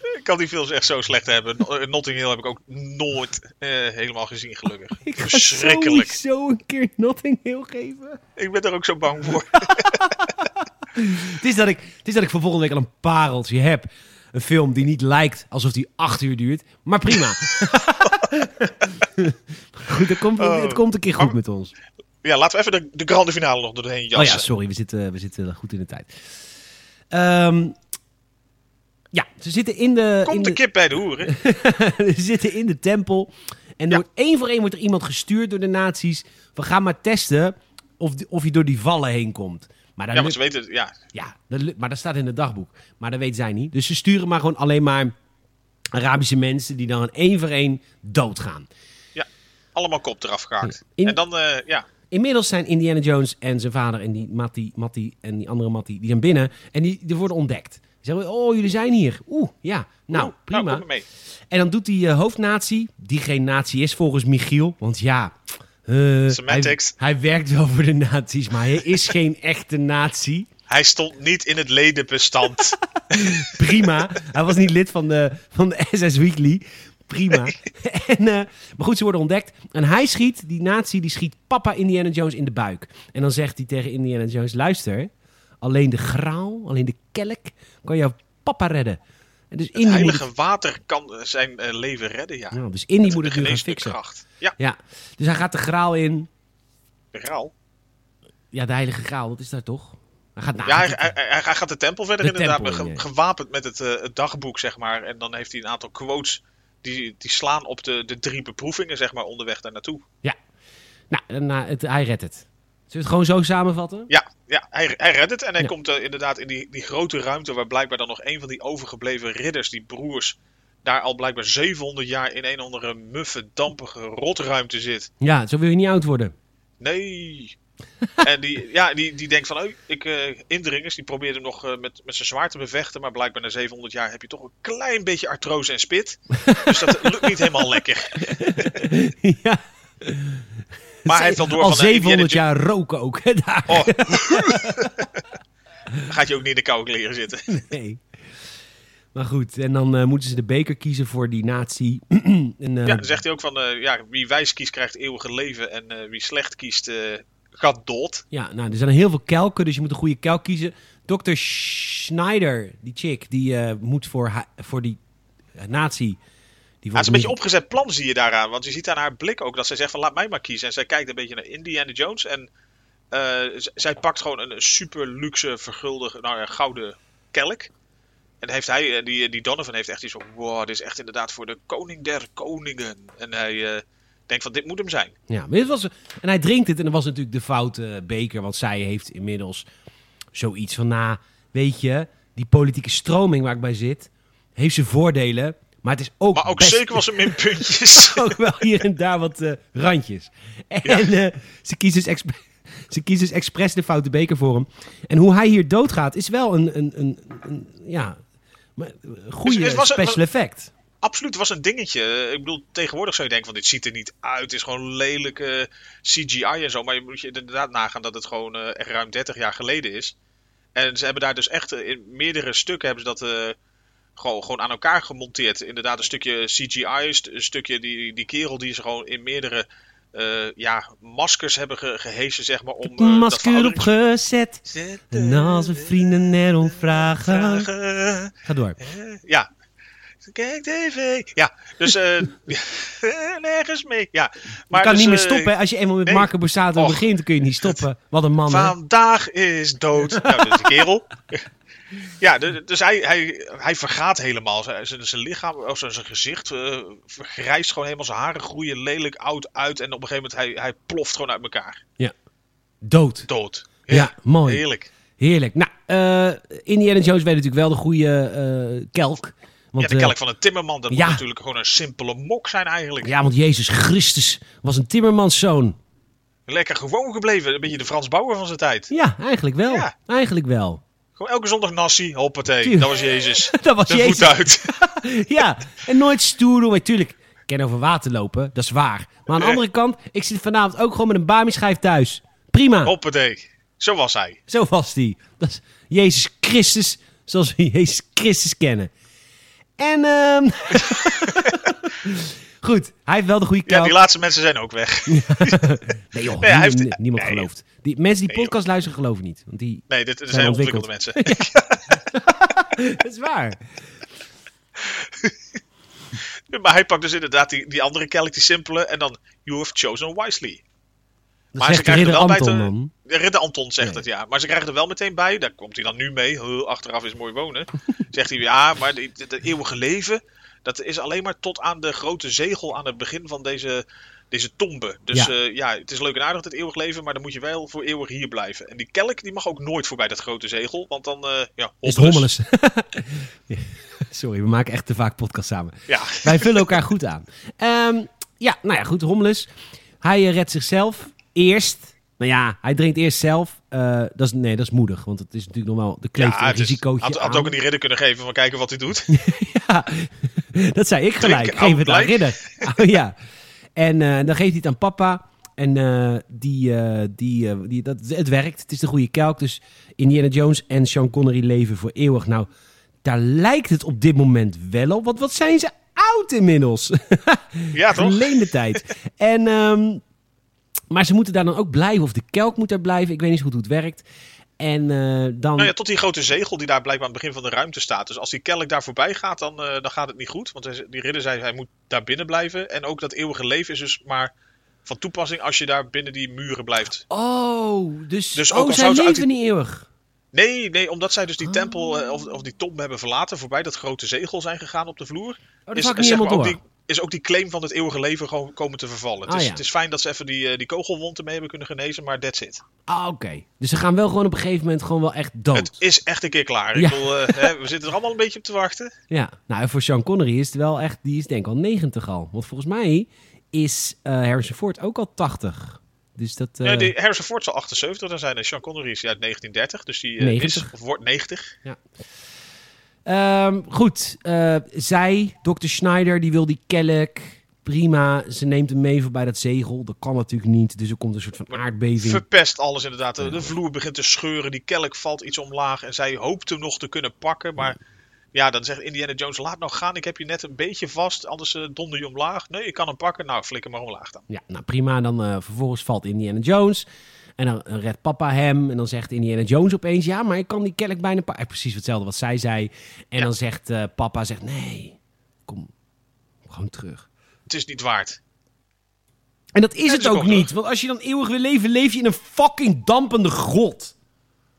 [SPEAKER 2] ik kan die films echt zo slecht hebben. No- eh, Notting Hill heb ik ook nooit eh, helemaal gezien, gelukkig.
[SPEAKER 1] Ik ga
[SPEAKER 2] Verschrikkelijk.
[SPEAKER 1] sowieso een keer Nothing Hill geven.
[SPEAKER 2] Ik ben er ook zo bang voor.
[SPEAKER 1] Het is, dat ik, het is dat ik voor volgende week al een pareltje heb. Een film die niet lijkt alsof die acht uur duurt. Maar prima. goed, het komt, het komt een keer goed met ons.
[SPEAKER 2] Oh, Ja, laten we even de, de grande finale nog doorheen
[SPEAKER 1] Oh ja,
[SPEAKER 2] jassen.
[SPEAKER 1] sorry. We zitten, we zitten goed in de tijd. Ehm, ja, ze zitten in de... in
[SPEAKER 2] Komt de
[SPEAKER 1] de-
[SPEAKER 2] kip bij de hoeren.
[SPEAKER 1] we zitten in de tempel. En
[SPEAKER 2] Ja.
[SPEAKER 1] door één voor één wordt er iemand gestuurd door de nazi's. We gaan maar testen of, of je door die vallen heen komt. Maar dan
[SPEAKER 2] Ja, want ze weten, het, ja.
[SPEAKER 1] Ja, dat lu- maar dat staat in het dagboek. Maar dat weet zij niet. Dus ze sturen maar gewoon alleen maar Arabische mensen die dan één voor één doodgaan.
[SPEAKER 2] Ja. Allemaal kop eraf gehakt.
[SPEAKER 1] In-
[SPEAKER 2] En dan, eh, ja.
[SPEAKER 1] Inmiddels zijn Indiana Jones en zijn vader en die Mattie, Mattie en die andere Mattie, die zijn binnen. En die, die worden ontdekt. Ze zeggen, oh, jullie zijn hier. Oeh, ja. Nou,
[SPEAKER 2] Oeh,
[SPEAKER 1] prima.
[SPEAKER 2] kom maar mee.
[SPEAKER 1] En dan doet die eh, hoofdnazi, die geen nazi is volgens Michiel, want ja... eh, hij,
[SPEAKER 2] Semantics.
[SPEAKER 1] hij werkt wel voor de nazi's, maar hij is geen echte nazi.
[SPEAKER 2] Hij stond niet in het ledenbestand.
[SPEAKER 1] Prima. Hij was niet lid van de, van de SS Weekly. Prima. En, eh, maar goed, ze worden ontdekt. En hij schiet, die nazi, die schiet papa Indiana Jones in de buik. En dan zegt hij tegen Indiana Jones, luister, alleen de graal, alleen de kelk kan jouw papa redden. En dus
[SPEAKER 2] Het
[SPEAKER 1] Indy moet het,
[SPEAKER 2] heilige water kan eh, zijn eh, leven redden, ja.
[SPEAKER 1] ja, dus Indy
[SPEAKER 2] De
[SPEAKER 1] moet het nu gaan
[SPEAKER 2] geneeslijke
[SPEAKER 1] fixen.
[SPEAKER 2] kracht. Ja,
[SPEAKER 1] Ja, dus hij gaat de graal in.
[SPEAKER 2] de graal.
[SPEAKER 1] Ja, de heilige graal, wat is daar toch? Hij gaat naar
[SPEAKER 2] Ja, hij, hij- hij- hij gaat de tempel verder
[SPEAKER 1] De
[SPEAKER 2] inderdaad.
[SPEAKER 1] tempel in,
[SPEAKER 2] ge-
[SPEAKER 1] ja.
[SPEAKER 2] gewapend met het, eh, het dagboek, zeg maar. En dan heeft hij een aantal quotes die, die slaan op de, de drie beproevingen, zeg maar, onderweg daar naartoe.
[SPEAKER 1] Nou, en, eh, het, hij redt het. Zullen we het gewoon zo samenvatten?
[SPEAKER 2] Ja, ja hij, hij redt het. En hij
[SPEAKER 1] Ja.
[SPEAKER 2] komt eh, inderdaad in die, die grote ruimte waar blijkbaar dan nog een van die overgebleven ridders, die broers, daar al blijkbaar 700 jaar in een of andere muffe, dampige rotruimte zit.
[SPEAKER 1] Ja, zo wil je niet oud worden.
[SPEAKER 2] Nee. en die, ja, die, die denkt van, oh, ik, eh, indringers, die probeerde hem nog eh, met, met zijn zwaard te bevechten. Maar blijkbaar na 700 jaar heb je toch een klein beetje artrose en spit. dus dat lukt niet helemaal lekker.
[SPEAKER 1] ja.
[SPEAKER 2] Maar hij heeft wel door
[SPEAKER 1] Al
[SPEAKER 2] van... eh, Indiana
[SPEAKER 1] 700 jaar roken ook. hè, daar.
[SPEAKER 2] Oh. Dan gaat je ook niet in de koude kleren zitten.
[SPEAKER 1] Nee. Maar goed, en dan eh, moeten ze de beker kiezen voor die natie. en, eh,
[SPEAKER 2] Ja, dan zegt hij ook van, eh, ja, wie wijs kiest krijgt eeuwige leven. En eh, wie slecht kiest eh, gaat dood.
[SPEAKER 1] ja, nou, er zijn heel veel kelken, dus je moet een goede kelk kiezen. Dr. Schneider, die chick, die eh, moet voor, ha- voor die eh, natie... Die
[SPEAKER 2] Ja,
[SPEAKER 1] wordt
[SPEAKER 2] het is een beetje
[SPEAKER 1] niet-
[SPEAKER 2] opgezet plan zie je daaraan. Want je ziet aan haar blik ook dat zij zegt van laat mij maar kiezen. En zij kijkt een beetje naar Indiana Jones. En eh, z- zij pakt gewoon een super luxe vergulde nou, ja, gouden kelk. En heeft hij, eh, die, die Donovan heeft echt iets van wow, dit is echt inderdaad voor de koning der koningen. En hij eh, denkt van dit moet hem zijn.
[SPEAKER 1] Ja, maar dit was, en hij drinkt het en dat was natuurlijk de foute eh, beker. Want zij heeft inmiddels zoiets van, nou, weet je, die politieke stroming waar ik bij zit... heeft zijn voordelen, maar het is ook
[SPEAKER 2] Maar ook
[SPEAKER 1] best-
[SPEAKER 2] zeker was hem in puntjes.
[SPEAKER 1] ook wel hier en daar wat eh, randjes. En eh, ze, kiest dus exp- ze kiest dus expres de foute beker voor hem. En hoe hij hier doodgaat is wel een, een, een, een- ja, maar, een goede
[SPEAKER 2] Dus het was een-
[SPEAKER 1] special effect.
[SPEAKER 2] Absoluut, het was een dingetje. Eh, Ik bedoel, tegenwoordig zou je denken van dit ziet er niet uit. Het is gewoon lelijke CGI en zo. Maar je moet je inderdaad nagaan dat het gewoon eh, echt ruim 30 jaar geleden is. En ze hebben daar dus echt eh, in meerdere stukken hebben ze dat eh, gewoon, gewoon aan elkaar gemonteerd. Inderdaad, een stukje CGI, st- een stukje die, die kerel die ze gewoon in meerdere eh, ja, maskers hebben ge- gehesen, zeg maar. Om,
[SPEAKER 1] Een
[SPEAKER 2] eh, dat
[SPEAKER 1] masker
[SPEAKER 2] veroudering-
[SPEAKER 1] opgezet. En als we vrienden erom vragen.
[SPEAKER 2] Vragen.
[SPEAKER 1] Ga door.
[SPEAKER 2] Ja. Kijk tv. Ja, dus eh, nergens mee. Ja, maar
[SPEAKER 1] je kan
[SPEAKER 2] dus,
[SPEAKER 1] niet meer
[SPEAKER 2] eh,
[SPEAKER 1] stoppen. hè. Als je eenmaal met
[SPEAKER 2] nee.
[SPEAKER 1] Marco Borsato
[SPEAKER 2] Och.
[SPEAKER 1] begint, dan kun je niet stoppen. Wat een man. hè.
[SPEAKER 2] Vandaag is dood. nou, dat is een kerel. Ja, de- dus hij, hij, hij vergaat helemaal. Zijn, zijn- zijn lichaam, of zijn, zijn gezicht eh, vergrijst gewoon helemaal. Zijn haren groeien lelijk oud uit. En op een gegeven moment, hij, hij ploft gewoon uit elkaar.
[SPEAKER 1] Dood.
[SPEAKER 2] Dood.
[SPEAKER 1] Ja, mooi.
[SPEAKER 2] Heerlijk.
[SPEAKER 1] Heerlijk. Nou, eh, Indiana Jones weet natuurlijk wel de goede eh, kelk. Want,
[SPEAKER 2] ja, de
[SPEAKER 1] eh,
[SPEAKER 2] kelk van een timmerman. Dat
[SPEAKER 1] ja.
[SPEAKER 2] moet natuurlijk gewoon een simpele mok zijn eigenlijk.
[SPEAKER 1] ja, want Jezus Christus was een timmermanszoon.
[SPEAKER 2] Lekker gewoon gebleven. Een beetje de Frans Bauer van zijn tijd.
[SPEAKER 1] Ja, eigenlijk wel.
[SPEAKER 2] Ja.
[SPEAKER 1] Eigenlijk wel.
[SPEAKER 2] Gewoon elke zondag nasi, hoppatee.
[SPEAKER 1] Tuurlijk.
[SPEAKER 2] Dat was Jezus.
[SPEAKER 1] Dat was
[SPEAKER 2] De
[SPEAKER 1] Jezus.
[SPEAKER 2] voet uit.
[SPEAKER 1] Ja, en nooit stoer doen. Maar tuurlijk, ik ken over water lopen, dat is waar. Maar aan de
[SPEAKER 2] Nee.
[SPEAKER 1] andere kant, ik zit vanavond ook gewoon met een bami-schijf thuis. Prima,
[SPEAKER 2] Hoppatee. Zo was hij.
[SPEAKER 1] zo was die. Dat is Jezus Christus, zoals we Jezus Christus kennen. En, ehm Goed, hij heeft wel de goede
[SPEAKER 2] Ja,
[SPEAKER 1] kant.
[SPEAKER 2] die laatste mensen zijn ook weg.
[SPEAKER 1] nee joh,
[SPEAKER 2] Nee, hij
[SPEAKER 1] niemand,
[SPEAKER 2] heeft-
[SPEAKER 1] niemand
[SPEAKER 2] nee.
[SPEAKER 1] gelooft. Die, mensen die
[SPEAKER 2] Nee,
[SPEAKER 1] podcast luisteren geloven niet. Want die,
[SPEAKER 2] Nee, dit, dit
[SPEAKER 1] Zijn
[SPEAKER 2] zijn
[SPEAKER 1] ontwikkeld.
[SPEAKER 2] ontwikkelde mensen.
[SPEAKER 1] dat is waar.
[SPEAKER 2] Maar hij pakt dus inderdaad die, die andere kelk, die simpele. En dan, you have chosen wisely.
[SPEAKER 1] Dat
[SPEAKER 2] Maar ze
[SPEAKER 1] zegt de
[SPEAKER 2] krijgen er
[SPEAKER 1] ridder
[SPEAKER 2] wel bij
[SPEAKER 1] Anton
[SPEAKER 2] te-
[SPEAKER 1] dan.
[SPEAKER 2] De Ridder Anton zegt
[SPEAKER 1] Nee.
[SPEAKER 2] het, ja. Maar ze krijgen er wel meteen bij. Daar komt hij dan nu mee. Huh, achteraf is mooi wonen. Zegt hij, ja, maar die- dat eeuwige leven... Dat is alleen maar tot aan de grote zegel aan het begin van deze, deze tombe. Dus
[SPEAKER 1] Ja.
[SPEAKER 2] ja. ja, het is leuk en aardig het eeuwig leven, maar dan moet je wel voor eeuwig hier blijven. En die kelk die mag ook nooit voorbij dat grote zegel, want dan eh ja,
[SPEAKER 1] Is het
[SPEAKER 2] hobbelus.
[SPEAKER 1] hommeles. Sorry, we maken echt te vaak podcast samen.
[SPEAKER 2] Ja.
[SPEAKER 1] Wij vullen elkaar goed aan. Ehm, Ja, nou ja, goed, Romulus. Hij eh, redt zichzelf eerst. Nou ja, hij drinkt eerst zelf. Eh, dat is, nee, dat is moedig, want het is natuurlijk nog wel de kleeft een
[SPEAKER 2] het is-
[SPEAKER 1] risicootje
[SPEAKER 2] dus had, had
[SPEAKER 1] aan.
[SPEAKER 2] ook een ridder kunnen geven van kijken wat hij doet.
[SPEAKER 1] Ja, dat zei ik gelijk.
[SPEAKER 2] Drinken,
[SPEAKER 1] Geef
[SPEAKER 2] oude
[SPEAKER 1] het aan
[SPEAKER 2] blijf.
[SPEAKER 1] Ridder. Oh, ja. En eh, dan geeft hij het aan papa. En eh, die, eh, die, eh, die, dat, het werkt. Het is de goede kelk. Dus Indiana Jones en Sean Connery leven voor eeuwig. Nou, daar lijkt het op dit moment wel op. Want wat zijn ze oud inmiddels?
[SPEAKER 2] Ja, toch?
[SPEAKER 1] Geleende tijd. En, ehm, maar ze moeten daar dan ook blijven. Of de kelk moet daar blijven. Ik weet niet zo goed hoe het werkt. En eh, dan...
[SPEAKER 2] Nou ja, tot die grote zegel die daar blijkbaar aan het begin van de ruimte staat. Dus als die kelk daar voorbij gaat, dan, eh, dan gaat het niet goed. Want hij ze- die ridder zei, hij moet daar binnen blijven. En ook dat eeuwige leven is dus maar van toepassing als je daar binnen die muren blijft.
[SPEAKER 1] Oh, dus,
[SPEAKER 2] Dus
[SPEAKER 1] oh,
[SPEAKER 2] ook al
[SPEAKER 1] zij
[SPEAKER 2] zouden ze
[SPEAKER 1] leven
[SPEAKER 2] uit die-
[SPEAKER 1] niet eeuwig.
[SPEAKER 2] Nee, nee, omdat zij dus
[SPEAKER 1] Ah.
[SPEAKER 2] die tempel eh, of, of die tombe hebben verlaten, voorbij dat grote zegel zijn gegaan op de vloer.
[SPEAKER 1] Oh, dat
[SPEAKER 2] is,
[SPEAKER 1] had ik
[SPEAKER 2] eh,
[SPEAKER 1] niet
[SPEAKER 2] zeg maar
[SPEAKER 1] helemaal
[SPEAKER 2] ook
[SPEAKER 1] door.
[SPEAKER 2] die, is ook die claim van het eeuwige leven gewoon komen te vervallen.
[SPEAKER 1] Ah,
[SPEAKER 2] het, is,
[SPEAKER 1] ja.
[SPEAKER 2] het is fijn dat ze even die, eh, die kogelwond ermee hebben kunnen genezen, maar that's it.
[SPEAKER 1] Ah, oké. Dus ze gaan wel gewoon op een gegeven moment gewoon wel echt dood.
[SPEAKER 2] Het is echt een keer klaar.
[SPEAKER 1] Ja.
[SPEAKER 2] Ik bedoel, eh, hè, we zitten er allemaal een beetje op te wachten.
[SPEAKER 1] Ja. Nou, en voor Sean Connery is het wel echt... Die is denk ik al 90 al. Want volgens mij is eh, Harrison Ford ook al 80. Dus dat... eh,
[SPEAKER 2] Ja, die Harrison Ford zal 78 dan zijn en Sean Connery is uit 1930, dus die eh,
[SPEAKER 1] 90.
[SPEAKER 2] is of wordt 90.
[SPEAKER 1] ehm, goed. eh, zij, Dr. Schneider, die wil die kelk. Prima. Ze neemt hem mee voorbij dat zegel. Dat kan natuurlijk niet. Dus er komt een soort van aardbeving.
[SPEAKER 2] Verpest alles inderdaad. De, de vloer begint te scheuren, die kelk valt iets omlaag en zij hoopt hem nog te kunnen pakken, maar ja, dan zegt Indiana Jones, laat nou gaan, ik heb je net een beetje vast, anders eh, donder je omlaag. Nee, ik kan hem pakken, nou flikker maar omlaag dan.
[SPEAKER 1] Ja, nou prima. En dan eh, vervolgens valt Indiana Jones. En dan eh, redt papa hem. En dan zegt Indiana Jones opeens... Ja, maar ik kan die kelk bijna... pa-" Eh, Precies hetzelfde wat zij zei. En
[SPEAKER 2] Ja.
[SPEAKER 1] dan zegt eh, papa... Zegt, nee, kom gewoon terug.
[SPEAKER 2] Het is niet waard.
[SPEAKER 1] En dat is
[SPEAKER 2] Ja,
[SPEAKER 1] het
[SPEAKER 2] ze
[SPEAKER 1] ook
[SPEAKER 2] komt terug.
[SPEAKER 1] niet. Want als je dan eeuwig wil leven... leef je in een fucking dampende grot.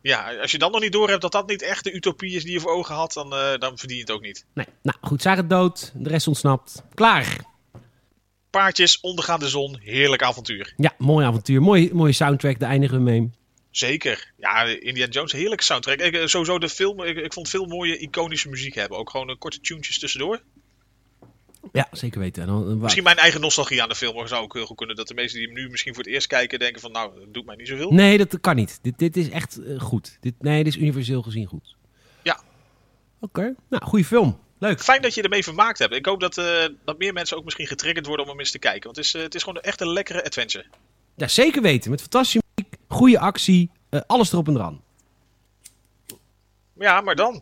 [SPEAKER 2] Ja, als je dan nog niet door hebt dat dat niet echt de utopie is die je voor ogen had, dan, eh, dan verdien je het ook niet.
[SPEAKER 1] Nee, nou goed. Zij gaat dood. De rest ontsnapt. Klaar.
[SPEAKER 2] Paardjes, ondergaande zon, heerlijk avontuur.
[SPEAKER 1] Ja, mooi avontuur. Mooi, mooie soundtrack. Daar eindigen we mee.
[SPEAKER 2] Zeker. Ja, Indiana Jones, heerlijk soundtrack. Ik, eh, sowieso de film, ik, ik vond veel mooie iconische muziek hebben. Ook gewoon eh, korte tunes tussendoor.
[SPEAKER 1] Ja, zeker weten. En dan, eh,
[SPEAKER 2] Misschien mijn eigen nostalgie aan de film zou ook heel goed kunnen. Dat de mensen die hem nu misschien voor het eerst kijken denken van nou, dat doet mij niet zoveel.
[SPEAKER 1] Nee, dat kan niet. Dit, dit is echt eh, goed. Dit, nee, dit is universeel gezien goed.
[SPEAKER 2] Ja.
[SPEAKER 1] Oké. Nou, goede film. Leuk.
[SPEAKER 2] Fijn dat je ermee vermaakt hebt. Ik hoop dat, eh, dat meer mensen ook misschien getriggerd worden om hem eens te kijken. Want het is, eh, het is gewoon echt een lekkere adventure.
[SPEAKER 1] Ja, zeker weten. Met fantastische muziek, goede actie, eh, alles erop en eraan.
[SPEAKER 2] Ja, maar dan.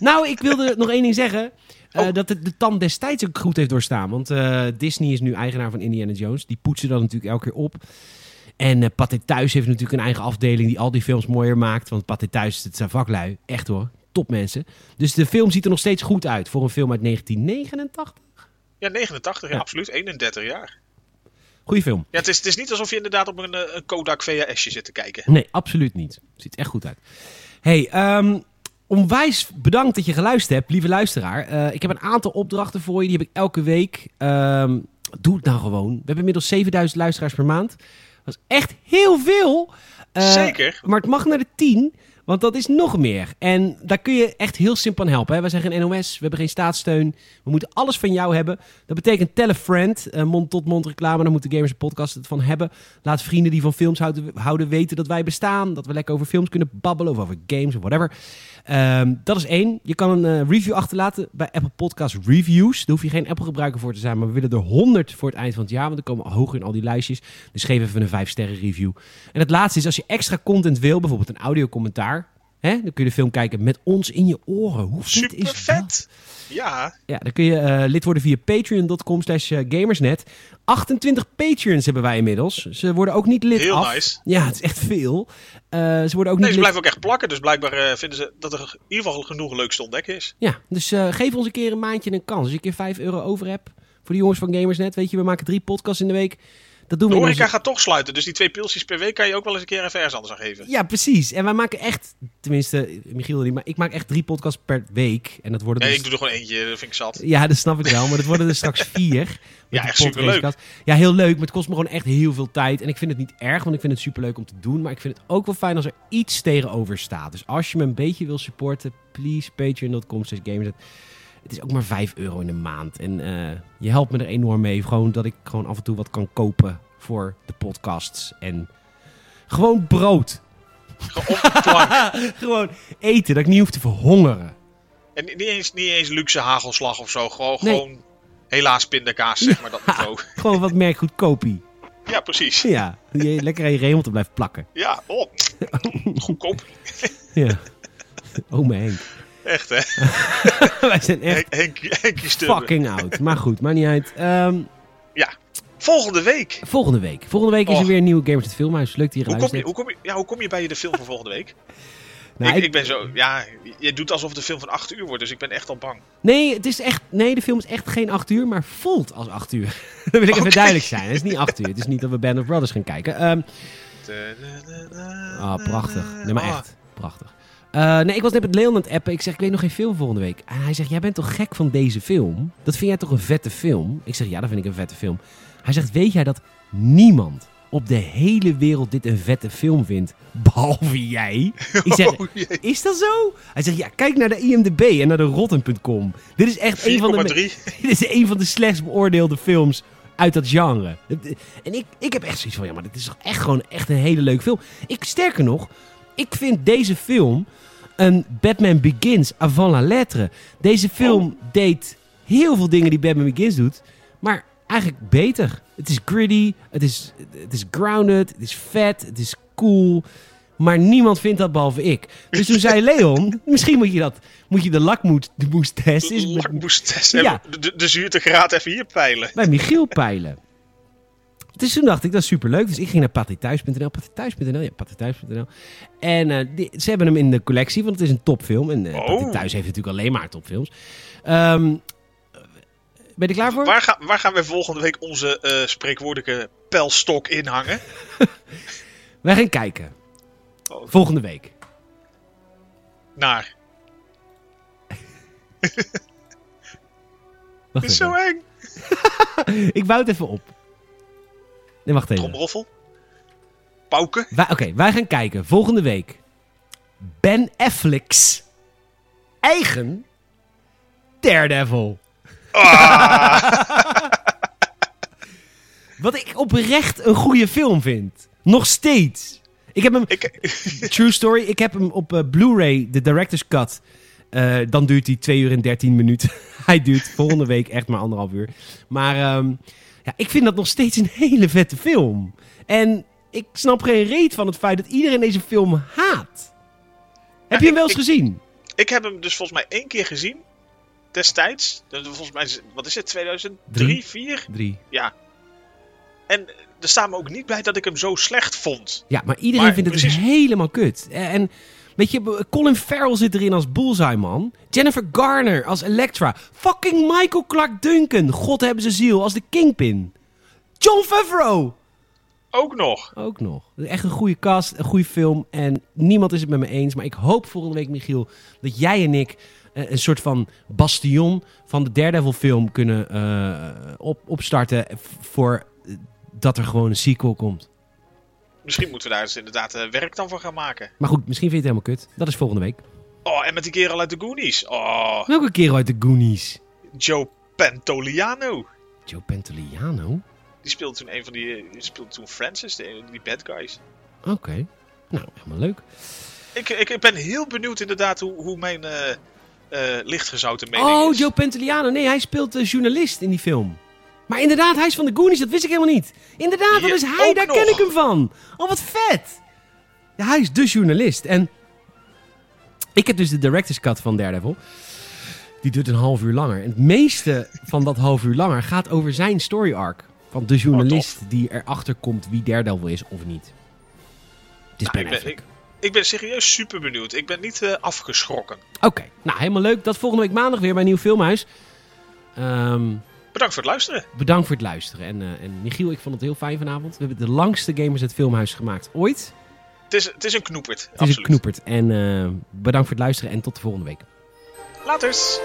[SPEAKER 1] Nou, ik wilde nog één ding zeggen. eh, Dat het de tand destijds ook goed heeft doorstaan. Want eh, Disney is nu eigenaar van Indiana Jones. Die poetsen dat natuurlijk elke keer op. En eh Pathé Thuis heeft natuurlijk een eigen afdeling die al die films mooier maakt. Want Pathé Thuis, het zijn vaklui. Echt hoor. Top mensen. Dus de film ziet er nog steeds goed uit voor een film uit 1989.
[SPEAKER 2] Ja, 89, ja,
[SPEAKER 1] Ja.
[SPEAKER 2] absoluut. 31 jaar.
[SPEAKER 1] Goeie film.
[SPEAKER 2] Ja, het is, het is niet alsof je inderdaad op een, eh, een Kodak VHS-je zit te kijken.
[SPEAKER 1] Nee, absoluut niet. Ziet er echt goed uit. Hey, ehm, onwijs bedankt dat je geluisterd hebt, lieve luisteraar. Eh, ik heb een aantal opdrachten voor je, die heb ik elke week. Ehm, doe het nou gewoon. We hebben inmiddels 7000 luisteraars per maand. Dat is echt heel veel. Eh,
[SPEAKER 2] Zeker.
[SPEAKER 1] Maar het mag naar de 10, want dat is nog meer. En daar kun je echt heel simpel aan helpen. Hè? Wij zijn geen NOS, we hebben geen staatssteun. We moeten alles van jou hebben. Dat betekent tell a friend, eh, mond-tot-mond reclame. Daar moeten gamers en podcast het van hebben. Laat vrienden die van films houden, houden weten dat wij bestaan. Dat we lekker over films kunnen babbelen of over games of whatever. Ehm, dat is één. Je kan een eh, review achterlaten bij Apple Podcast Reviews. Daar hoef je geen Apple-gebruiker voor te zijn. Maar we willen er 100 voor het eind van het jaar. Want dan komen we hoger in al die lijstjes. Dus geef even een 5-sterren review. En het laatste is, als je extra content wil, bijvoorbeeld een audiocommentaar. Hè, dan kun je de film kijken met ons in je oren. Hoe vet is
[SPEAKER 2] Super
[SPEAKER 1] dat?
[SPEAKER 2] vet! Ja,
[SPEAKER 1] Ja, dan kun je eh, lid worden via patreon.com slash eh, gamersnet. 28 patrons hebben wij inmiddels. Ze worden ook niet lid
[SPEAKER 2] Heel
[SPEAKER 1] af.
[SPEAKER 2] nice.
[SPEAKER 1] Ja, het is echt veel. Eh, ze worden ook
[SPEAKER 2] nee,
[SPEAKER 1] niet
[SPEAKER 2] ze
[SPEAKER 1] lid...
[SPEAKER 2] blijven ook echt plakken. Dus blijkbaar eh, vinden ze dat er in ieder geval genoeg leuks te ontdekken is.
[SPEAKER 1] Ja, dus eh, geef ons een keer een maandje een kans. Als je een keer 5 euro over hebt voor de jongens van Gamersnet. Weet je, we maken drie podcasts in de week. Dat doen
[SPEAKER 2] De
[SPEAKER 1] we in
[SPEAKER 2] horeca
[SPEAKER 1] onze-
[SPEAKER 2] gaat toch sluiten. Dus die twee pilsjes per week kan je ook wel eens een keer even ergens anders aan geven.
[SPEAKER 1] Ja, precies. En wij maken echt, tenminste, Michiel en ik, maar ik maak echt drie podcasts per week. En dat worden
[SPEAKER 2] Nee,
[SPEAKER 1] dus-
[SPEAKER 2] ik doe er gewoon eentje. Dat vind ik zat.
[SPEAKER 1] Ja, dat snap ik wel. Maar dat worden er straks vier. Met die
[SPEAKER 2] Ja, echt superleuk.
[SPEAKER 1] podcastcast. Ja, heel leuk. Maar het kost me gewoon echt heel veel tijd. En ik vind het niet erg, want ik vind het superleuk om te doen. Maar ik vind het ook wel fijn als er iets tegenover staat. Dus als je me een beetje wil supporten, please patreon.com slash gamersnet. Het is ook maar 5 euro in de maand. En eh, je helpt me er enorm mee. Gewoon dat ik gewoon af en toe wat kan kopen voor de podcasts. En gewoon brood.
[SPEAKER 2] Gewoon op de plank.
[SPEAKER 1] gewoon eten, dat ik niet hoef te verhongeren.
[SPEAKER 2] En niet eens, niet eens luxe hagelslag of zo. Gewoon,
[SPEAKER 1] Nee.
[SPEAKER 2] gewoon helaas pindakaas, zeg maar, dat niveau.
[SPEAKER 1] Gewoon wat merk goedkopie.
[SPEAKER 2] Ja, precies.
[SPEAKER 1] Ja, die lekker aan je remel te blijven plakken.
[SPEAKER 2] Ja, oh. Goedkoop.
[SPEAKER 1] Ja. Oh mijn Henk.
[SPEAKER 2] Echt, hè?
[SPEAKER 1] Wij zijn echt
[SPEAKER 2] Henk, Henk, Henkie Stubbe.
[SPEAKER 1] fucking oud. Maar goed, maakt niet uit. Ehm,
[SPEAKER 2] Volgende week.
[SPEAKER 1] volgende week. Volgende week is er
[SPEAKER 2] Och.
[SPEAKER 1] weer een nieuwe Gamers het Filmhuis. Leuk dat je
[SPEAKER 2] Hoe kom, je,
[SPEAKER 1] luistert.
[SPEAKER 2] hoe, kom je, ja, hoe kom je bij de film van volgende week?
[SPEAKER 1] Nou,
[SPEAKER 2] ik,
[SPEAKER 1] ik-
[SPEAKER 2] ik ben zo... Ja, je doet alsof het een film van 8 uur wordt, dus ik ben echt al bang.
[SPEAKER 1] Nee, het is echt, nee, de film is echt geen acht uur, maar voelt als acht uur. dat wil ik even
[SPEAKER 2] Oké.
[SPEAKER 1] duidelijk zijn. Het is niet acht uur. Het is niet dat we Band of Brothers gaan kijken. Ehm,
[SPEAKER 2] Ah,
[SPEAKER 1] Ah,
[SPEAKER 2] Eh,
[SPEAKER 1] prachtig. Nee, maar echt. Prachtig. Eh, nee, ik was net met Leon aan het appen. Ik zeg, ik weet nog geen film volgende week. En hij zegt, jij bent toch gek van deze film? Dat vind jij toch een vette film? Ik zeg, ja, dat vind ik een vette film. Hij zegt, weet jij dat niemand op de hele wereld dit een vette film vindt? Behalve jij. Ik zeg,
[SPEAKER 2] Oh, jee.
[SPEAKER 1] is dat zo? Hij zegt, ja, kijk naar de IMDb en naar de Rotten.com. Dit is echt een van de... me-
[SPEAKER 2] 4,3.
[SPEAKER 1] dit is een van de slechtst beoordeelde films uit dat genre. En ik, ik heb echt zoiets van, ja, maar dit is toch echt gewoon echt een hele leuke film. Ik, sterker nog, ik vind deze film een Batman Begins avant la lettre. Deze film deed heel veel dingen die Batman Begins doet, maar eigenlijk beter. Het is gritty, het is, het is grounded, het is vet, het is cool. Maar niemand vindt dat behalve ik. Dus toen zei Leon, misschien moet je dat, moet je de lakmoest test eens met-
[SPEAKER 2] Lakmoestest.
[SPEAKER 1] Ja.
[SPEAKER 2] De, de, de zuurtegraad even hier peilen.
[SPEAKER 1] bij Michiel peilen. Dus toen dacht ik, dat is superleuk. Dus ik ging naar patithuis.nl. Patithuis.nl, ja, patithuis.nl. En eh, die- ze hebben hem in de collectie, want het is een topfilm. En eh
[SPEAKER 2] Oh.
[SPEAKER 1] Patty Thuis heeft natuurlijk alleen maar topfilms. Ehm, ben je er klaar voor?
[SPEAKER 2] Waar, gaan waar gaan wij volgende week onze eh, spreekwoordelijke pijlstok inhangen?
[SPEAKER 1] Wij gaan kijken.
[SPEAKER 2] Oh.
[SPEAKER 1] Volgende week.
[SPEAKER 2] Naar.
[SPEAKER 1] Wacht even.
[SPEAKER 2] Dit is zo eng.
[SPEAKER 1] Ik bouw het even op. Nee, wacht even.
[SPEAKER 2] Tromroffel. Pauken.
[SPEAKER 1] Wij- Oké, wij gaan kijken. Volgende week. Ben Affleck's eigen Daredevil. Ah. Wat ik oprecht een goede film vind. Nog steeds. Ik heb hem,
[SPEAKER 2] Ik,
[SPEAKER 1] true story, ik heb hem op eh, Blu-ray, de director's cut. Eh, dan duurt hij 2 uur en 13 minuten. Hij duurt volgende week echt maar anderhalf uur. Maar ehm, ja, ik vind dat nog steeds een hele vette film. En ik snap geen reet van het feit dat iedereen deze film haat. Heb je hem
[SPEAKER 2] ik-
[SPEAKER 1] wel eens
[SPEAKER 2] ik-
[SPEAKER 1] gezien?
[SPEAKER 2] ik heb hem dus volgens mij één keer gezien. Destijds. Dat was Volgens mij, is- wat is het, 2003,
[SPEAKER 1] Drie.
[SPEAKER 2] 4?
[SPEAKER 1] Drie.
[SPEAKER 2] Ja. En er staat me ook niet bij dat ik hem zo slecht vond.
[SPEAKER 1] Ja, maar iedereen
[SPEAKER 2] Maar
[SPEAKER 1] vindt het
[SPEAKER 2] precies-
[SPEAKER 1] dus helemaal kut. Eh, En weet je, Colin Farrell zit erin als Bullseye man. Jennifer Garner als Elektra. Fucking Michael Clark Duncan, god hebben ze ziel, als de Kingpin. John Favreau!
[SPEAKER 2] Ook nog.
[SPEAKER 1] Ook nog. Echt een goede cast, een goede film. En niemand is het met me eens. Maar ik hoop volgende week, Michiel, dat jij en ik eh, een soort van bastion van de Daredevil film kunnen eh, op, opstarten. v- Voor eh, dat er gewoon een sequel komt.
[SPEAKER 2] Misschien moeten we daar dus inderdaad eh, werk dan van gaan maken.
[SPEAKER 1] Maar goed, misschien vind je het helemaal kut. Dat is volgende week.
[SPEAKER 2] Oh, en met die kerel uit de Goonies. Oh,
[SPEAKER 1] Welke kerel uit de Goonies?
[SPEAKER 2] Joe Pantoliano.
[SPEAKER 1] Joe Pantoliano?
[SPEAKER 2] Die speelde toen een van die. eh, Die speelde toen Francis, de- die bad guys.
[SPEAKER 1] Oké. Nou, helemaal leuk.
[SPEAKER 2] Ik, ik, ik ben heel benieuwd inderdaad hoe, hoe mijn eh eh, lichtgezouten mening
[SPEAKER 1] Oh,
[SPEAKER 2] is.
[SPEAKER 1] Joe Pantoliano. Nee, hij speelt de journalist in die film. Maar inderdaad, hij is van de Goonies. Dat wist ik helemaal niet. Inderdaad, dat
[SPEAKER 2] Ja,
[SPEAKER 1] is hij.
[SPEAKER 2] ook
[SPEAKER 1] Daar
[SPEAKER 2] nog.
[SPEAKER 1] ken ik hem van. Oh, wat vet. Ja, hij is de journalist. En ik heb dus de director's cut van Daredevil. Die duurt een half uur langer. En het meeste van dat half uur langer gaat over zijn story arc. Van
[SPEAKER 2] Oh,
[SPEAKER 1] de journalist die erachter komt wie Daredevil is of niet. Het is
[SPEAKER 2] Nou, ik,
[SPEAKER 1] Ben
[SPEAKER 2] ben,
[SPEAKER 1] Affleck.
[SPEAKER 2] ik, ik ben serieus super benieuwd. Ik ben niet eh, afgeschrokken.
[SPEAKER 1] Oké, nou helemaal leuk. Dat volgende week maandag weer bij Nieuw Filmhuis. Ehm,
[SPEAKER 2] Bedankt voor het luisteren.
[SPEAKER 1] bedankt voor het luisteren. En, eh, en Michiel, ik vond het heel fijn vanavond. We hebben de langste Gamers het Filmhuis gemaakt ooit.
[SPEAKER 2] Het is, het is een knoepert.
[SPEAKER 1] Het is
[SPEAKER 2] absoluut.
[SPEAKER 1] een knoepert. En eh, bedankt voor het luisteren en tot de volgende week.
[SPEAKER 2] Laters.